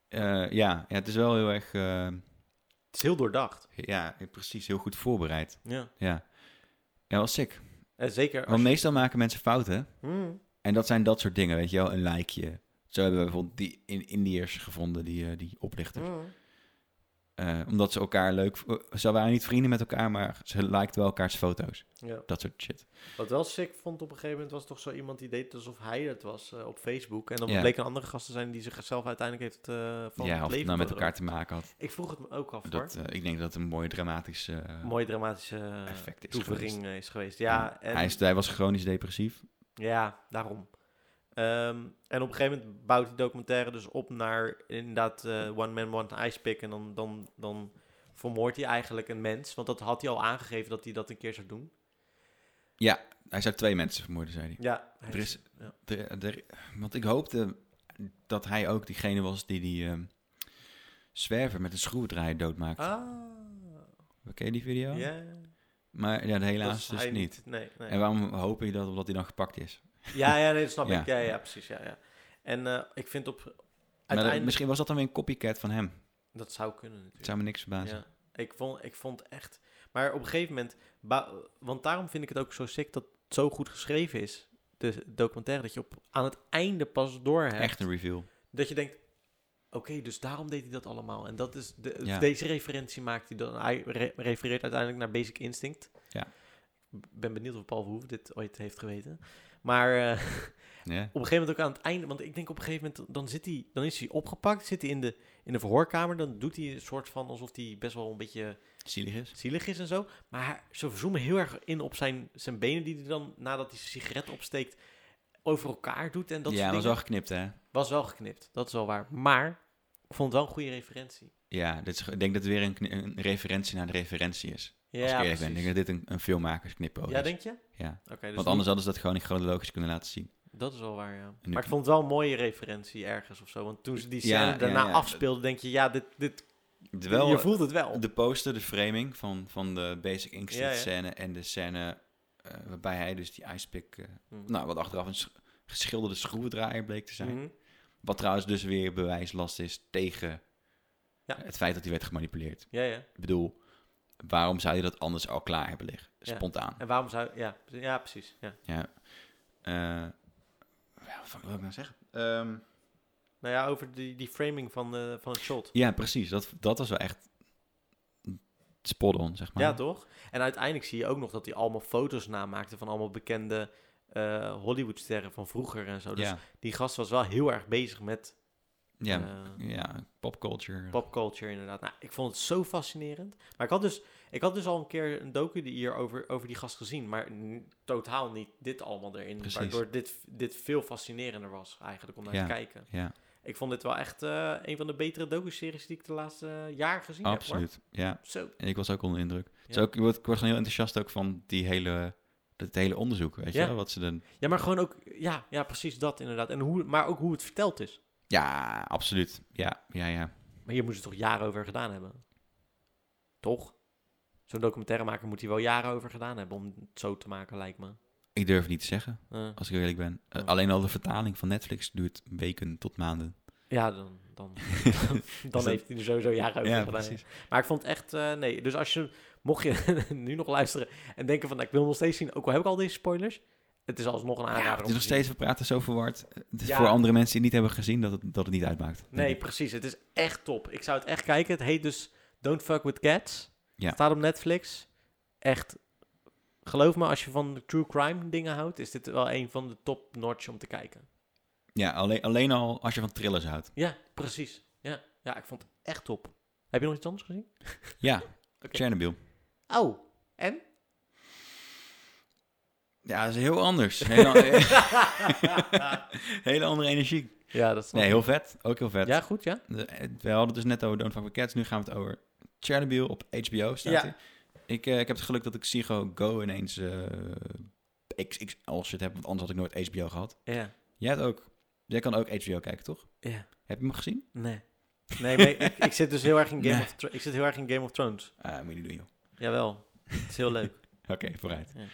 [SPEAKER 2] Eh, ja, ja, het is wel heel erg, eh,
[SPEAKER 1] het is heel doordacht.
[SPEAKER 2] ja, precies, heel goed voorbereid.
[SPEAKER 1] Ja.
[SPEAKER 2] Ja, ja was sick.
[SPEAKER 1] En zeker. als
[SPEAKER 2] Want
[SPEAKER 1] je-
[SPEAKER 2] meestal maken mensen fouten
[SPEAKER 1] Hmm.
[SPEAKER 2] en dat zijn dat soort dingen, weet je wel, een likeje, Zo hebben we bijvoorbeeld die in Indiërs gevonden, die, eh, die oplichter.
[SPEAKER 1] Mm.
[SPEAKER 2] Eh, omdat ze elkaar leuk... v- eh, Ze waren niet vrienden met elkaar, maar ze likten wel elkaars foto's.
[SPEAKER 1] Ja.
[SPEAKER 2] Dat soort shit.
[SPEAKER 1] Wat wel sick vond op een gegeven moment was toch zo iemand die deed alsof hij het was eh, op Facebook. En dan
[SPEAKER 2] Ja.
[SPEAKER 1] bleek een andere gast te zijn die zichzelf uiteindelijk heeft eh van
[SPEAKER 2] ja,
[SPEAKER 1] het
[SPEAKER 2] of het
[SPEAKER 1] leven
[SPEAKER 2] nou met
[SPEAKER 1] beroofd.
[SPEAKER 2] elkaar te maken had.
[SPEAKER 1] Ik vroeg het me ook af
[SPEAKER 2] Dat,
[SPEAKER 1] hoor.
[SPEAKER 2] eh, ik denk dat het een mooi dramatisch... eh,
[SPEAKER 1] Mooi dramatische eh,
[SPEAKER 2] effect is
[SPEAKER 1] toevering
[SPEAKER 2] geweest.
[SPEAKER 1] eh, is geweest. Ja, en,
[SPEAKER 2] hij, is, hij was chronisch depressief.
[SPEAKER 1] ja daarom. Ehm, en op een gegeven moment bouwt die documentaire dus op naar inderdaad eh, One Man, One Ice Pick. En dan, dan, dan vermoordt hij eigenlijk een mens. Want dat had hij al aangegeven dat hij dat een keer zou doen.
[SPEAKER 2] Hij zou twee mensen vermoorden, zei hij.
[SPEAKER 1] Ja, hij
[SPEAKER 2] Er is,
[SPEAKER 1] ja.
[SPEAKER 2] er- er- want ik hoopte dat hij ook diegene was die die ehm, zwerver met een schroevendraaier doodmaakte.
[SPEAKER 1] Ah,
[SPEAKER 2] Ken je die video?
[SPEAKER 1] ja.
[SPEAKER 2] Maar ja,
[SPEAKER 1] Dat
[SPEAKER 2] helaas
[SPEAKER 1] is
[SPEAKER 2] dus
[SPEAKER 1] hij
[SPEAKER 2] niet.
[SPEAKER 1] Nee, nee.
[SPEAKER 2] En waarom hoop je dat? Omdat hij dan gepakt is.
[SPEAKER 1] Ja, ja, nee, dat snap
[SPEAKER 2] Ja.
[SPEAKER 1] ik. Ja, ja, precies. Ja, ja. En eh, ik vind op
[SPEAKER 2] Maar dat-
[SPEAKER 1] uiteindelijk...
[SPEAKER 2] misschien was dat dan weer een copycat van hem.
[SPEAKER 1] Dat zou kunnen
[SPEAKER 2] Het
[SPEAKER 1] natuurlijk.
[SPEAKER 2] zou me niks verbazen.
[SPEAKER 1] ja. ik, vond, ik vond echt... Maar op een gegeven moment... bou- Want daarom vind ik het ook zo sick dat het zo goed geschreven is. De documentaire, dat je op, aan het einde pas doorhebt.
[SPEAKER 2] Echt een reveal.
[SPEAKER 1] Dat je denkt, oké, dus daarom deed hij dat allemaal. En dat is de,
[SPEAKER 2] Ja.
[SPEAKER 1] deze referentie maakt hij dan. Hij re- refereert uiteindelijk naar Basic Instinct.
[SPEAKER 2] Ja.
[SPEAKER 1] Ik ben benieuwd of Paul Verhoeven dit ooit heeft geweten. Maar... eh,
[SPEAKER 2] Ja.
[SPEAKER 1] op een gegeven moment ook aan het einde, want ik denk op een gegeven moment, dan, zit hij, dan is hij opgepakt, zit hij in de, in de verhoorkamer, dan doet hij een soort van alsof hij best wel een beetje
[SPEAKER 2] Zielig is.
[SPEAKER 1] zielig is en zo. Maar hij- ze zoomen heel erg in op zijn, zijn benen die hij dan, nadat hij zijn sigaret opsteekt, over elkaar doet en dat
[SPEAKER 2] ja,
[SPEAKER 1] soort
[SPEAKER 2] was
[SPEAKER 1] dingen.
[SPEAKER 2] wel geknipt, hè?
[SPEAKER 1] Was wel geknipt, dat is wel waar. Maar ik vond het wel een goede referentie.
[SPEAKER 2] Ja, dit is, ge- ik denk dat het weer een, kni- een referentie naar de referentie is. Als ik
[SPEAKER 1] Ja,
[SPEAKER 2] eerlijk ben, ik
[SPEAKER 1] precies.
[SPEAKER 2] denk dat dit een, een filmmakersknipoog
[SPEAKER 1] Ja,
[SPEAKER 2] is.
[SPEAKER 1] denk je? Oké,
[SPEAKER 2] Ja.
[SPEAKER 1] dus
[SPEAKER 2] Want anders hadden ze dat gewoon in chronologisch kunnen laten zien.
[SPEAKER 1] niet- dat is wel waar, ja.
[SPEAKER 2] nu-
[SPEAKER 1] Maar ik vond het wel een mooie referentie ergens of zo. Want toen ze die
[SPEAKER 2] Ja,
[SPEAKER 1] scène
[SPEAKER 2] ja,
[SPEAKER 1] daarna
[SPEAKER 2] ja.
[SPEAKER 1] afspeelden, denk je, ja, dit, dit,
[SPEAKER 2] Terwijl
[SPEAKER 1] je voelt het wel.
[SPEAKER 2] de poster, de framing van, van de Basic Instinct
[SPEAKER 1] Ja, ja.
[SPEAKER 2] scène en de scène eh, waarbij hij dus die icepick, eh
[SPEAKER 1] Mhm.
[SPEAKER 2] nou wat achteraf een sch- geschilderde schroevendraaier bleek te zijn.
[SPEAKER 1] Mhm.
[SPEAKER 2] Wat trouwens dus weer bewijslast is tegen
[SPEAKER 1] Ja.
[SPEAKER 2] het feit dat hij werd gemanipuleerd.
[SPEAKER 1] Ja, ja.
[SPEAKER 2] Ik bedoel, waarom zou je dat anders al klaar hebben liggen?
[SPEAKER 1] Ja.
[SPEAKER 2] Spontaan.
[SPEAKER 1] En waarom zou... Ja, pre- ja precies. Ja.
[SPEAKER 2] Ja. Eh, ja, wat wil ik nou zeggen? Ehm,
[SPEAKER 1] Nou ja, over die, die framing van, eh, van het shot.
[SPEAKER 2] ja, precies. Dat, dat was wel echt spot on, zeg maar.
[SPEAKER 1] Ja, toch? En uiteindelijk zie je ook nog dat hij allemaal foto's namaakte van allemaal bekende eh, Hollywoodsterren van vroeger en zo. Dus
[SPEAKER 2] Ja,
[SPEAKER 1] die gast was wel heel erg bezig met
[SPEAKER 2] ja,
[SPEAKER 1] eh,
[SPEAKER 2] ja popculture.
[SPEAKER 1] popculture inderdaad. Nou, ik vond het zo fascinerend. Maar ik had dus, ik had dus al een keer een docu die hier over, over die gast gezien, maar n- totaal niet dit allemaal erin.
[SPEAKER 2] Precies.
[SPEAKER 1] Waardoor dit, dit veel fascinerender was eigenlijk om naar
[SPEAKER 2] Ja.
[SPEAKER 1] te kijken.
[SPEAKER 2] ja,
[SPEAKER 1] Ik vond dit wel echt eh, een van de betere docu-series die ik de laatste eh, jaar gezien heb.
[SPEAKER 2] absoluut. Ja,
[SPEAKER 1] Absoluut. Zo.
[SPEAKER 2] en ik was ook onder de indruk. Het is
[SPEAKER 1] Ja.
[SPEAKER 2] ook, ik word, ik word gewoon heel enthousiast ook van die hele, dat hele onderzoek, weet je
[SPEAKER 1] Ja.
[SPEAKER 2] wel? Wat ze dan...
[SPEAKER 1] Ja, maar gewoon ook, ja, ja, precies dat inderdaad. En hoe, maar ook hoe het verteld is.
[SPEAKER 2] Ja, absoluut. Ja, ja, ja.
[SPEAKER 1] Maar hier moeten ze toch jaren over gedaan hebben? Toch? Zo'n documentairemaker moet hier wel jaren over gedaan hebben om het zo te maken, lijkt me.
[SPEAKER 2] Ik durf het niet te zeggen,
[SPEAKER 1] Eh,
[SPEAKER 2] als ik eerlijk ben. Eh,
[SPEAKER 1] Ja.
[SPEAKER 2] Alleen al de vertaling van Netflix duurt weken tot maanden.
[SPEAKER 1] ja, dan, dan, dan,
[SPEAKER 2] dat-
[SPEAKER 1] heeft hij er sowieso jaren over
[SPEAKER 2] Ja,
[SPEAKER 1] gedaan.
[SPEAKER 2] precies.
[SPEAKER 1] Maar ik vond het echt, eh, nee. Dus als je, mocht je nu nog luisteren en denken van, nou, ik wil hem nog steeds zien, ook al heb ik al deze spoilers, het is alsnog een aanrader.
[SPEAKER 2] Ja, het
[SPEAKER 1] om
[SPEAKER 2] is nog
[SPEAKER 1] te zien.
[SPEAKER 2] steeds, we praten zo verward. Het is
[SPEAKER 1] Ja.
[SPEAKER 2] voor andere mensen die het niet hebben gezien dat het, dat het niet uitmaakt. denk
[SPEAKER 1] Nee,
[SPEAKER 2] ik.
[SPEAKER 1] precies. Het is echt top. Ik zou het echt kijken. Het heet dus Don't Fuck With Cats.
[SPEAKER 2] Ja.
[SPEAKER 1] Staat op Netflix. Echt, geloof me, als je van de true crime dingen houdt, is dit wel een van de top notch om te kijken.
[SPEAKER 2] Ja, alleen, alleen al als je van thrillers houdt.
[SPEAKER 1] Ja, precies. Ja, ja ik vond het echt top. Heb je nog iets anders gezien?
[SPEAKER 2] Ja, Chernobyl.
[SPEAKER 1] Oh, en?
[SPEAKER 2] Ja, dat is heel anders. Heel, an- hele andere energie.
[SPEAKER 1] ja, dat is
[SPEAKER 2] Nee, heel vet. Ook heel vet.
[SPEAKER 1] Ja, goed, ja.
[SPEAKER 2] De- We hadden het dus net over Don't Fuck With Cats. Nu gaan we het over Chernobyl op HBO staat
[SPEAKER 1] Ja.
[SPEAKER 2] hij. Ik, eh, ik heb het geluk dat ik Sigo Go ineens eh XXL shit heb, want anders had ik nooit HBO gehad.
[SPEAKER 1] Ja,
[SPEAKER 2] Jij, hebt ook, jij kan ook HBO kijken, toch?
[SPEAKER 1] ja.
[SPEAKER 2] Heb je hem gezien?
[SPEAKER 1] Nee. Nee, maar ik, ik zit dus heel erg in Game,
[SPEAKER 2] Nee.
[SPEAKER 1] of, Thro- ik zit heel erg in Game of Thrones.
[SPEAKER 2] Ah, moet je niet doen, joh.
[SPEAKER 1] Jawel. Het is heel leuk.
[SPEAKER 2] Oké, vooruit.
[SPEAKER 1] Ja.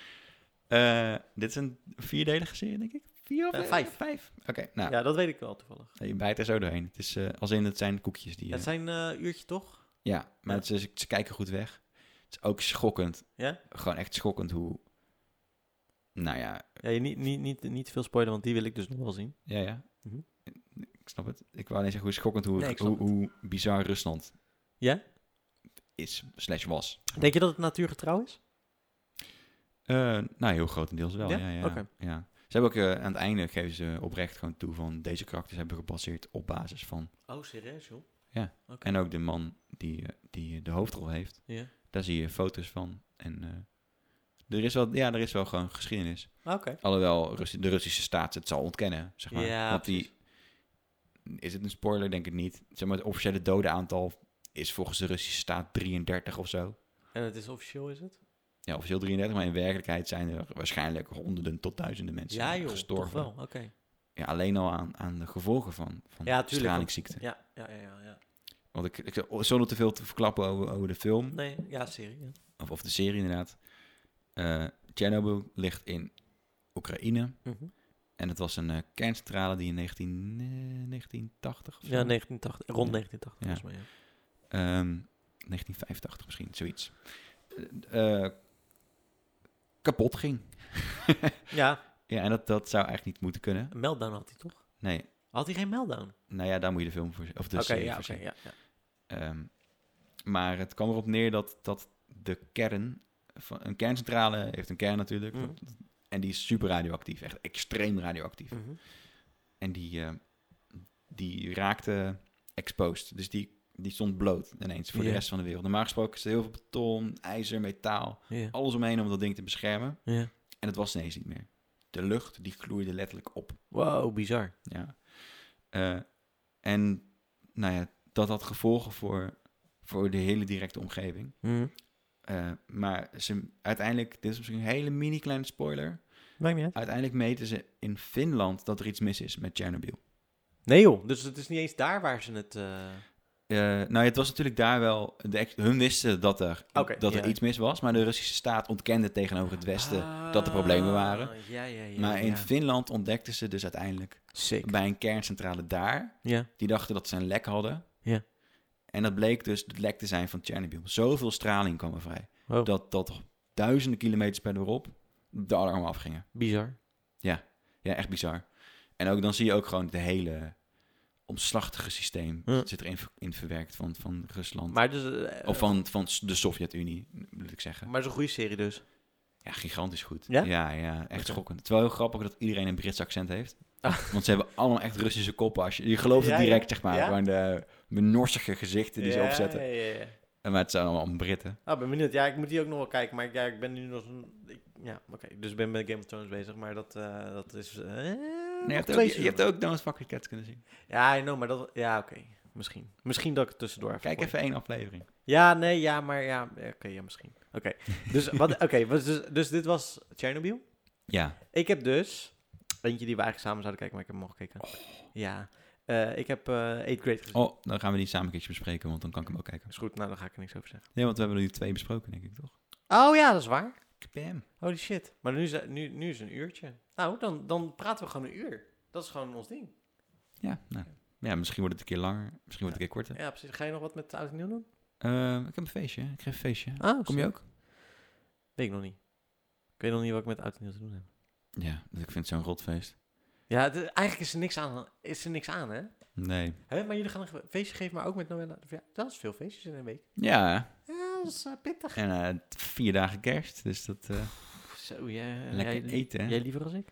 [SPEAKER 2] Eh, dit is een vierdelige serie, denk ik. Vier of
[SPEAKER 1] Eh,
[SPEAKER 2] eh,
[SPEAKER 1] vijf.
[SPEAKER 2] Oké, nou,
[SPEAKER 1] Ja, dat weet ik wel toevallig.
[SPEAKER 2] je bijt er zo doorheen. Het is, eh, als in, het zijn koekjes die... eh,
[SPEAKER 1] Het zijn eh uurtje toch?
[SPEAKER 2] Ja, maar
[SPEAKER 1] Ja.
[SPEAKER 2] het is- dus, ze kijken goed weg. Het is ook schokkend.
[SPEAKER 1] Ja?
[SPEAKER 2] Gewoon echt schokkend hoe... Nou ja,
[SPEAKER 1] Ja, je niet, niet, niet, niet te veel spoilen, want die wil ik dus nog wel zien.
[SPEAKER 2] ja, ja.
[SPEAKER 1] Mhm.
[SPEAKER 2] Ik snap het. Ik wou alleen zeggen hoe schokkend, hoe,
[SPEAKER 1] Nee, ik
[SPEAKER 2] hoe,
[SPEAKER 1] snap
[SPEAKER 2] hoe bizar Rusland
[SPEAKER 1] Ja?
[SPEAKER 2] is, slash was.
[SPEAKER 1] Denk je dat het natuurgetrouw is?
[SPEAKER 2] Eh nou, heel grotendeels wel,
[SPEAKER 1] Ja?
[SPEAKER 2] ja. ja, ja,
[SPEAKER 1] Oké.
[SPEAKER 2] Ze hebben ook eh, aan het einde, geven ze oprecht gewoon toe van deze karakters hebben we gebaseerd op basis van.
[SPEAKER 1] Oh, serieus, joh?
[SPEAKER 2] Ja.
[SPEAKER 1] Oké.
[SPEAKER 2] En ook de man die, eh, die de hoofdrol heeft,
[SPEAKER 1] Ja.
[SPEAKER 2] daar zie je foto's van. En eh, er, is wel, ja, er is wel gewoon geschiedenis.
[SPEAKER 1] Ah, Oké.
[SPEAKER 2] Alhoewel Russi- de Russische staat het zal ontkennen, zeg maar.
[SPEAKER 1] Ja,
[SPEAKER 2] Want die,
[SPEAKER 1] precies.
[SPEAKER 2] is het een spoiler? Denk het niet. Zeg maar, het officiële dodenaantal is volgens de Russische staat 33 of zo.
[SPEAKER 1] En het is officieel, is het?
[SPEAKER 2] Ja, officieel 33, maar in werkelijkheid zijn er waarschijnlijk honderden tot duizenden mensen
[SPEAKER 1] ja, joh.
[SPEAKER 2] gestorven.
[SPEAKER 1] Toch wel, oké.
[SPEAKER 2] Ja, alleen al aan, aan de gevolgen van, van
[SPEAKER 1] Ja, tuurlijk,
[SPEAKER 2] stralingsziekte.
[SPEAKER 1] Ja, ja, ja, ja, ja.
[SPEAKER 2] Want ik, ik zonder te veel te verklappen over, over de film,
[SPEAKER 1] Nee, ja, serie. ja.
[SPEAKER 2] of, of de serie inderdaad. Eh Chernobyl ligt in Oekraïne.
[SPEAKER 1] Mhm.
[SPEAKER 2] En het was een eh, kerncentrale die in 19, eh, 1980 of zo.
[SPEAKER 1] Ja, 1980, rond
[SPEAKER 2] Ja.
[SPEAKER 1] 1980 volgens mij, ja.
[SPEAKER 2] Ehm, 1985 misschien, zoiets. Eh, eh, kapot ging.
[SPEAKER 1] Ja,
[SPEAKER 2] Ja, en dat, dat zou eigenlijk niet moeten kunnen.
[SPEAKER 1] een meltdown had hij toch?
[SPEAKER 2] Nee,
[SPEAKER 1] Had hij geen meltdown?
[SPEAKER 2] nou ja, daar moet je de film voor z- Of de
[SPEAKER 1] oké,
[SPEAKER 2] serie
[SPEAKER 1] ja,
[SPEAKER 2] voor
[SPEAKER 1] oké,
[SPEAKER 2] zien.
[SPEAKER 1] ja, ja.
[SPEAKER 2] Ehm, maar het kwam erop neer dat, dat de kern... Van, een kerncentrale heeft een kern natuurlijk.
[SPEAKER 1] Mhm.
[SPEAKER 2] En die is super radioactief. Echt extreem radioactief.
[SPEAKER 1] Mhm.
[SPEAKER 2] En die, eh, die raakte exposed. Dus die, die stond bloot ineens voor
[SPEAKER 1] Ja.
[SPEAKER 2] de rest van de wereld. Normaal gesproken is er heel veel beton, ijzer, metaal.
[SPEAKER 1] Ja,
[SPEAKER 2] alles omheen om dat ding te beschermen.
[SPEAKER 1] ja.
[SPEAKER 2] En het was ineens niet meer. De lucht die gloeide letterlijk op.
[SPEAKER 1] Wow, bizar.
[SPEAKER 2] Ja. Eh, en nou ja, dat had gevolgen voor, voor de hele directe omgeving.
[SPEAKER 1] Mhm.
[SPEAKER 2] Eh, maar ze, uiteindelijk, dit is misschien een hele mini kleine spoiler.
[SPEAKER 1] Maakt niet uit.
[SPEAKER 2] Uiteindelijk meten ze in Finland dat er iets mis is met Tsjernobyl.
[SPEAKER 1] Nee joh, dus het is niet eens daar waar ze het... eh,
[SPEAKER 2] Eh, nou, ja, het was natuurlijk daar wel. De, ex- hun wisten dat er,
[SPEAKER 1] Oké,
[SPEAKER 2] dat er
[SPEAKER 1] ja.
[SPEAKER 2] iets mis was, maar de Russische staat ontkende tegenover het Westen dat er problemen waren.
[SPEAKER 1] Ah, Ja, ja, ja.
[SPEAKER 2] maar in
[SPEAKER 1] ja.
[SPEAKER 2] Finland ontdekten ze dus uiteindelijk
[SPEAKER 1] Sick.
[SPEAKER 2] bij een kerncentrale daar.
[SPEAKER 1] Ja.
[SPEAKER 2] Die dachten dat ze een lek hadden.
[SPEAKER 1] Ja.
[SPEAKER 2] En dat bleek dus het lek te zijn van Chernobyl. Zoveel straling kwam er vrij.
[SPEAKER 1] Wow.
[SPEAKER 2] Dat, dat duizenden kilometers per uur op de alarmen afgingen.
[SPEAKER 1] Bizar.
[SPEAKER 2] Ja, echt bizar. En ook dan zie je ook gewoon het hele omslachtige systeem
[SPEAKER 1] Ja.
[SPEAKER 2] zit erin ver- in verwerkt van, van Rusland.
[SPEAKER 1] Maar dus... eh,
[SPEAKER 2] of van, van s- de Sovjet-Unie, moet ik zeggen.
[SPEAKER 1] Maar het is een goede serie dus.
[SPEAKER 2] Ja, gigantisch goed.
[SPEAKER 1] Ja?
[SPEAKER 2] Ja, ja echt
[SPEAKER 1] Oké.
[SPEAKER 2] schokkend. Het is wel heel grappig dat iedereen een Brits accent heeft.
[SPEAKER 1] Ah.
[SPEAKER 2] Want ze hebben allemaal echt Russische koppen. Als je, je gelooft het
[SPEAKER 1] Ja, ja.
[SPEAKER 2] direct, zeg maar.
[SPEAKER 1] Ja?
[SPEAKER 2] Gewoon de, de norsige gezichten die ze opzetten.
[SPEAKER 1] Ja, ja, ja.
[SPEAKER 2] En Maar het zijn allemaal Britten.
[SPEAKER 1] Ah, ben benieuwd. Ja, ik moet die ook nog wel kijken. Maar ik- ja, ik ben nu nog... een- ik- ja, oké. Dus ik ben met Game of Thrones bezig. Maar dat, eh, dat is... eh, nog
[SPEAKER 2] je, hebt
[SPEAKER 1] twee
[SPEAKER 2] ook, je,
[SPEAKER 1] seizoenen.
[SPEAKER 2] hebt ook Don't Fucking Cats kunnen zien.
[SPEAKER 1] Ja, I know, maar dat... Ja, oké. Misschien. Misschien dat ik het tussendoor even
[SPEAKER 2] Kijk
[SPEAKER 1] gooi.
[SPEAKER 2] even één aflevering.
[SPEAKER 1] Ja, nee, ja, maar ja... Oké, ja, misschien. Oké. Dus, wat, oké, wat- dus, dus dit was Chernobyl?
[SPEAKER 2] Ja.
[SPEAKER 1] Ik heb dus eentje die we eigenlijk samen zouden kijken, maar ik heb hem al gekeken. Ja, Eh, ik heb eh 8 Grade gezien.
[SPEAKER 2] Oh, dan gaan we die samen een keertje bespreken, want dan kan ik hem ook kijken.
[SPEAKER 1] Is goed, nou dan ga ik er niks over zeggen.
[SPEAKER 2] Nee, want we hebben er nu twee besproken, denk ik, toch?
[SPEAKER 1] Oh ja, dat is waar.
[SPEAKER 2] Bam.
[SPEAKER 1] Holy shit. Maar nu is, het- nu, nu is het een uurtje. Nou, dan, dan praten we gewoon een uur. Dat is gewoon ons ding.
[SPEAKER 2] Ja, nou. Ja, misschien wordt het een keer langer. Misschien wordt het een keer korter.
[SPEAKER 1] Ja, precies. Ga je nog wat met oud en nieuw doen?
[SPEAKER 2] Eh, ik heb een feestje. Ik geef een feestje.
[SPEAKER 1] Ah,
[SPEAKER 2] Kom je ook?
[SPEAKER 1] Weet ik nog niet. Ik weet nog niet wat ik met oud en nieuw te doen heb.
[SPEAKER 2] Ja, ik vind het zo'n rotfeest.
[SPEAKER 1] Ja, het- eigenlijk is er niks aan, is er niks aan hè?
[SPEAKER 2] Nee.
[SPEAKER 1] Hè, Maar jullie gaan een ge- feestje geven, maar ook met Noëlla. Ja, dat is veel feestjes in een week.
[SPEAKER 2] Ja,
[SPEAKER 1] Ja, dat is eh, pittig.
[SPEAKER 2] En eh, t- vier dagen kerst, dus dat... eh,
[SPEAKER 1] Pff, Zo, ja.
[SPEAKER 2] Lekker
[SPEAKER 1] jij-
[SPEAKER 2] eten, hè?
[SPEAKER 1] Jij liever als ik?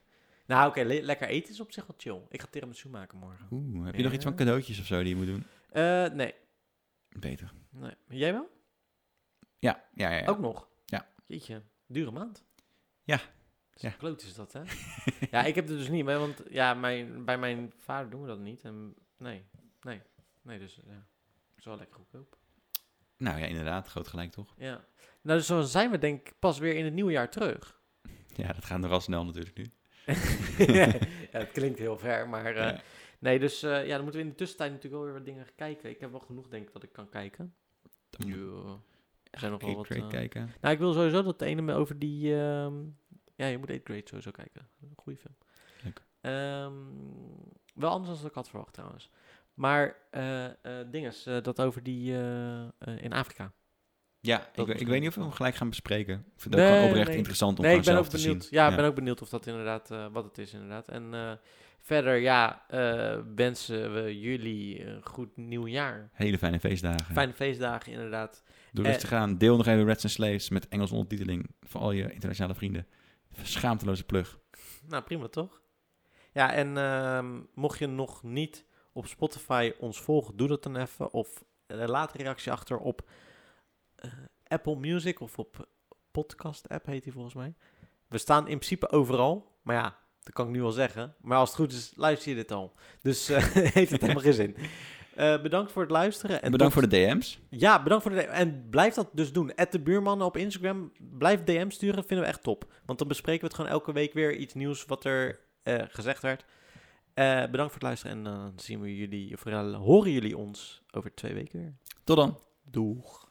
[SPEAKER 1] Nou, oké, le- lekker eten is op zich wel chill. Ik ga tiramisu maken morgen.
[SPEAKER 2] Oeh, heb je
[SPEAKER 1] Ja.
[SPEAKER 2] nog iets van cadeautjes of zo die je moet doen?
[SPEAKER 1] Eh, nee.
[SPEAKER 2] Beter.
[SPEAKER 1] nee. Jij wel?
[SPEAKER 2] Ja, ja, ja. ja.
[SPEAKER 1] Ook nog?
[SPEAKER 2] Ja.
[SPEAKER 1] Jeetje, dure maand.
[SPEAKER 2] Ja.
[SPEAKER 1] Dus
[SPEAKER 2] Ja.
[SPEAKER 1] Kloot is dat, hè? ja, ik heb het dus niet, hè, want ja, mijn, bij mijn vader doen we dat niet. En, nee, nee, nee, dus ja. Het is wel lekker goedkoop.
[SPEAKER 2] Nou ja, inderdaad, groot gelijk toch?
[SPEAKER 1] Ja. Nou, dus zo zijn we denk ik pas weer in het nieuwe jaar terug.
[SPEAKER 2] Ja, dat gaat nogal snel natuurlijk nu.
[SPEAKER 1] ja, het klinkt heel ver, maar... eh,
[SPEAKER 2] Ja.
[SPEAKER 1] Nee, dus eh, ja, dan moeten we in de tussentijd natuurlijk wel weer wat dingen gaan kijken. Ik heb wel genoeg, denk ik, dat ik kan kijken.
[SPEAKER 2] Dan moet
[SPEAKER 1] Er zijn nog wel
[SPEAKER 2] ik
[SPEAKER 1] wat...
[SPEAKER 2] grade
[SPEAKER 1] eh,
[SPEAKER 2] kijken.
[SPEAKER 1] Nou, ik wil sowieso dat de ene me over die... ehm, Ja, je moet 8 Grade sowieso kijken. Een goede film.
[SPEAKER 2] Leuk.
[SPEAKER 1] Ehm, wel anders dan ik had verwacht, trouwens. Maar eh eh dinges, eh, dat over die eh, eh, in Afrika.
[SPEAKER 2] Ja, ik,
[SPEAKER 1] moet
[SPEAKER 2] weet- ik
[SPEAKER 1] doen.
[SPEAKER 2] weet niet of we hem gelijk gaan bespreken. Ik vind
[SPEAKER 1] Nee,
[SPEAKER 2] het ook gewoon oprecht
[SPEAKER 1] nee.
[SPEAKER 2] interessant om
[SPEAKER 1] nee, ik
[SPEAKER 2] gewoon
[SPEAKER 1] ben
[SPEAKER 2] zelf
[SPEAKER 1] ook
[SPEAKER 2] te
[SPEAKER 1] benieuwd.
[SPEAKER 2] zien.
[SPEAKER 1] Ja, ik ben ook benieuwd of dat inderdaad eh, wat het is, inderdaad. En eh, Verder, ja, eh, wensen we jullie een goed nieuwjaar.
[SPEAKER 2] Hele fijne feestdagen.
[SPEAKER 1] Fijne feestdagen, inderdaad.
[SPEAKER 2] Doe
[SPEAKER 1] Eh.
[SPEAKER 2] rustig aan. Deel nog even Reds and Slaves met Engels ondertiteling voor al je internationale vrienden. Schaamteloze plug.
[SPEAKER 1] Nou, prima toch? Ja, en ehm, mocht je nog niet op Spotify ons volgen, doe dat dan even. Of eh, laat een reactie achter op eh, Apple Music of op podcast app heet die volgens mij. We staan in principe overal. Maar ja, dat kan ik nu al zeggen. Maar als het goed is, luister je dit al. Dus eh, heeft het helemaal geen zin. Eh, bedankt voor het luisteren.
[SPEAKER 2] En
[SPEAKER 1] En
[SPEAKER 2] bedankt
[SPEAKER 1] tot-
[SPEAKER 2] voor de DM's.
[SPEAKER 1] Ja, bedankt voor de... En blijf dat dus doen. At de buurmannen op Instagram. Blijf DM sturen, vinden we echt top. Want dan bespreken we het gewoon elke week weer. Iets nieuws wat er eh, gezegd werd. Eh, bedankt voor het luisteren. eh, En dan zien we jullie... Of eh, horen jullie ons over twee weken weer.
[SPEAKER 2] Tot dan.
[SPEAKER 1] Doeg.